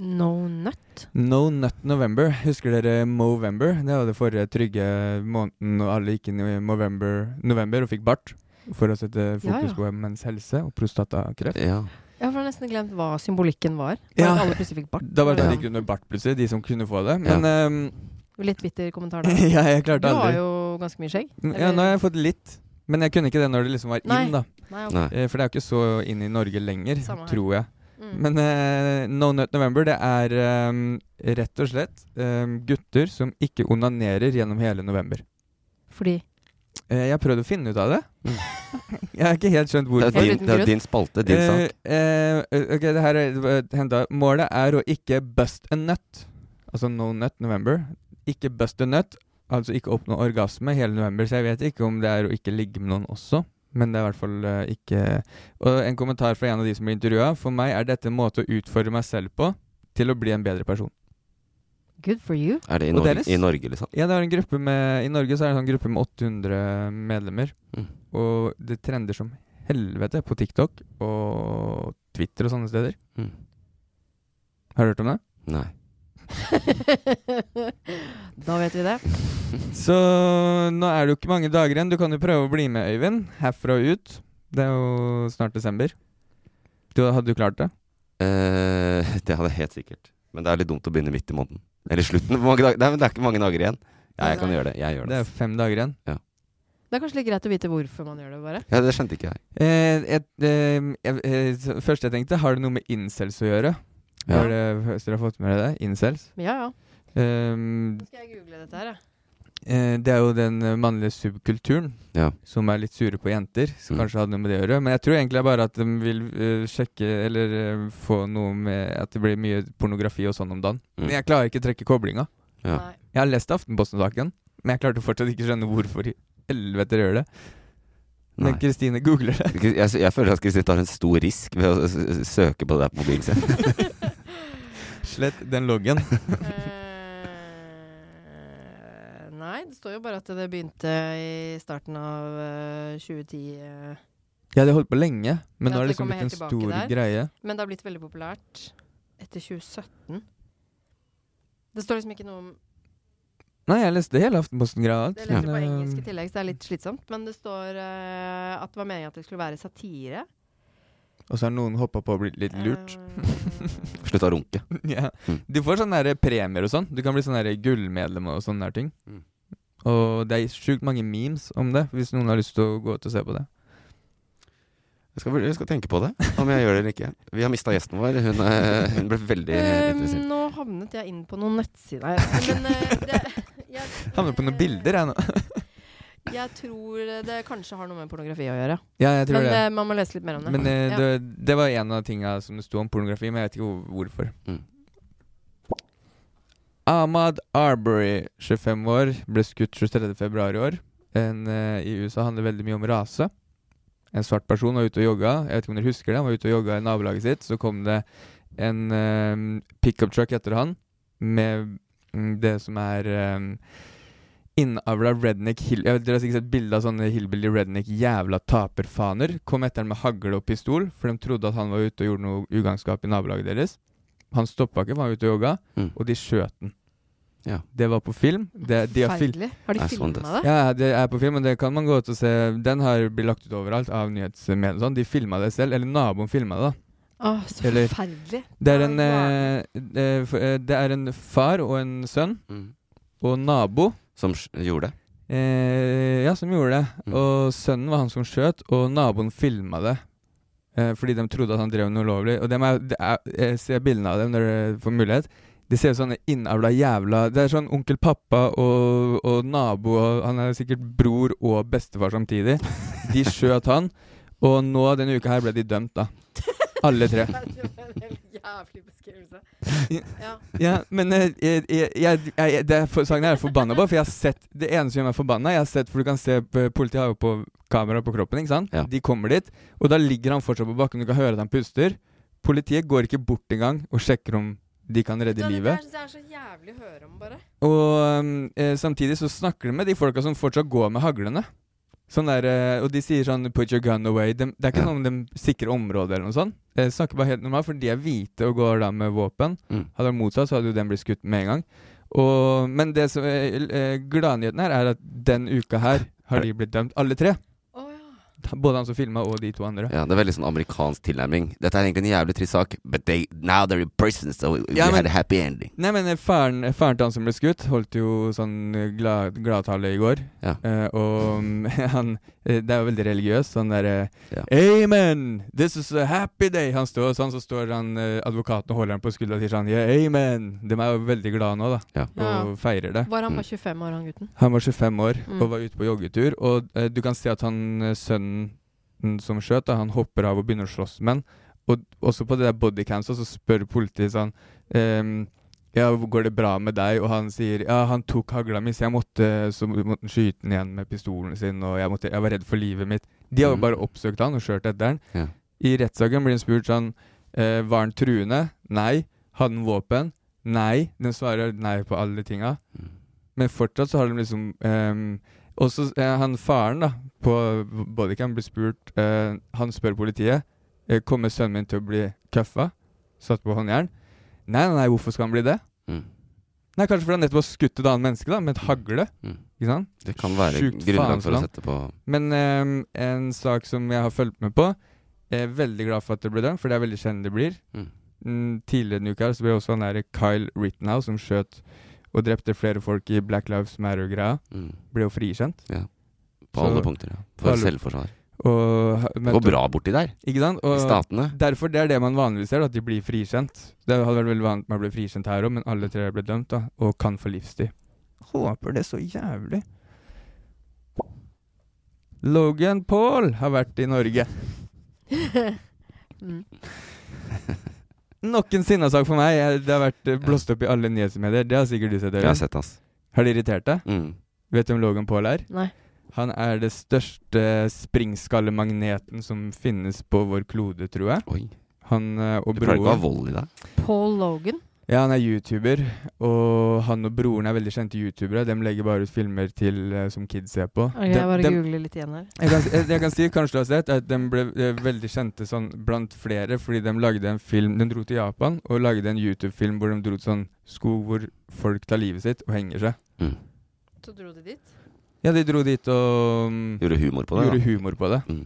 No Nut? No Nut November. Husker dere Movember? Det var det forrige trygge måneden og alle gikk inn i Movember, november og fikk bart. For å sette fokus Ja, ja. på menns helse og prostatakreft. Ja. Jeg har nesten glemt hva symbolikken var. Bare Ja. at Alle plutselig fikk bart. Da var det Ja. de gikk rundt med bart plutselig, de som kunne få det. Men ehm, Litt bitter kommentar der. Ja, jeg klarte du aldri. har jo ganske mye skjegg. n- ja, nå har jeg fått litt. Men jeg kunne ikke det når det liksom var Nei. inn, da. Nei, ok. Nei. Eh, For det er jo ikke så inn i Norge lenger, Samme her. tror jeg. Mm. Men eh, No Nut November, det er ehm, rett og slett ehm, gutter som ikke onanerer gjennom hele november. Fordi Eh, jeg har prøvd å finne ut av det. jeg har ikke helt skjønt hvorfor. Det er din- det er Helt uten grunn. din spalte, din sak. Eh, eh, ok, det her er henta. Målet er å ikke bust a nut. Altså no nut November. Ikke bust a nut, altså ikke oppnå orgasme hele november. Så jeg vet ikke om det er å ikke ligge med noen også. Men det er i hvert fall eh, ikke Og en kommentar fra en av de som ble intervjua. For meg er dette en måte å utfordre meg selv på til å bli en bedre person. Good for you. Er det i Og Norge- deres? i Norge, liksom? Ja, det er en gruppe med, I Norge så er det en sånn gruppe med 800 medlemmer. Mm. Og det trender som helvete på TikTok og Twitter og sånne steder. Har du hørt om det? Mm. Nei. Da vet vi det. Så nå er det jo ikke mange dager igjen. Du kan jo prøve å bli med, Øyvind. Herfra og ut. Det er jo snart desember. Du, hadde du klart det? Eh, det hadde jeg helt sikkert. Men det er litt dumt å begynne midt i måneden. Eller slutten. Hvor mange dager- Nei, men det er ikke mange dager igjen. Ja, jeg kan gjøre det. Jeg gjør det. Det er fem dager igjen. Ja. Det er kanskje litt greit å vite hvorfor man gjør det, bare. ja, det skjønte ikke jeg. Eh, et, eh, jeg- eh, så- første jeg tenkte, har det noe med incels å gjøre? Ja. Har det, hvis dere har fått med dere det? Incels? Ja, ja. Ehm, Nå skal jeg google dette her, jeg. Eh, Det er jo den eh, mannlige subkulturen Ja. Mm. som er litt sure på jenter. Som kanskje hadde noe med det å gjøre. Men jeg tror egentlig bare at de vil eh, sjekke eller eh, få noe med at det blir mye pornografi og sånn om dagen. Mm. Men jeg klarer ikke å trekke koblinga. Ja. Nei. Jeg har lest Aftenposten-saken, men jeg klarte fortsatt ikke å skjønne hvorfor i helvete de gjør det. Nei. Men Kristine googler det. Jeg, jeg føler at Kristin tar en stor risk ved å s- s- søke på det der på mobilen sin. Slett den loggen. Eh, Nei, det står jo bare at det begynte i starten av eh, 2010. eh, Ja, de har holdt på lenge, men at nå er det liksom kommer blitt en helt tilbake stor der. greie. Men det har blitt veldig populært etter 2017. Det står liksom ikke noe om Nei, jeg leste hele Aftenposten-greia. Det leser jeg på men, eh, engelsk i tillegg, så det er litt slitsomt. Men det står eh, at det var meningen at det skulle være satire. Og så har noen hoppa på og blitt litt lurt. Eh, Slutta å runke. ja. Mm. Du får sånne der premier og sånn. Du kan bli sånn der gullmedlem og sånne der ting. Og det er sjukt mange memes om det, hvis noen har lyst til å gå ut og se på det. Jeg skal, jeg skal tenke på det, om jeg gjør det eller ikke. Vi har mista gjesten vår. Hun, eh, hun ble veldig Eh, interessert. nå havnet jeg inn på noen nettsider. Men eh, det, jeg, Havner på noen bilder, jeg nå. jeg tror det kanskje har noe med pornografi å gjøre. ja, jeg tror men det. eh, man må lese litt mer om det. Men eh, Ja. det, det var en av tinga som det sto om pornografi, men jeg vet ikke hvor- hvorfor. Ahmad Arbery, 25 år, ble skutt 23.2 i år. En, eh, I USA handler veldig mye om rase. En svart person var ute og jogga. Jeg vet ikke om dere husker det, han var ute og jogga i nabolaget sitt. Så kom det en eh, pickup truck etter han med mm, det som er eh, innavla redneck hill... Jeg vet, dere har sikkert sett bilde av sånne hillbilly redneck jævla taperfaner. Kom etter han med hagle og pistol, for de trodde at han var ute og gjorde noe ugagnskap i nabolaget deres. Han stoppa ikke, for han var ute og jogga, og de skjøt den. Ja. Det var på film. Det, de har, fil Forferdelig. Har de Jeg så filmet det. det? Ja, ja, det er på film, og det kan man gå ut og se. Den har blitt lagt ut overalt av nyhetsmedier. og Sånn. De filma det selv, eller naboen filma det. da. Åh, så Eller- forferdelig. Det er, en, eh, eh, for- eh, det er en far og en sønn mm. og nabo Mm. Som sj- gjorde det? eh, ja, som gjorde det. Og sønnen var han som skjøt, og naboen filma det. Eh, fordi de trodde at han drev noe ulovlig. Og dem er, det er, jeg ser bildene av dem når dere får mulighet. De ser ut som sånne innavla jævla Det er sånn onkel pappa og, og nabo og Han er sikkert bror og bestefar samtidig. De skjøt han. Og nå denne uka her ble de dømt, da. Alle tre. Det var en jævlig beskrivelse. Ja. Ja, men eh, jeg, jeg, jeg, jeg, det er for, saken er jeg forbanna på, for jeg har sett Det eneste som gjør meg forbanna, jeg har sett For du kan se p- Politiet har jo på kamera på kroppen, ikke sant? De kommer dit, og da ligger han fortsatt på bakken, du kan høre at han puster. Politiet går ikke bort engang og sjekker om de kan redde livet. Det er så jævlig å høre om, bare. Og um, eh, samtidig så snakker de med de folka som fortsatt går med haglene. Sånn der, eh, og de sier sånn 'put your gun away'. Dem- det er ikke noe om de sikrer området eller noe sånt. Eh, snakker bare helt normalt, for de er hvite og går da med våpen. Hadde det vært motsatt, så hadde jo den blitt skutt med en gang. Og, men det som er eh, gladnyheten her, er at den uka her har de blitt dømt, alle tre. Både han som filma, og de to andre. Ja, Det er veldig sånn amerikansk tilnærming. Dette er egentlig en jævlig trist sak, but they, now they're in prison, so we, Ja, we men- had a happy ending. Nei, men eh, faren, eh, faren til han som ble skutt, holdt jo sånn eh, glad, gladtale i går. Eh, og mm, han eh, Det er jo veldig religiøst. Sånn derre Amen! This is a happy day! Han står sånn, så står han eh, advokaten og holder han på skuldra og sier sånn yeah, Amen! De er jo veldig glade nå, da. Og feirer det. Var han bare 25 år, han gutten? Han var 25 år Mm. og var ute på joggetur, og eh, du kan se at han eh, sønnen som skjøt, da, han hopper av og begynner å slåss med han. Og også på det der bodycam så så spør politiet sånn ehm, Ja, går det bra med deg? Og han sier ja, han tok hagla mi, så jeg måtte, så måtte han skyte den igjen med pistolen sin, og jeg, måtte, jeg var redd for livet mitt. De har jo Mm. bare oppsøkt han og kjørt etter han. Ja. I rettssaken blir han spurt sånn eh, Var han truende? Nei. Hadde han våpen? Nei. Den svarer nei på alle tinga. Mm. Men fortsatt så har de liksom ehm, Også eh, han faren, da, på bodycam blir spurt eh, Han spør politiet eh, Kommer sønnen min til å bli køffa? Satt på håndjern? Nei, nei, nei, hvorfor skal han bli det? Mm. Nei, kanskje fordi han nettopp har skutt et annet menneske, da, med et hagle. Ikke sant? Mm. Det kan være grunnlag for å sette på- Men ehm, en sak som jeg har fulgt med på Jeg er veldig glad for at det ble dømt, for det er veldig sjelden det blir. Mm. Mm, tidligere denne uka her så ble også han der Kyle Rittenhouse, som skjøt og drepte flere folk i Black Lives Matter-greia, Mm. ble jo frikjent. Ja. På alle punkter, ja. på For alle- selvforsvar. Og, Det går bra borti der. Ikke sant? I statene. Derfor det er det man vanligvis ser, da, at de blir frikjent. Det hadde vært veldig vant med å bli frikjent her òg, men alle tre ble dømt, da, og kan få livstid. Håper det så jævlig. Logan Paul har vært i Norge. Mm. Nok en sinnasak for meg. Jeg- Det har vært eh, blåst opp i alle nyhetsmedier. Det har sikkert du sett, Øyvind. Jeg har sett, ass. Mm. Har det irritert deg? Vet du hvem Logan Paul er? Nei. Han er det største springskallemagneten som finnes på vår klode, tror jeg. Han eh, og Du pleier ikke å ha broren- vold i deg? Paul Logan? Ja, han er youtuber, og han og broren er veldig kjente youtubere. De legger bare ut filmer til eh, som kids ser på. Ok, Dem- jeg bare dem- googler litt igjen her. Jeg kan, jeg, jeg kan si, kanskje du har sett, at de ble eh, veldig kjente sånn blant flere fordi de lagde en film De dro til Japan og lagde en YouTube-film hvor de dro til sånn skog hvor folk tar livet sitt og henger seg. Mm. Så dro de dit? Ja, de dro dit og mm, Gjorde humor på det? da. Gjorde humor på det. Mm.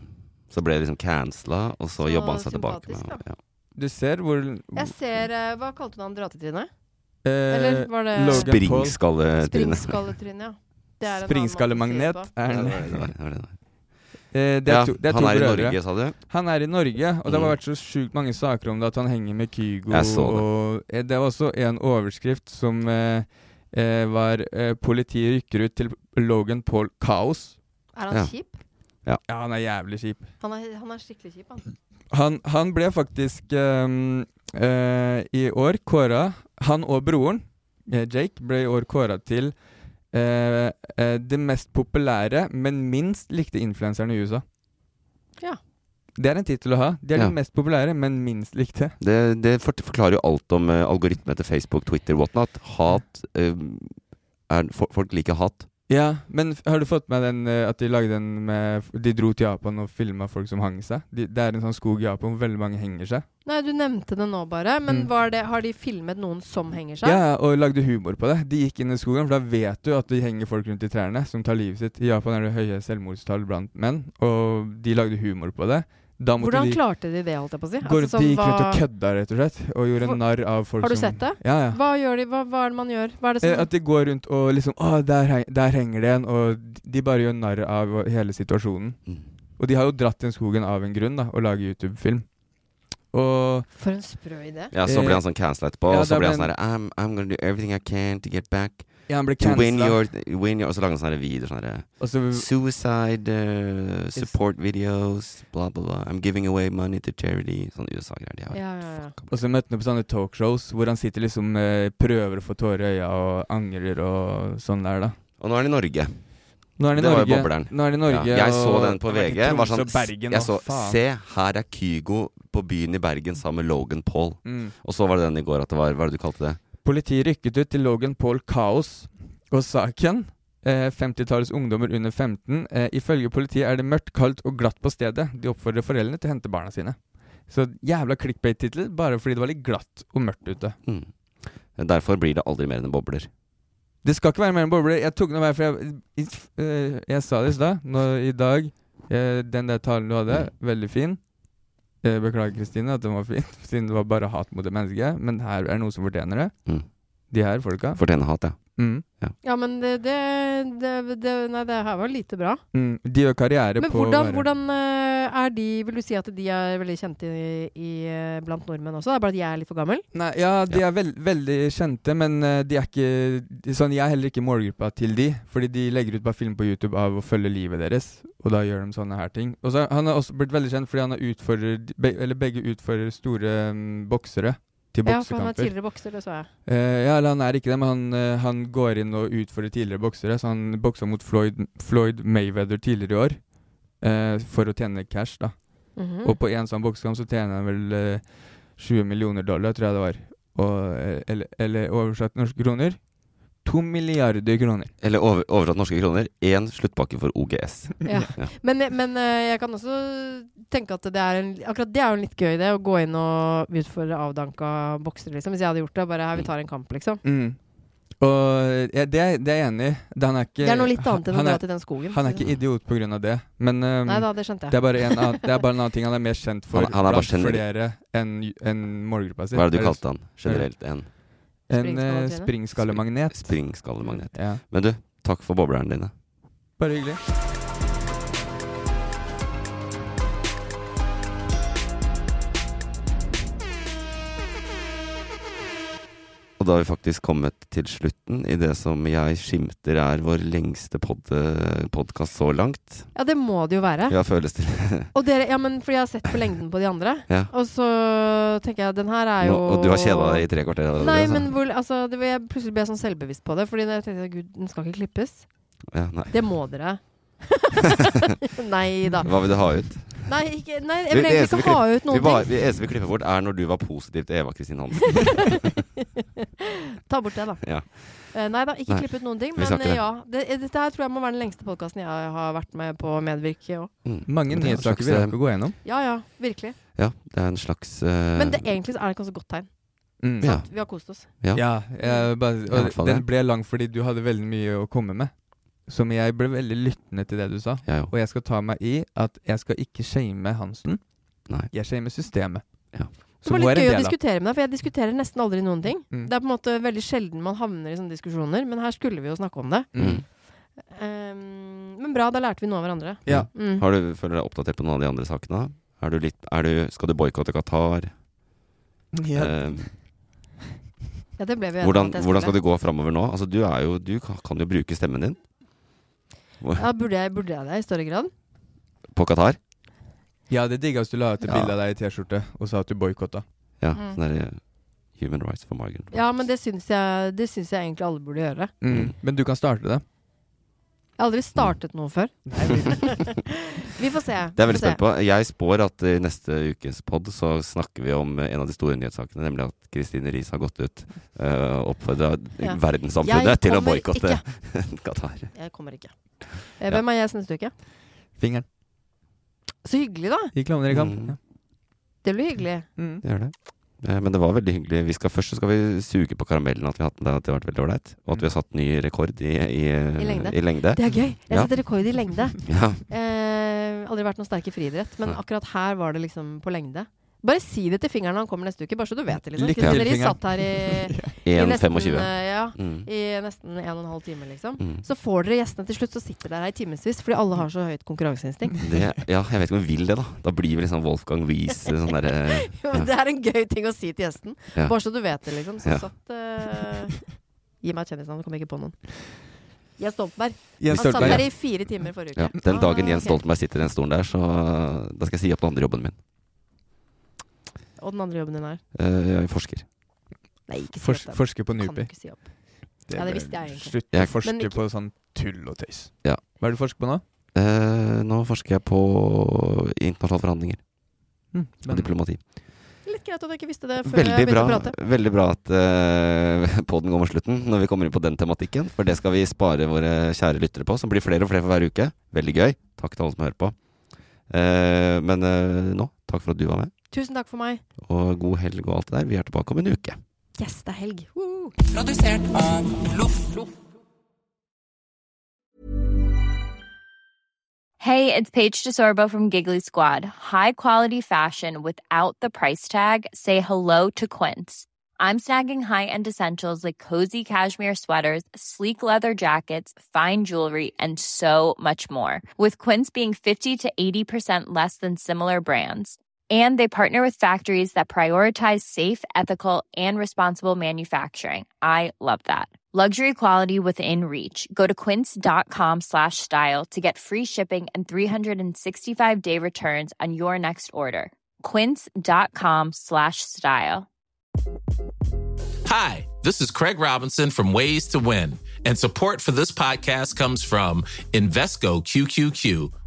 Så ble det liksom cancela, og så, Så jobba han seg tilbake. sympatisk, Med, ja. Du ser hvor Jeg ser eh, Hva kalte du han dratetrynet? eh, Eller var det Logan Paul- Springskalletryne. Springskalletryne, ja. Det er en annen måte å si det Springskallemagnet på. er den. Ja, det var det, det var det, det var det. Eh, det er Ja, to, det er han to er i brødre. Norge, sa du? Han er i Norge, og det har Mm. vært så sjukt mange saker om det at han henger med Kygo. Jeg så det. Og eh, det var også en overskrift som eh, eh, var eh, 'Politiet rykker ut til Logan Paul kaos'. Er han Ja. kjip? Ja. han er jævlig kjip. Han er, han er skikkelig kjip, han. Han, han ble faktisk ehm, eh, i år kåra Han og broren, eh, Jake, ble i år kåra til eh, eh, det mest populære, men minst likte influenseren i USA. Ja. Det er en tittel å ha. De er Ja. de mest populære, men minst likte. Det, det fort- forklarer jo alt om eh, algoritmer til Facebook, Twitter, whatnot. Hat eh, er, for, Folk liker hat. Ja, men f- har du fått med den eh, at de lagde den med f- De dro til Japan og filma folk som hang seg? De, det er en sånn skog i Japan hvor veldig mange henger seg. Nei, du nevnte det nå bare, men Mm. var det, har de filmet noen som henger seg? Ja, ja, og lagde humor på det. De gikk inn i skogen, for da vet du at det henger folk rundt i trærne som tar livet sitt. I Japan er det høye selvmordstall blant menn, og de lagde humor på det. Da måtte Hvordan de klarte de det, holdt jeg på å si? gå rundt, sånn, de gikk rundt og hva- kødda, rett og slett, og gjorde Hvor- narr av folk Har du som sett det? Ja, ja. Hva gjør de? Hva, hva er det man gjør? Hva er det Eh, som At de går rundt og liksom Å, der, heng- der henger det en. Og de bare gjør narr av hele situasjonen. Mm. Og de har jo dratt den skogen av en grunn, da, og lager YouTube-film. Og For en sprø idé. Ja, så ble han sånn cancela etterpå, og Eh, så da ble han sånn her I'm, I'm gonna do everything I can to get back. Ja, han ble To win cancela. your, win your Og så lagde han sånne videoer, sånne her, Og så- Suicide eh, support videos, bla, bla, bla. I'm giving away money to charity. Sånn USA-greier. De har Ja, ja, ja. Og så møtte han på sånne talkshows hvor han sitter liksom eh, prøver å få tårer i øya og angrer og sånn der, da. Og nå er han i Norge. Nå er han i det var jo Norge. bobleren. Nå er han i Norge, Ja. Jeg så og- den på Han har vært i VG. Var Tromsø sånn, og Bergen, jeg og så, faen. se, her er Kygo på byen i Bergen sammen med Logan Paul. Mm. Og så var det den i går at det var Hva er det du kalte det? Politiet rykket ut til Logan Paul Kaos og saken. Eh, 50-tallets ungdommer under 15. Eh, ifølge politiet er det mørkt, kaldt og glatt på stedet. De oppfordrer foreldrene til å hente barna sine. Så jævla clickbait-tittel, bare fordi det var litt glatt og mørkt ute. Hmm. Derfor blir det aldri mer enn bobler. Det skal ikke være mer enn bobler. Jeg tok den hver, for jeg, if- eh, jeg sa det i stad. Nå i dag, eh, den der talen du hadde, veldig fin. Eh, beklager, Kristine, at den var fin, siden det var bare hat mot det mennesket. Men her er det noen som fortjener det. Mm. De her folka. Fortjener hat, ja. Mm. Ja, men det, det, det, det Nei, det her var lite bra. Mm. De gjør karriere Men på å hvordan, være- hvordan eh, er de Vil du si at de er veldig kjente i, i, eh, blant nordmenn også? Det er bare at jeg er litt for gammel? Nei, ja, de er vel, veldig kjente, men eh, de er ikke de, sånn, Jeg er heller ikke i målgruppa til de, fordi de legger ut bare film på YouTube av å følge livet deres, og da gjør de sånne her ting. Og så er- Han har også blitt veldig kjent fordi han er utfordrer, be, eller begge utfordrer store mm, boksere til Ja, for han er boksekamper. tidligere bokser, det så jeg. Eh, ja, eller han er ikke det, men han, eh, han går inn og utfordrer tidligere boksere. Så han boksa mot Floyd, Floyd Mayweather tidligere i år eh, for å tjene cash, da. Mhm. Og på én sånn boksekamp så tjener han vel eh, 20 millioner dollar, tror jeg det var. Og, eh, eller, eller oversatt til norske kroner to milliarder kroner. Eller over, oversatt norske kroner, én sluttpakke for OGS. Ja. Men, men eh, jeg kan også tenke at det er en, akkurat det er jo en litt gøy idé, å gå inn og utfordre avdanka boksere, liksom. Hvis jeg hadde gjort det, bare her, vi tar en kamp, liksom. Mm. Og ja, det, er- det er jeg enig i. Det, han er ikke, Det er noe litt annet enn å han er- dra til den skogen. Han er ikke idiot på grunn av det, men ehm, Nei da, det skjønte jeg. Det er, bare en annen, det er bare en annen ting han er mer kjent for Han- han er bare blant generell. flere enn enn målgruppa si. Hva er det du kalte han? Generelt en En eh, springskallemagnet. Springskallemagnet. Ja. Men du, takk for boblerne dine. Bare hyggelig. Og da har vi faktisk kommet til slutten i det som jeg skimter er vår lengste pod podkast så langt. Ja, det må det jo være. Ja, føles det Og dere, ja, men fordi jeg har sett på lengden på de andre. Ja. Og så tenker jeg, den her er jo Nå- Og du har kjeda deg i tre kvarter? allerede, Nei, så- men hvor, altså, det, jeg plutselig ble jeg sånn selvbevisst på det. Fordi jeg tenkte gud, den skal ikke klippes. ja, nei. Det må dere. nei da. Hva vil du ha ut? Nei, ikke, nei Det- jeg vil det eneste egentlig vi ikke ha klipper- ut noen vi bare- Det eneste vi klipper bort, er når du var positiv til Eva Kristin Hansen. ting. Ta bort det, da. Ja. Eh, nei da, ikke Nei, klipp ut noen ting. vi Men skal ikke eh, det. ja. Det, dette her tror jeg må være den lengste podkasten jeg har vært med på å medvirke i òg. Mange Mm. Men det er en nyhetssaker slags, vi eh, rekker å gå gjennom. Ja ja, virkelig. Ja, det er en slags eh, Men det, egentlig så er det kanskje et godt tegn. Mm. Ja. Vi har kost oss. Ja. Ja, Mm. jeg bare, Ja, i og hvert fall den det. ble lang fordi du hadde veldig mye å komme med. Som jeg ble veldig lyttende til det du sa. Jeg òg. og jeg skal ta meg i at jeg skal ikke shame Hansen. Nei. Jeg shamer systemet. Det Så var nå litt er det gøy å det, da. diskutere med deg, for jeg diskuterer nesten aldri noen ting. Mm. Det er på en måte veldig sjelden man havner i sånne diskusjoner, men her skulle vi jo snakke om det. Mm. Ehm, men bra, da lærte vi noe av hverandre. Ja. Mm. Har du, føler du deg oppdatert på noen av de andre sakene? Er du litt, er du, skal du boikotte Qatar? Ja. Eh, Ja, det ble vi enige om hvordan, at jeg hvordan skal skulle. det gå framover nå? Altså, du, er jo, du ka- kan jo bruke stemmen din. Hvor- Ja, burde jeg, burde jeg det i større grad? På Qatar? Ja, det digga hvis du la ut et Ja. bilde av deg i T-skjorte og sa at du boikotta. Ja. Mm. Sånn der, eh, Human rights for Margaret. Mm. Ja, men det syns jeg, det syns jeg egentlig alle burde gjøre. Mm. Men du kan starte det. Jeg har aldri startet noe før. vi får se. Det er jeg veldig Vi får se. spent på. Jeg spår at i neste ukens pod så snakker vi om eh, en av de store nyhetssakene, nemlig at Kristine Riis har gått ut eh, og oppfordra Ja. Jeg verdenssamfunnet til å kommer boikotte Qatar. Jeg kommer ikke. Eh, Hvem er jeg neste uke? Fingeren. Så hyggelig, da. De klovner i Mm. kamp. Ja. Mm. Det blir hyggelig. Det gjør det. Eh, Men det var veldig hyggelig. Vi skal, først så skal vi suge på karamellen at vi har hatt den der, at det har vært veldig ålreit. Og at vi har satt ny rekord i, i, I lengde. I lengde. Det er gøy. Jeg Ja. setter rekord i lengde. Ja. Eh, aldri vært noen sterk i friidrett, men Nei. akkurat her var det liksom på lengde. Bare si det til fingeren når han kommer neste uke, bare så du vet det. liksom. Lykke til, Kristine Riis fingeren. satt her i, i, 1,25. nesten, eh, ja, Mm. i nesten en og en halv time, liksom. Mm. Så får dere gjestene til slutt, så sitter dere her i timevis fordi alle har så høyt konkurranseinstinkt. Det, ja, jeg vet ikke om vi vil det, da. Da blir vi litt sånn Wolfgang Wies. Sånn der, eh, Jo, men det ja. er en gøy ting å si til gjesten. Ja. Bare så du vet det, liksom. Så Ja. satt eh, Gi meg et kjendisnavn, jeg kommer ikke på noen. Jens Stoltenberg. Jens han satt Stoltenberg, ja. her i fire timer forrige uke. ja. Den dagen Ah, Jens ok. Stoltenberg sitter i den stolen der, så eh, da skal jeg si opp den andre jobben min. Og den andre jobben din er? Eh, jeg er forsker. Nei, ikke si Fors opp den. forsker på Kan du NUPI. ikke si opp? Ja, det visste jeg egentlig. Slutt å Jeg- forske Men ikke- på sånn tull og tøys. Ja. Hva er det du forsker på nå? Eh, nå forsker jeg på internasjonale forhandlinger. Mm, og diplomati. Litt greit at jeg ikke visste det før Veldig jeg bra, begynte å prate. veldig bra at uh, poden går mot slutten når vi kommer inn på den tematikken. For det skal vi spare våre kjære lyttere på, som blir flere og flere for hver uke. Veldig gøy. Takk til alle som hører på. Eh, men eh, nå, takk for at du var med. Tusen takk for meg. Og god helg og alt det der. Vi er tilbake om en uke. Yes, det er helg. Woo! Produsert av Loff. Hey, it's Paige DeSorbo from Giggly Squad. High quality fashion without the price tag. Say hello to Quince. I'm snagging high-end essentials like cozy cashmere sweaters, sleek leather jackets, fine jewelry, and so much more. With Quince being 50 to 80% less than similar brands. And they partner with factories that prioritize safe, ethical, and responsible manufacturing. I love that. Luxury quality within reach. Go to quince.com slash style to get free shipping and 365 day returns on your next order. Quince.com slash style. Hi, this is Craig Robinson from Ways to Win, and support for this podcast comes from Invesco QQQ,